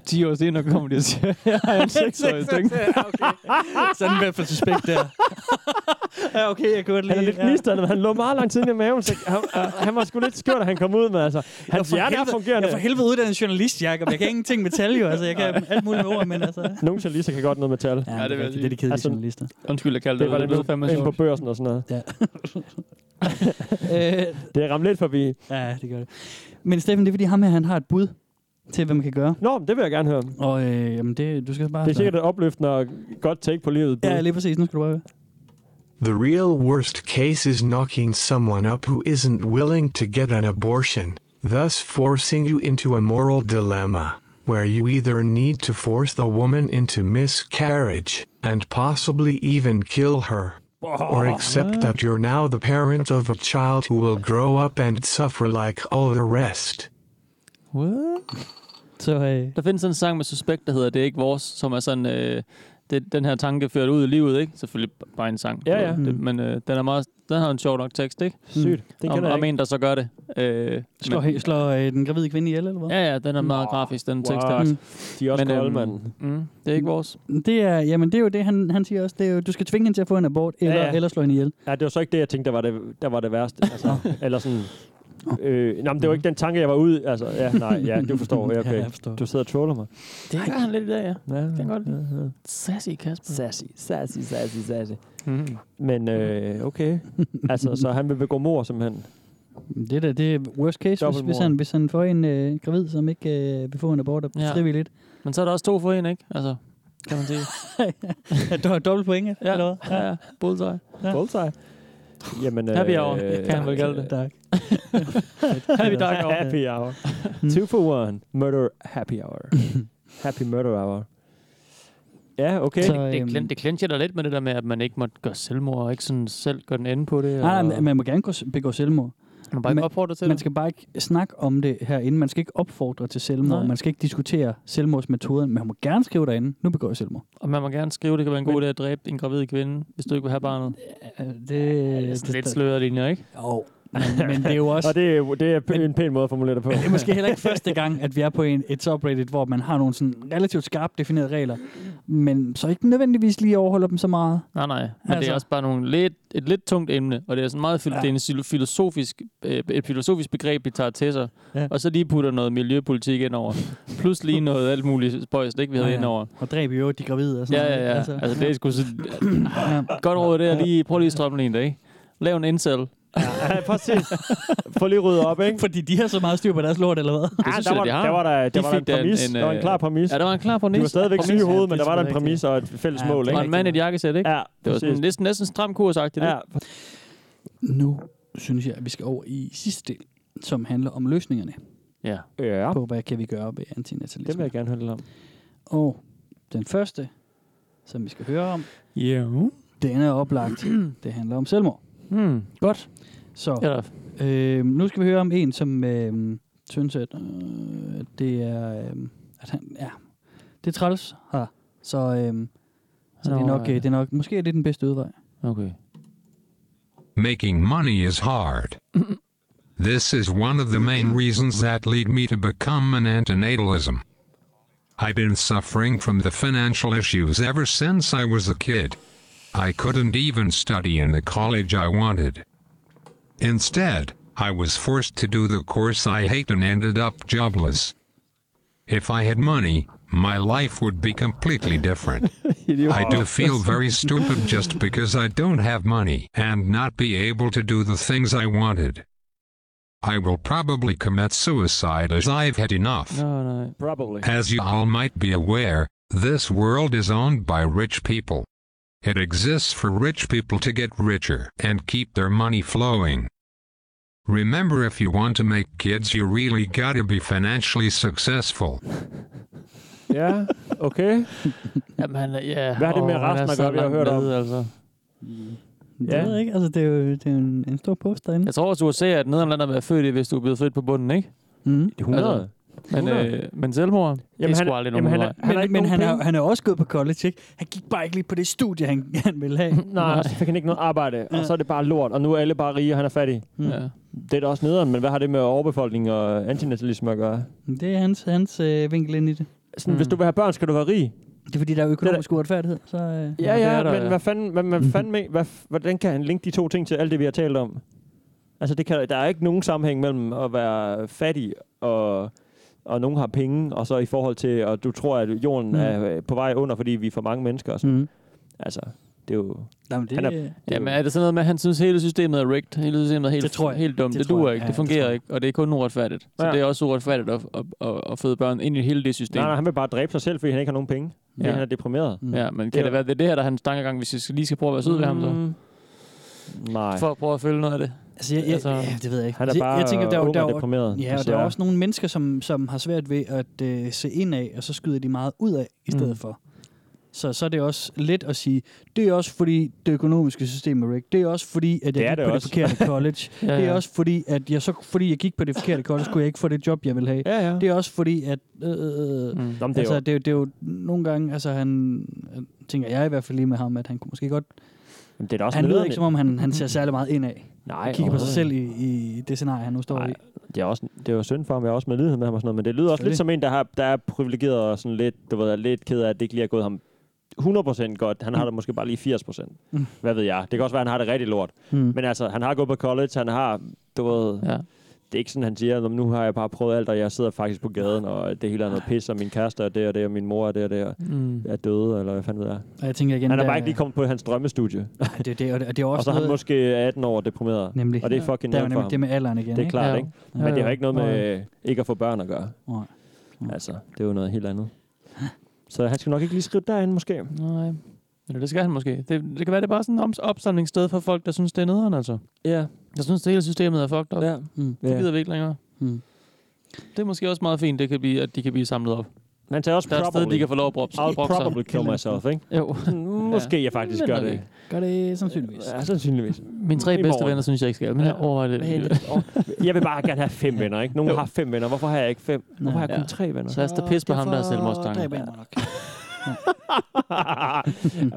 10 år senere kommer de og siger, jeg har en seksårig stykke. Sådan i hvert fald suspekt der. ja, okay, jeg kunne Han er lidt gnisterne, men han lå meget lang tid inde i maven, så han, øh, han var sgu lidt skør, da han kom ud med. Altså, hans hjerte er fungerende. Jeg er for helvede uddannet journalist, Jacob. Jeg kan ingenting med tal, jo. Altså, jeg kan alt muligt med ord, men altså... Nogle journalister kan godt noget med tal. Altså, Ja, det vil jeg sige. Det er de kedelige journalister. Undskyld, jeg kaldte det. var det. Det lød lidt fandme med ind på sjovt. børsen og sådan noget. Ja. det er ramt lidt forbi. Ja, det gør det. Men Steffen, det er fordi ham her, han har et bud til, hvad man kan gøre. Nå, men det vil jeg gerne høre. Og øh, jamen det, du skal bare... Det er sikkert et opløftende og godt take på livet. Ja, lige præcis. Nu skal du bare høre. The real worst case is knocking someone up who isn't willing to get an abortion, thus forcing you into a moral dilemma, where you either need to force the woman into miscarriage, and possibly even kill her, or accept that you're now the parent of a child who will grow up and suffer like all the rest. What? Så, øh. Der findes sådan en sang med Suspekt, der hedder Det er ikke vores, som er sådan... Øh, det, den her tanke ført ud i livet, ikke? Selvfølgelig b- bare en sang. Ja, ja. Det, men øh, den, er meget, den har en sjov nok tekst, ikke? Sygt. Den Den om, kender jeg om ikke. en, der så gør det. Øh, Slår, he- slår øh, den gravide kvinde ihjel, eller hvad? Ja, ja, den er meget grafisk, den tekst der. Mm. De er også Men, kolde, øhm, mand. Mm, det er ikke vores. Det er, jamen, det er jo det, han, han siger også. Det er jo, du skal tvinge hende til at få en abort, eller, ja, ja. eller slå hende ihjel. Ja, det var så ikke det, jeg tænkte, der var det, der var det værste. Altså, eller sådan... Øh, nej, men det var ikke den tanke, jeg var ude. Altså, ja, nej, ja, du forstår. Ja, okay. Ja, jeg forstår. Du sidder og troller mig. Det gør han lidt i dag, ja. Ja, Det kan godt lide. ja, ja. Sassy Kasper. Sassy, sassy, sassy, sassy. Mm. Men øh, okay. altså, så han vil begå mor, simpelthen. Det der, det er worst case, hvis, hvis, Dobbeltmord. han, hvis han får en øh, gravid, som ikke øh, vil få en abort og Ja. ja. frivilligt. Men så er der også to for en, ikke? Altså, kan man sige. ja, du har dobbelt point, ja. eller hvad? ja, ja. Bullseye. Ja. Bullseye. Jamen, øh, Happy hour, kan man vel kalde det. Tak. Happy dark hour. Happy hour. Mm. Two for one. Murder happy hour. happy murder hour. Ja, okay. Så, det, det, øhm, det, det clincher der lidt med det der med, at man ikke måtte gøre selvmord, og ikke sådan selv gøre den ende på det. Nej, og- nej, man må gerne gå, begå selvmord. Man må bare ikke opfordre til Man det. skal bare ikke snakke om det herinde. Man skal ikke opfordre til selvmord. Nej. Nej. Man skal ikke diskutere selvmordsmetoden. Men man må gerne skrive derinde, nu begår jeg selvmord. Og man må gerne skrive, det kan være en god idé at dræbe en gravid kvinde, hvis du ikke vil have barnet. Det, det er sådan lidt sløret linjer, ikke? Jo. Men, men det er jo også... Og det er, det er p- en pæn måde at formulere det på. Det er måske heller ikke første gang, at vi er på en, et subreddit, hvor man har nogle sådan relativt skarpt definerede regler, men så ikke nødvendigvis lige overholder dem så meget. Nej, nej. Men altså. det Altså. er også bare nogle lidt, et lidt tungt emne, og det er sådan meget fil- ja. Ja. det er en sil- filosofisk, øh, et filosofisk begreb, vi tager til sig. Ja. Ja. Og så lige putter noget miljøpolitik ind over. Plus lige noget alt muligt spøjst, ikke vi havde Ja, ja. ind over. Og dræb jo de gravide og sådan Ja, noget. ja, ja. Altså, Altså. altså det er sgu sådan, Godt råd der, lige, prøv lige at strømme en dag. Lav en incel. Ja, præcis. Få lige ryddet op, ikke? Fordi de har så meget styr på deres lort, eller hvad? Ja, der, var, der var der, der, var der en præmis. En, der var øh, en klar præmis. øh, Ja, der var en klar præmis. Du var stadigvæk syg i Præmis. hovedet, men der Ja, det er var der en sgu da præmis rigtigt. og et fælles Ja, mål, det ikke? var en mand i et jakkesæt, ikke? Ja, Det var sådan, præcis. næsten, næsten stram kurs det. Ja, Nu synes jeg, at vi skal over i sidste del, som handler om løsningerne Ja. ja. på, hvad kan vi gøre ved antinatalisme. Det vil jeg gerne høre lidt om. Og den første, som vi skal høre om, yeah. den er oplagt. det handler om selvmord. Hmm. Godt. Så øh, nu skal vi høre om en, som øh, synes, at øh, det er, øh, at han, ja, det er træls her. Så, øh, så det, er Nå, nok, øh, det er nok, måske er det den bedste udvej. Okay. Making money is hard. this is one of the main reasons that lead me to become an antinatalism. I've been suffering from the financial issues ever since I was a kid. I couldn't even study in the college I wanted. Instead, I was forced to do the course I hate and ended up jobless. If I had money, my life would be completely different. I do feel very stupid just because I don't have money and not be able to do the things I wanted. I will probably commit suicide as I've had enough. No, no. Probably. As you all might be aware, this world is owned by rich people. It exists for rich people to get richer and keep their money flowing. Remember, if you want to make kids, you really gotta be financially successful. Ja, okay. Jamen, ja. Hvad har det med Åh, resten at der gøre, er så vi har langt hørt om? nede, Altså. Ja. Jeg ved ikke, altså det er jo det er jo en, en stor post derinde. Jeg tror også, USA er et nederland at være født i, hvis du er blevet født på bunden, ikke? Mm. 100. men, 100. øh, men selvmord, det er Altså, Jamen, sgu han- aldrig jamen, han nogen vej. er- han er Men, ikke men nogen han, er, penge. han er også gået på college, ikke? Han gik bare ikke lige på det studie, han, han ville have. Nej, så fik han ikke noget arbejde, og så er det bare lort, og nu er alle bare rige, og han er fattig. Ja. Det er da også nederen, men hvad har det med overbefolkning og antinatalisme at gøre? Det er hans, hans øh, vinkel ind i det. Sådan, Hvis du vil have børn, skal du være rig. Mm. Det er fordi, der er økonomisk uretfærdighed. Så, øh, Ja, ja, men hvad fanden, hvad, hvad fanden med, hvad, hvordan kan han linke de to ting til alt det, vi har talt om? Altså, det kan, der er ikke nogen sammenhæng mellem at være fattig og og nogen har penge, og så i forhold til, og du tror, at jorden Mm. mm. er øh, på vej under, fordi vi er for mange mennesker. Og sådan. Mm. Altså, det er jo... Jamen, det, han er, er, det, Jamen, er det sådan noget med, at han synes, at hele systemet er rigged? Hele systemet er helt, Det tror jeg. helt dumt. Det, Det det tror duer jeg. ikke. Ja, det det fungerer tror jeg. ikke. Og det er kun uretfærdigt. Så Ja. det er også uretfærdigt at, at, at, at føde børn ind i hele det system. nej, nej, han vil bare dræbe sig selv, fordi han ikke har nogen penge. Fordi Ja. ja. han er deprimeret. Mm. Ja, men kan det, Det er- være, det er det her, der er hans tankegang, hvis vi skal- lige skal prøve at være søde ved ham så? Nej. For at prøve at følge noget af det. Mm. altså, jeg, jeg, altså, ja, det ved jeg ikke. Han er Altså, bare jeg tænker, der, er jo- ung der, og er jo- deprimeret, altså, Ja, og der er desværre. også nogle mennesker, som, som har svært ved at øh, se ind af, og så skyder de meget ud af i stedet Mm. mm. for. Så, så er det også let at sige, det er også fordi det økonomiske system er rigged. Det er også fordi, at jeg Det er gik det på også. det forkerte college. Ja, ja, ja. Det ja. er også fordi, at jeg så fordi jeg gik på det forkerte college, kunne jeg ikke få det job, jeg ville have. Ja, ja. Det er også fordi, at... Øh, øh, øh, Mm. Jamen, det er altså, jo- øh, det, er jo- det er jo nogle gange, altså han, tænker jeg i hvert fald lige med ham, at han kunne måske godt Jamen, det er da også han lyder nederen- ikke, som om han, han ser særlig meget indad. Mm. Nej, Og kigger på sig overhovedet selv i, i det scenarie, han nu står i. det er også det er jo synd for ham, jeg er også med med ham og sådan noget, men det lyder også lidt Selvfølgelig. som en, der, har, der er privilegeret og sådan lidt, du ved, er lidt ked af, at det ikke lige er gået ham 100% godt. Han har det måske bare lige 80%. Mm. Mm. Hvad ved jeg? Det kan også være, at han har det rigtig lort. Mm. Mm. Men altså, han har gået på college, han har, du ved, Ja. ja. det er ikke sådan, han siger, "Nå, men nu har jeg bare prøvet alt, og jeg sidder faktisk på gaden, og det hele er noget pis, og min kæreste er det og det, og min mor er det og det, og Mm. mm. er døde, eller hvad fanden ved jeg. Og jeg tænker igen, han er der- bare ikke lige kommet på hans drømmestudie. Det, er det, og det, og det er Og også så er han noget- måske 18 år og deprimeret. Nemlig. Og det er Ja. fucking Der er jo nederen for nemlig ham. det med alderen igen, Det er ikke? klart, Ja. ikke? Ja, Men det har ja. ikke noget Nej. med øh, ikke at få børn at gøre. Nej. Altså, det er jo noget helt andet. Så han skal nok ikke lige skrive derhen, måske. Nej. Eller det skal han måske. Det, det kan være, det er bare sådan et oms- opsamlingssted for folk, der synes, det er nederen, altså. Ja. Jeg synes, det hele systemet er fucked up. Ja. Mm. Det Ja. gider vi ikke længere. Mm. Det er måske også meget fint, det kan blive, at de kan blive samlet op. Man tager også der er et sted, probably- de kan få lov at brokke I'll probably kill myself, ikke? Jo. Måske jeg faktisk Men gør nok det. ikke. Gør det sandsynligvis. Ja, sandsynligvis. Mine tre I bedste morgen. venner synes jeg ikke skal, men jeg overvejer det. Jeg vil bare gerne have fem venner, ikke? Nogen har fem venner. Hvorfor har jeg ikke fem? Hvorfor har jeg kun Ja. tre venner? Så jeg skal pisse på ham, der er selvmordstanker. dræber jeg mig nok.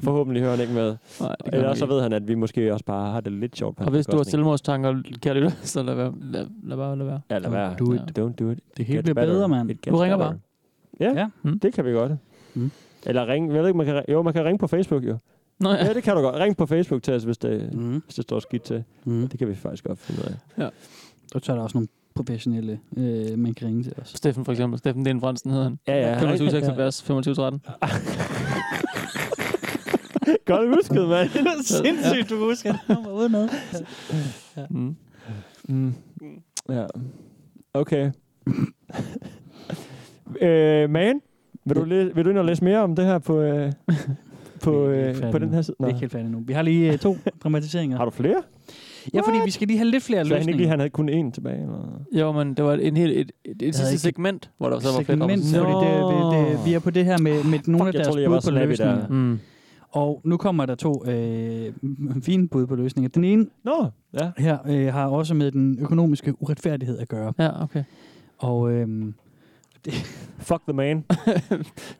Forhåbentlig hører han ikke med. Nej, det gør han Ellers så ikke. ved han, at vi måske også bare har det lidt sjovt. på Og hans hvis du har bekostning. selvmordstanker, kan du så lad være. Lad, lad bare, lad være. Ja, lad være. Do it. Don't do it. Det hele Gets bliver better. bedre, mand. It Du gets ringer better. bare. Ja, ja. Mm. det kan vi godt. Mm. Eller ring. Jeg ved ikke, man kan, ri- jo, man kan ringe på Facebook, jo. Nå, ja. ja. det kan du godt. Ring på Facebook til os, hvis det, mm. hvis det står skidt til. Mm. Det kan vi faktisk godt finde ud af. Ja. Og så er der også nogle professionelle, øh, man kan ringe til os. Steffen for eksempel. Steffen Lind Fransen hedder han. Ja, ja. 2576 2513. Godt husket, mand. Det er sindssygt, du husker det nummer uden noget. Ja. Mm. Mm. Ja. Okay. øh, man, vil du, læ- vil du ind og læse mere om det her på, øh, på, øh, på den her side? Vi er ikke helt færdige nu. Vi har lige øh, to dramatiseringer. Har du flere? Ja, fordi vi skal lige have lidt Så flere løsninger. han ikke lige, han havde kun én tilbage? Eller? Jo, men det var en hel, et, et, et sidste ikke- segment, hvor der så var fedt om. segment, fordi det, det, det, vi er på det her med, med nogle af jeg deres troede, jeg var bud på snappy løsninger. der. Mm. Og nu kommer der to øh, m- fine bud på løsninger. Den ene Nå, ja. her øh, har også med den økonomiske uretfærdighed at gøre. Ja, okay. Og øh, det, Fuck the man.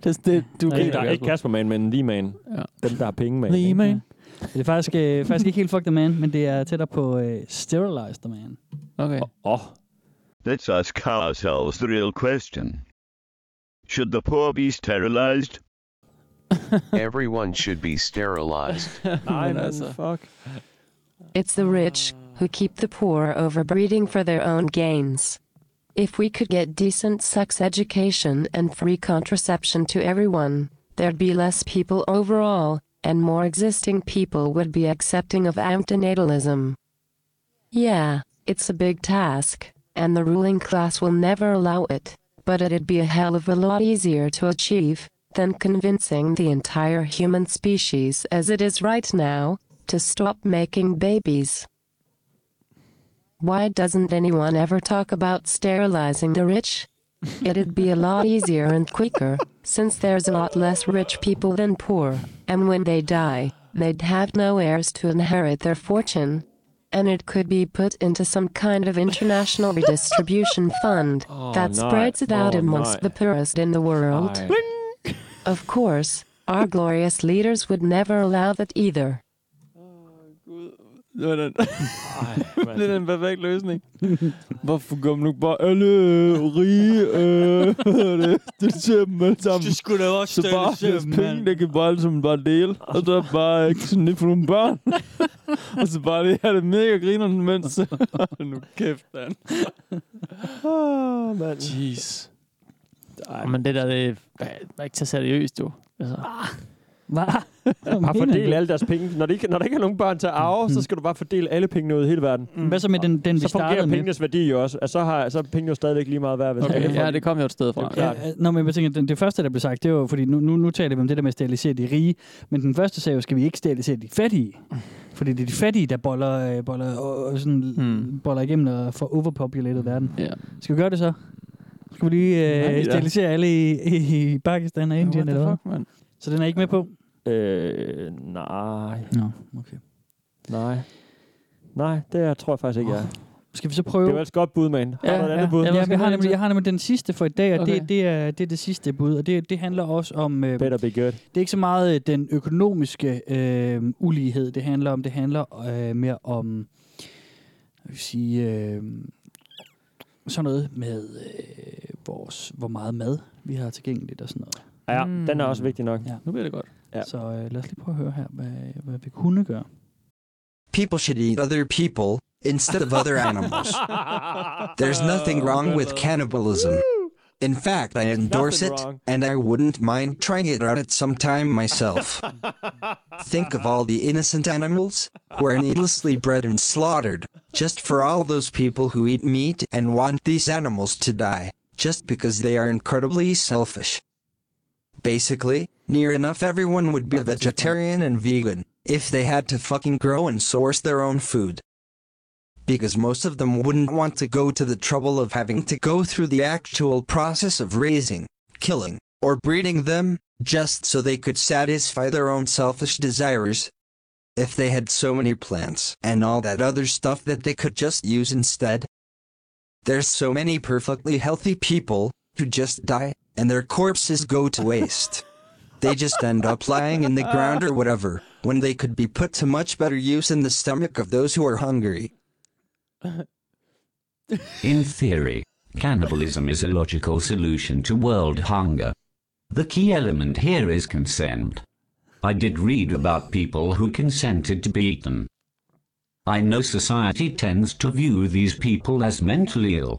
det, det, du ikke, griner, der, ikke Kasper. Kasper Man, men The Man. Ja. Dem, der har penge, man. The ikke? Man. det er faktisk, øh, faktisk ikke helt fuck the man, men det er tættere på øh, sterilized the man. Okay. Oh. Let's ask ourselves the real question. Should the poor be sterilized? Everyone should be sterilized. Nej, Men men altså. fuck. It's the rich who keep the poor overbreeding for their own gains. If we could get decent sex education and free contraception to everyone, there'd be less people overall, and more existing people would be accepting of antinatalism. Yeah, it's a big task, and the ruling class will never allow it, but it'd be a hell of a lot easier to achieve than convincing the entire human species as it is right now to stop making babies. Why doesn't anyone ever talk about sterilizing the rich? It'd be a lot easier and quicker, since there's a lot less rich people than poor, and when they die, they'd have no heirs to inherit their fortune. And it could be put into some kind of international redistribution fund that no. spreads it out Oh, amongst no. the poorest in the world. Aye. Of course, our glorious leaders would never allow that either. Det var den. Ej, det er den perfekte løsning. Hvorfor går man nu bare alle rige øh, det til dem alle sammen? Det skulle da også Så bare deres penge, der kan bare som bare dele. Og så bare ikke sådan lidt for nogle børn. og så bare det her, det er mega griner mens. nu kæft, mand. Åh, mand. Jeez. Ej, men det der, det er er ikke så seriøst, jo. Altså. Hvad? Mhm. Bare fordele alle deres penge. Når, de ikke, når der ikke er nogen børn til at arve, så skal du bare fordele alle pengene ud i hele verden. Mm. Hvad så med den, den vi så fungerer startede med? pengenes værdi jo også. Altså, så, har, så er pengene jo stadigvæk lige meget værd. Hvis Okay, alle får ja, de- det kom jo et sted fra. Det er klart. Ja, øh, Nå, men jeg tænker, det, det første, der blev sagt, det var jo, fordi nu, nu, nu taler vi om det der med at sterilisere de rige, men den første sag jo, skal vi ikke sterilisere de fattige? Fordi det er de fattige, der boller, øh, boller, og, og sådan, Hmm. mm. boller igennem og får overpopulated verden. Yeah. Skal vi gøre det så? Skal vi lige øh, Nej, ja. sterilisere alle i, i, i Pakistan og Indien? the Eller hvad? fuck, mand? Så den er ikke med på? Øh, nej. Nå, okay. Nej. Nej, det er- tror jeg faktisk ikke, jeg er. Skal vi så prøve? Det var et godt bud, man. Har du et andet bud? Ja, Hvad jeg, skal har vi nemlig, til? jeg har nemlig den sidste for i dag, og okay. Okay. det, det, er, det er det sidste bud, og det, det handler også om... Øh, Better be good. Det er ikke så meget øh, den økonomiske øh, ulighed, det handler om. Det handler øh, mere om, jeg vil sige, øh, sådan noget med øh, vores, hvor meget mad vi har tilgængeligt og sådan noget. Ja, mm. den er også vigtig nok. Ja. Nu bliver det godt. Ja. Så øh, lad os lige prøve at høre her, hvad, hvad vi kunne gøre. People should eat other people instead of other animals. There's nothing wrong with cannibalism. In fact, I endorse it, and I wouldn't mind trying it out at some time myself. Think of all the innocent animals who are needlessly bred and slaughtered, just for all those people who eat meat and want these animals to die, just because they are incredibly selfish. Basically, near enough everyone would be a vegetarian and vegan if they had to fucking grow and source their own food. Because most of them wouldn't want to go to the trouble of having to go through the actual process of raising, killing, or breeding them, just so they could satisfy their own selfish desires. If they had so many plants and all that other stuff that they could just use instead, there's so many perfectly healthy people who just die and their corpses go to waste. they just end up lying in the ground or whatever when they could be put to much better use in the stomach of those who are hungry. In theory, cannibalism is a logical solution to world hunger. The key element here is consent. I did read about people who consented to be eaten. I know society tends to view these people as mentally ill.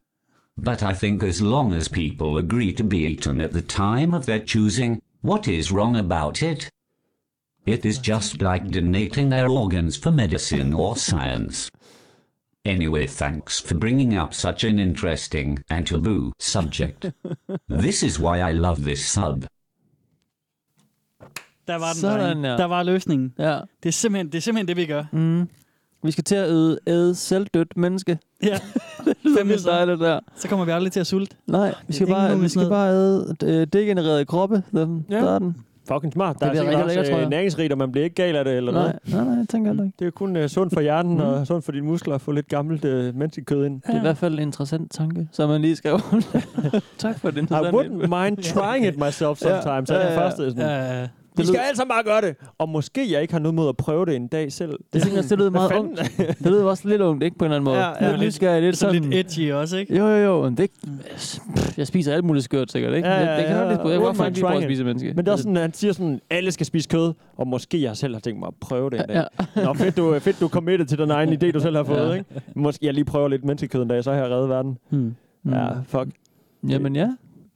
But I think as long as people agree to be eaten at the time of their choosing, what is wrong about it? It is just like donating their organs for medicine or science. Anyway, thanks for bringing up such an interesting and taboo subject. this is why I love this sub. Der var den, Sådan, drenge. ja. Der var løsningen. Ja. Det, er simpelthen, det er simpelthen det, vi gør. Mm. Vi skal til at æde, æde selvdødt menneske. Ja. det lyder vildt dejligt der. Så kommer vi aldrig til at sulte. Nej, vi skal ingen bare, nogen vi skal sådan bare æde øh, degenererede kroppe. Den, Ja. ja. Der er den. Fucking smart. Der Det det er bliver sikkert rigtig også lækkert, tror lækker, jeg. næringsrigt, og man bliver ikke gal af det eller Nej, noget. nej, nej, jeg tænker heller ikke. Det er jo kun uh, sundt for hjernen mm. Mm. og sundt for dine muskler at få lidt gammelt uh, menneskekød ind. Det er i hvert fald en interessant tanke, som man lige skrev. tak for den. I wouldn't mind trying it myself sometimes. Så er jeg først sådan, ja, ja. Vi Det skal lyder- alle sammen bare gøre det. Og måske jeg ikke har noget mod at prøve det en dag selv. Det, tænker, jeg, det lyder Hvad meget fanden? ungt. Det lyder også lidt ungt, ikke? På en eller anden Ja, måde. ja. lidt nysgerrig, lidt Sådan sådan... lidt edgy også, ikke? Jo, jo, jo. Men det, pff, jeg spiser alt muligt skørt, sikkert, ikke? Ja, ja, Jeg- jeg kan ja. godt lide- jeg kan Wouldn't mind godt faktisk lige prøve at trying it. spise menneske. Men det er også sådan, han siger sådan, alle skal spise kød, og måske jeg selv har tænkt mig at prøve det en dag. Ja. Nå, fedt du, fedt, du er committed til den egen idé, du selv har fået, Ja. ikke? Måske jeg lige prøver lidt menneskekød en dag, så har jeg reddet verden. Hmm. Ja, fuck. Jamen ja.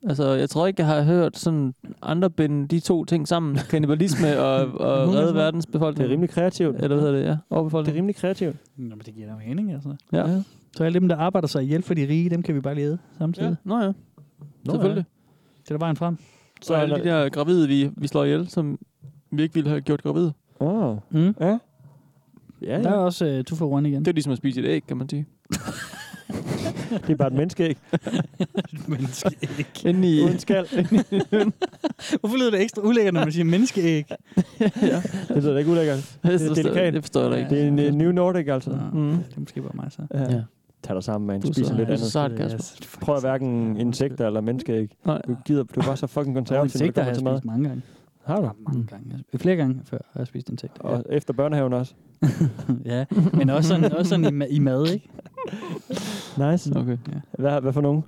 Altså, jeg tror ikke, jeg har hørt sådan andre binde de to ting sammen. Kannibalisme og, og redde verdens befolkning. Det er rimelig kreativt. Eller hvad hedder det, ja? Det er rimelig kreativt. Nå, men det giver da mening, altså. Ja. ja. Så alle dem, der arbejder sig ihjel for de rige, dem kan vi bare lede samtidig. Ja. Nå ja. Mm. Selvfølgelig. Det er da vejen frem. Så alle de der gravide, vi, vi slår ihjel, som vi ikke ville have gjort gravide. Åh. Mm. Ja. Ja, ja. Der er også uh, two for one igen. Det er ligesom at spise et æg, kan man sige. det er bare et menneskeæg. et menneskeæg. Inde i... Uden skal. Hvorfor lyder det ekstra ulækkert, når man siger menneskeæg? Det lyder da ikke ulækkert. Det Det forstår- er delikat. det forstår jeg da ikke. Det er en øh, New Nordic, altså. Mm. Det er måske bare mig så. Ja. Tag dig sammen, man. Du er Spis så- lidt du er andet. så sart, Kasper. Prøv at hverken insekter eller menneskeæg. Nej. Du gider, du er bare så fucking Og konservativ, når det insekter har kommer jeg til spist mad. mange gange. Har du? Mm. Mange gange. Flere gange før har jeg spist insekter. Og efter børnehaven også. ja, men også sådan, også sådan i, ma- i mad, ikke? Nice. Okay. Ja. Hvad, hvad for nogen?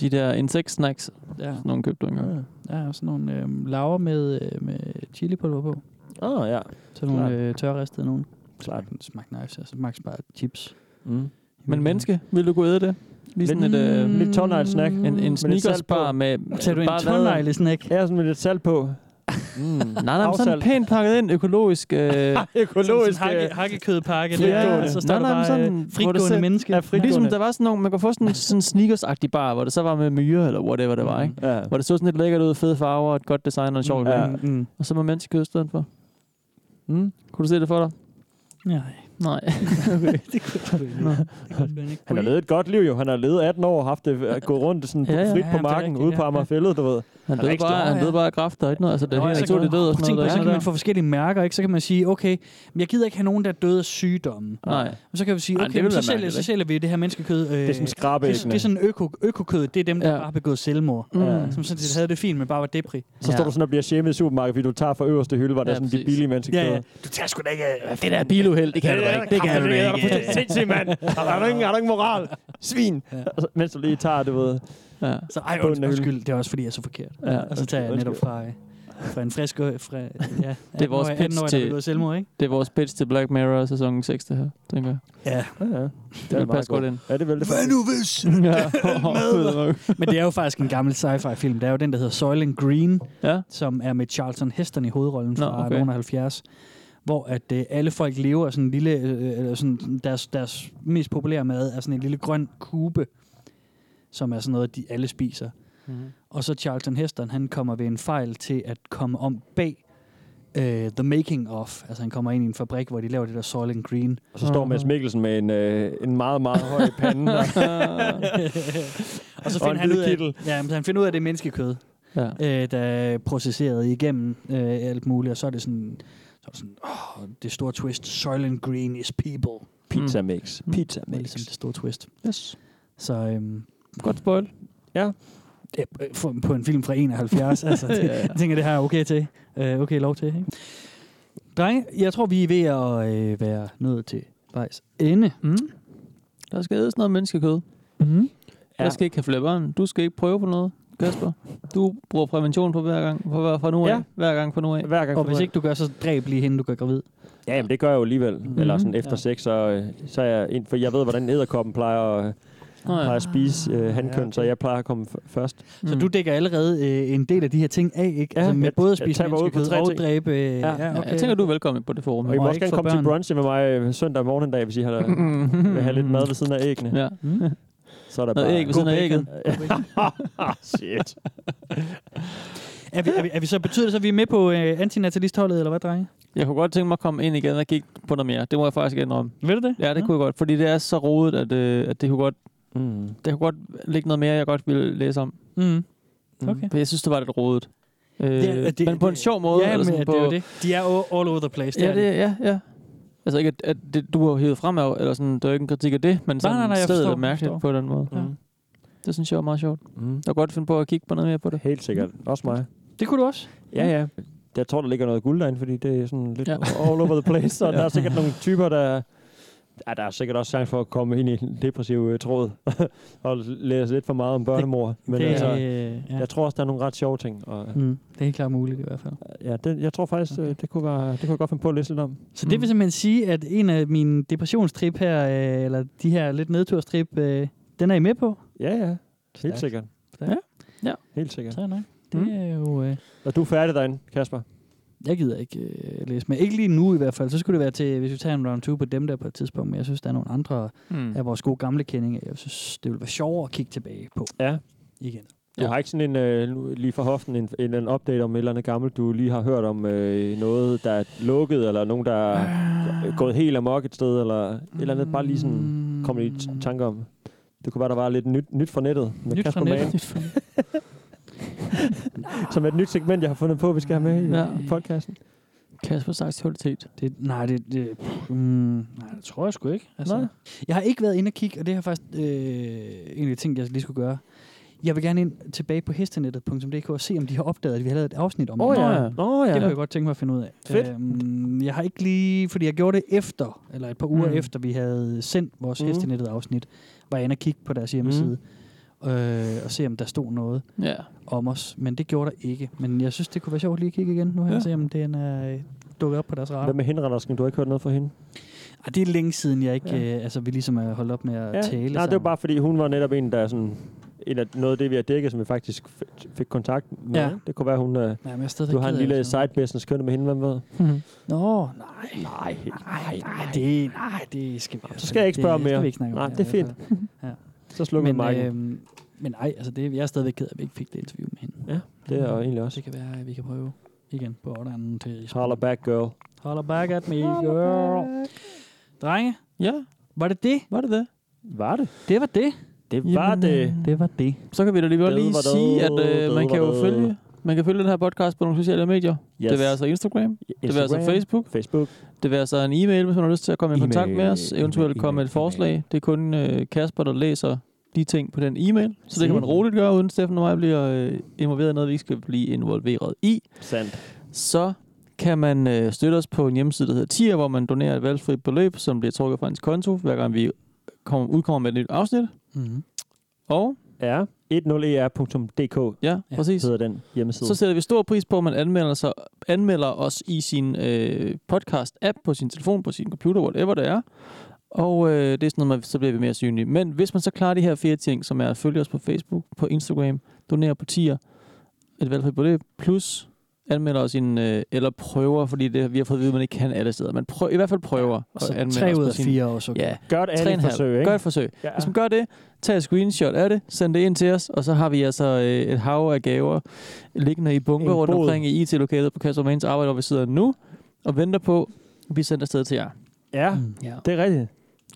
De der insektsnacks, Ja. ja. nogle købte du engang. Ja. Der er også nogle øh, laver med, øh, med chilipulver på. Åh, oh, ja. Så nogle Ah, Klart. øh, tørristede nogen. Klart. Smag nice, altså max bare chips. Mm. Men menneske, vil du gå æde det? Lige sådan Lidt- et... Øh, lidt tårneglesnack. En, Med en lidt salt på. sneakersbar med... Tager du en bare lavet- tårneglesnack? Ja, sådan med lidt salt på. Mm. Nej, nej, men sådan pænt pakket ind, økologisk... Øh, Økologisk. Sådan en hakke- hakkekødpakke der, og så står nej, nej, der men bare, øh, sådan, fritgående hvor det menneske. Ja, Ja. fritgående. Ligesom der var sådan nogle, man kunne få sådan en sådan sneakers-agtig bar, hvor det så var med myre, eller whatever det var, ikke? Ja. Hvor det så sådan lidt lækkert ud, fede farver, og et godt design og en sjov Ja. mm. Og så med menneskekød i stedet for. Mm. Kunne du se det for dig? Nej. Nej. okay. det kunne sgu ikke. Det kunne sgu ikke. Han har levet et godt liv jo. Han har levet 18 år, haft det, øh, gået rundt sådan Ja, ja, ja. frit Ja, på jamen, det er marken, rigtigt, ude på ja. Amagerfællet, du ved. Han døde bare, han døde bare af kræft, der er ikke noget. Altså, det er helt naturligt død og sådan Tænk på, noget. så kan der. man få forskellige mærker, ikke? Så kan man sige, okay, men jeg gider ikke have nogen, der er døde af sygdomme. Nej. Og så kan vi sige, Ej, okay, det Ej, ville så, være sælger, mærkeligt, så ikke? sælger vi det her menneskekød. Øh, det er sådan Det, skrabeæggene. det er sådan øko, økokød, det er dem, der ja. bare har begået selvmord. Ja. Mm. Som sådan set havde det fint, men bare var depri. Så står du sådan og bliver shamed i supermarkedet, fordi du tager fra øverste hylde, hvor der Ja, er sådan de præcis. billige mennesker. Ja, ja. Du tager sgu da ikke... det der biluheld, det kan du da ikke. Det kan du da Det er ikke. fuldstændig sindssygt, mand. Har du ingen, har du ingen moral? Svin. Og så- Mens du lige tager, du ved... Ja. Så ej, bunden af hylden. undskyld, undskyld, det er også fordi, jeg er så forkert. Ja, og så tager jeg undskyld, netop fra, øh, fra en frisk... øh, Fra, ja, Det er vores 18-årig, pitch 18-årig, der har til, begået selvmord, ikke? det er vores pitch til Black Mirror sæsonen 6, det her, tænker jeg. Ja. ja. Det vil passe godt ind. Ja, det vil det faktisk. nu hvis? Men det er jo faktisk en gammel sci-fi film. Det er jo den, der hedder Soylent Green, ja. som er med Charlton Heston i hovedrollen fra okay. okay. 70 hvor at øh, alle folk lever af sådan en lille, øh, eller sådan deres, deres mest populære mad er sådan en lille grøn kube, som er sådan noget, de alle spiser. Mm-hmm. Mhm. Og så Charlton Heston, han kommer ved en fejl til at komme om bag øh, The Making Of. Altså han kommer ind i en fabrik, hvor de laver det der Soylent Green. Og så står Mads Mikkelsen med en, øh, en meget, meget høj pande. og- og så og finder en han ud hvid af, kittel. ja, men han finder ud af, at det er menneskekød, ja. øh, der er processeret igennem øh, alt muligt. Og så er det sådan, så er det, sådan åh, det store twist, Soylent Green is people. Pizza mix. Pizza Det er mix. ligesom det store twist. Mm. Yes. Så øhm, Godt spoil. Ja. det er på- på en film fra 71, altså, det, Ja, ja. jeg tænker, det her er okay til. Øh, okay lov til, ikke? Drenge, jeg tror, vi er ved at øh, være nået til vejs ende. Mm. Der skal ædes noget menneskekød. Mm. Ja. Jeg skal ikke have flipperen. Du skal ikke prøve på noget, Kasper. Du bruger prævention på hver gang, på hver, fra nu af. Ja. Hver gang fra nu af. Hver gang Og fra hvis nu af. ikke du gør, så dræb lige hende, du gør gravid. Ja, jamen, det gør jeg jo alligevel. Mm-hmm. Eller sådan Mhm. efter Ja. ja. sex, så, øh, så er jeg ind, for jeg ved, hvordan æderkoppen plejer, at- Nå ja. plejer at spise øh, handkøn, så jeg plejer at komme f- først. Mm. Så du dækker allerede øh, en del af de her ting af, ikke? Ja, altså med jeg- både at jeg spise taber ud på menneskekød tre og ting. dræbe... Øh, ja. ja, Ja, okay. jeg tænker, du er velkommen på det forum. Og I må Må også ikke gerne få komme børn. til brunch med mig øh, søndag morgen, da jeg vil sige, at jeg vil have lidt mad ved siden af æggene. Ja. Så er der Noget bare æg ved siden af ægget. Shit. er, vi, er, vi, er vi så, betyder det så, at vi er med på øh, antinatalistholdet, eller hvad, drenge? Jeg kunne godt tænke mig at komme ind igen og kigge på noget mere. Det må jeg faktisk indrømme. Ved du det? Ja, det kunne jeg godt, fordi det er så rodet, at, øh, at det, kunne godt, mm. det kunne godt ligge noget mere, jeg godt ville læse om. Mm. Mm. Okay. For jeg synes, det var lidt rodet. Øh, Det er- det, det- men på en det- sjov måde. Ja, eller men sådan det på, er jo det. De er o- all over the place. Ja, er de. det, ja, ja. Altså ikke, at, at det, du har hævet frem af, eller sådan, der er jo ikke en kritik af det, men sådan nej, nej, jeg stedet forstår, er mærkeligt jeg på den måde. Ja. Ja. Det synes jeg var meget sjovt. Mm. Jeg kan godt finde på at kigge på noget mere på det. Helt sikkert. Også mig. Det kunne du også. Ja, ja. Jeg tror, der ligger noget guld derinde, fordi det er sådan lidt ja. all over the place, og ja. der er sikkert nogle typer, der... Ja, der er sikkert også chance for at komme ind i en depressiv øh, tråd og læse lidt for meget om børnemor. Men det- det, altså, øh, ja. ja. jeg tror også, der er nogle ret sjove ting. Og, Mm. Det er helt klart muligt i hvert fald. Øh, ja, det, jeg tror faktisk, okay. det, kunne være, det kunne jeg godt finde på at læse lidt om. Mm. Så det vil simpelthen sige, at en af mine depressionstrip her, øh, eller de her lidt nedturstrip, øh, den er I med på? Ja, ja. Helt Stærkt. sikkert. Ja. ja. Helt sikkert. Så nok. Det er jo... Øh, Og du er færdig derinde, Kasper? jeg gider ikke øh, læse med. Ikke lige nu i hvert fald. Så skulle det være til, hvis vi tager en round 2 på dem der på et tidspunkt. Men jeg synes, der er nogle andre Mm. mm. af vores gode gamle kendinge. Jeg synes, det ville være sjovere at kigge tilbage på. Ja. Igen. Du ja. har ikke sådan en, øh, nu lige fra hoften, en, en, en update om et eller andet gammelt, du lige har hørt om øh, noget, der er lukket, eller nogen, der er øh. gået helt amok et sted, eller et eller andet, bare lige sådan kom i t- tanke om. Det kunne være, der var lidt nyt, nyt fra nettet med Nyt fra Kasper nettet. Mann, Nyt fra nettet. som er et nyt segment, jeg har fundet på, vi skal have med i Ja. ja. podcasten. Kasper Saks Kvalitet. Det, nej, det, det, mm, nej, det tror jeg sgu ikke. Altså, Nej. Jeg har ikke været inde og kigge, og det har jeg faktisk øh, egentlig tænkt, jeg lige skulle gøre. Jeg vil gerne ind tilbage på hestenettet.dk og se, om de har opdaget, at vi har lavet et afsnit om Åh oh, det. ja. Oh, ja. Det kunne jeg godt tænke mig at finde ud af. Fedt. Øhm, jeg har ikke lige, fordi jeg gjorde det efter, eller et par uger Mm. mm. efter, vi havde sendt vores Mm. mm. hestenettet afsnit, var jeg inde og kigge på deres hjemmeside Mm. øh, og se, om der stod noget Ja. om os. Men det gjorde der ikke. Men jeg synes, det kunne være sjovt lige at kigge igen nu her, Ja. ja. og se, om den er øh, dukket op på deres radar. Hvad med henrettersken? Du har ikke hørt noget fra hende? Ej, det er længe siden, jeg ikke... Ja. Ja. Øh, altså, vi ligesom er holdt op med at tale Nej, sammen. det var bare fordi, hun var netop en, der er sådan... En af noget af det, vi har dækket, som vi faktisk f- fik kontakt med. Ja. Det kunne være, hun... Øh, Ja, men jeg er stadig du har en ked af lille det, Mhm. side business kørende med hende, hvem ved? Nå, nej. Nej, nej, nej, det, nej, det skal vi... Så skal jeg ikke spørge Det mere. skal vi ikke snakke om Nej, her, det er i hvert fint. fald. Ja. altså. Så slukker vi mikken. øh, øhm, men nej, altså det, jeg er stadigvæk ked af, at vi ikke fik det interview med hende. Ja, det er jeg egentlig også. Det kan være, at vi kan prøve igen på orderen til... Holler back, girl. Holler back at me, girl. Drenge? Ja? Var det det? Var det det? Var det? Det var det. Det var Jamen, det. øh, Det var det. Så kan vi da lige godt Det lige var det, sige, at øh, det man kan var jo det. følge man kan følge den her podcast på nogle sociale medier. Yes. Det vil altså Instagram, det vil altså Instagram, Facebook, Facebook. det vil altså en e-mail, hvis man har lyst til at komme i kontakt E-mail, med os, eventuelt komme med et forslag. Det er kun øh, Kasper, der læser de ting på den e-mail, så det kan man Sikkert. roligt gøre, uden Steffen og mig bliver øh, involveret i noget, vi ikke skal blive involveret i. Sandt. Så kan man øh, støtte os på en hjemmeside, der hedder Tier, hvor man donerer et valgfrit beløb, som bliver trukket fra ens konto, hver gang vi kommer, udkommer med et nyt afsnit. Hmm. Mm-hmm. Og Ja, e 10er.dk ja, præcis. hedder den hjemmeside. Så sætter vi stor pris på, at man anmelder, sig, anmelder os i sin øh, podcast-app, på sin telefon, på sin computer, whatever det er. Og øh, det er sådan noget, man, så bliver vi mere synlige. Men hvis man så klarer de her fire ting, som er at følge os på Facebook, på Instagram, donere på tier, et valgfrit beløb, plus anmelder os i en, øh, eller prøver, fordi det, vi har fået at vide, at man ikke kan alle steder. Men prøv, i hvert fald prøver ja, så tre ud af fire også, okay. Ja, Gør et andet tre og en halv. forsøg, ikke? Gør et forsøg. Ja. Ja. Hvis man gør det, tag et screenshot af det, send det ind til os, og så har vi altså øh, et hav af gaver liggende i bunker En rundt bod. omkring i IT-lokalet på Kassermans arbejde, hvor vi sidder nu og venter på at blive sendt afsted til jer. Ja, ja. det er rigtigt.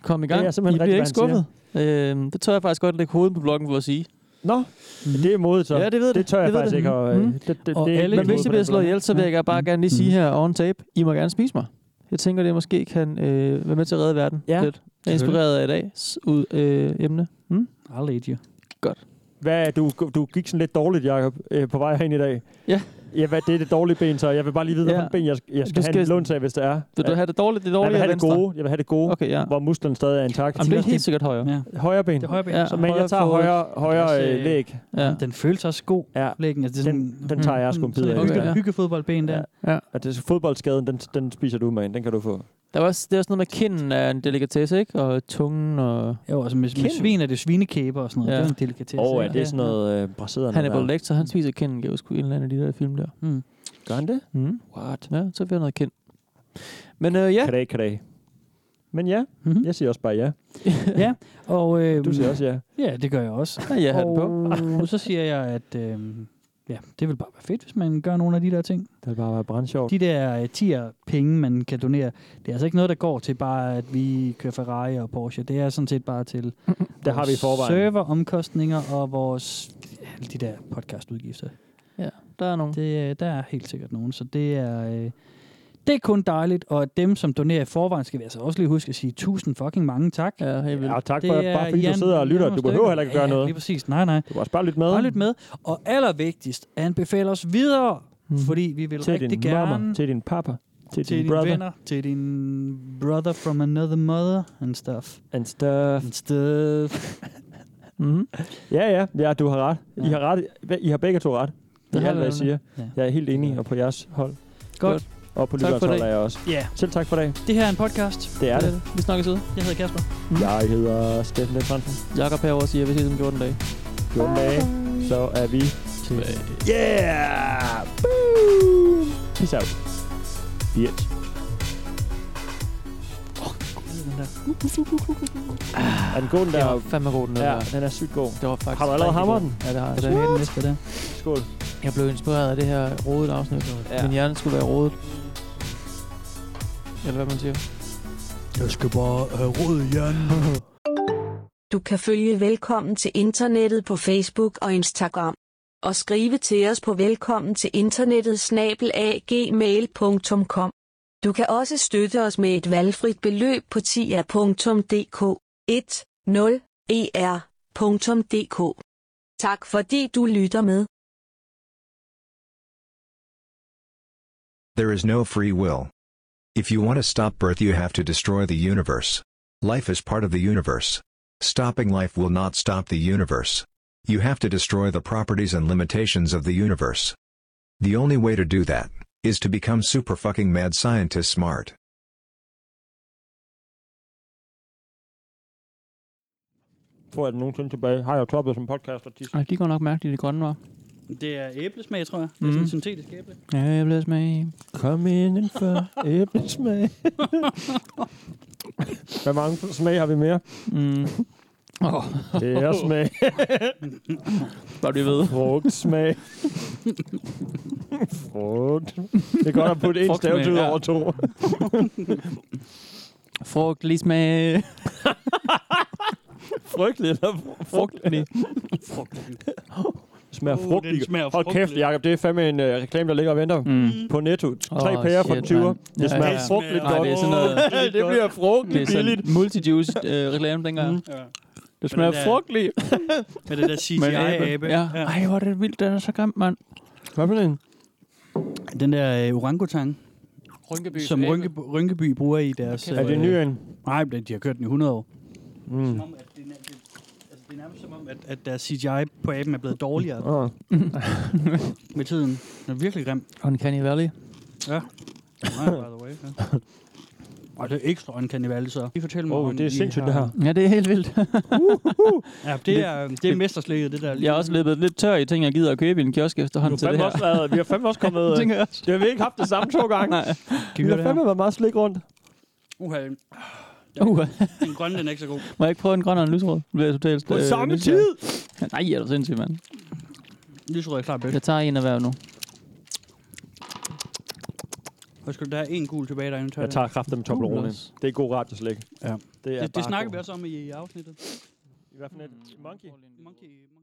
Kom i gang. Det er simpelthen I bliver ikke rigtigt, hvad han skuffet. Øh, det tør jeg faktisk godt lægge hovedet på blokken for at sige. Mm. Nå, det er modigt så. Ja, det ved Det Mm-hmm. tør jeg ved faktisk ikke at- Mhm. det- det- det er Og ikke alle, mit men bud hvis på I bliver den Mm-hmm. slået blok. ihel, så vil jeg gerne- bare gerne lige sige her on tape, I må gerne spise mig. Jeg tænker, det måske kan øh, være med til at redde verden Ja, lidt. Jeg er inspireret af i dags ud, øh, emne. Hmm? I'll aid you. Godt. Hvad, du, du gik sådan lidt dårligt, Jacob, øh, på vej herind i dag. Ja. Ja, hvad, det er det dårlige ben, så jeg vil bare lige vide, Ja. ja. hvilken ben jeg, jeg skal, Du have skal- en låns af, hvis det er. Vil du have det dårligt, det jeg dårlige vil have det eller venstre? gode, jeg vil have det gode, okay, ja. hvor musklerne stadig er intakt. Jamen, det er helt sikkert højre. Ja. Højre ben. Det er højre ben. Ja. Så, men jeg tager højre, højre øh, læg. Ja. Den føles også god, ja. læggen. Altså, det er sådan, Den tager jeg sgu en bid af. Hygge, Hyggefodboldben der. Ja. Og det er fodboldskaden, den, den spiser du med ind. Den kan du få. Der var også, det er også noget med kinden er en delikatesse, ikke? Og tungen og... Jo, altså med, med Kinden? svin er det svinekæber og sådan noget. Ja. Ja. Det er jo en delikatesse. Åh, ja, ikke? det er sådan noget øh, braseret. Hannibal Lecter, han spiser kinden, kan jeg huske, i en eller anden af de der film der. Mm. Gør han det? Mm. What? Ja, så bliver noget kendt. Men øh, ja. Kan det, kan det. Men ja, mm-hmm. jeg siger også bare ja. ja, og... Øh, Du siger også ja. Ja, det gør jeg også. Ja, jeg har den på. og så siger jeg, at øh, ja, det vil bare være fedt, hvis man gør nogle af de der ting. Det vil bare være brandsjovt. De der øh, tier penge, man kan donere, det er altså ikke noget, der går til bare, at vi kører Ferrari og Porsche. Det er sådan set bare til Det har vi i forvejen. serveromkostninger og vores alle de der podcastudgifter. Ja, der er nogen. Det, øh, der er helt sikkert nogen, så det er... Øh, det er kun dejligt, og dem, som donerer i forvejen, skal vi altså også lige huske at sige tusind fucking mange tak. Ja, helt Ja, tak for- bare fordi du sidder og lytter. Du behøver heller ikke gøre noget. Lige præcis. Nej, nej. Du kan også bare lytte med. Bare lyt med. Og allervigtigst, anbefale os videre, hmm. fordi vi vil Mhm. Til rigtig din gerne... mamma, til din pappa, til, til din, dine brother. venner, til din brother from another mother and stuff. And stuff. And stuff. mm-hmm. Mhm. Ja, ja, ja, du har ret. I har ret. I har begge to ret. Det er har alt, vi hvad I siger. nemlig. Ja. Ja. Jeg er helt enig, og på jeres hold. Godt. Og på Tak for lytterens hold det. er jeg også. Ja. Selv tak for dag. Det her er en podcast. Øh, Det er det. Vi snakkes ud. Jeg hedder Kasper. Jeg hedder Steffen Lund Fransen. Jakob herovre siger, at vi ses om 14 dage. 14 dage, så er vi tilbage. Yeah! Boom! Peace out. Bitch. Er den god, den der? Det var fandme god, den ja, der. den er sygt god. Det var faktisk har du allerede rigtig hamret god. den? Ja, det har jeg. jeg. Det er What? næste der. Skål. Jeg blev inspireret af det her rodet afsnit. Ja. Ja. Min hjerne skulle være rodet. Eller hvad man siger. Jeg skal bare have rød hjerne. Du kan følge Velkommen til Internettet på Facebook og Instagram. Og skrive til os på velkommen til internettet snabelagmail.com. Du kan også støtte os med et valgfrit beløb på tia.dk E 10er.dk. Tak fordi du lytter med. There is no free will. If you want to stop birth, you have to destroy the universe. Life is part of the universe. Stopping life will not stop the universe. You have to destroy the properties and limitations of the universe. The only way to do that is to become super fucking mad scientist smart. Får jeg den nogensinde tilbage? Har jeg toppet som podcast og tisse? Ej, de går nok mærkeligt, de grønne var. Det er æblesmag, tror jeg. Det er sådan Mhm. en syntetisk æble. Æblesmag. Kom indenfor. Æblesmag. Hvor mange smag har vi mere? Mm. Oh. Det er smag. Bare det ved. Frugtsmag. Frugt. Det er godt at putte en Frugtsmag, stavtid ud ja. over to. Frugtlig smag. Frygtelig eller frugtelig? frugtelig. smager Uh, den frugtlig. smager Hold kæft, frugtlig. Jacob, det er fandme en uh, reklame, der ligger og venter mm. på Netto. Tre Åh, oh, pærer for shit, 20. mand. Det Ja, smager ja. frugtligt Nej, godt. det er sådan noget- det bliver Det er frugtligt sådan billigt. en multi-juice øh, reklame dengang. Mm. Ja. Det smager den der- frugtligt. med det der CGI-abe. Ja. Ja. Ej, hvor er det vildt. Den er så grim, mand. Hvad for en? Den der øh, orangutang, Rynkeby. som Rynkeby, Rynkeby bruger i deres... Er det en ny en? Nej, men de har kørt den i 100 år. Mm. Det er nærmest som om, at, at deres CGI på aben er blevet dårligere Åh. med tiden. Den er virkelig grim. Uncanny Valley. Ja. Nej, by the way. Ja. Og det er ekstra uncanny valley, så. I fortæl mig, Åh, om det er I sindssygt, har- det her. Ja, det er helt vildt. Ja, det er, det er mesterslæget, det der. Jeg er også løbet lidt tør i ting, jeg gider at købe i en kiosk efterhånden til det Fandme her. også været, vi har fandme også kommet... Det øh, tænker jeg det har vi ikke haft det samme to gange. Nej. Vi høre har det fandme været meget slik rundt. Uha, Uh, den grønne den er ikke så god. må jeg ikke prøve en grøn og en lysrød? Det bliver jeg totalt... øh, På samme nysgerrig. Nej, er du sindssyg, mand. Lysrød er klart bedst. Jeg tager en af hver nu. Hvad skal du der er en gul tilbage derinde? Jeg tager kraften med Toblerone. Det er god radioslik. Det, Ja. er Det, det bare snakker god. vi også om i, i afsnittet. I hvert fald et monkey. Monkey.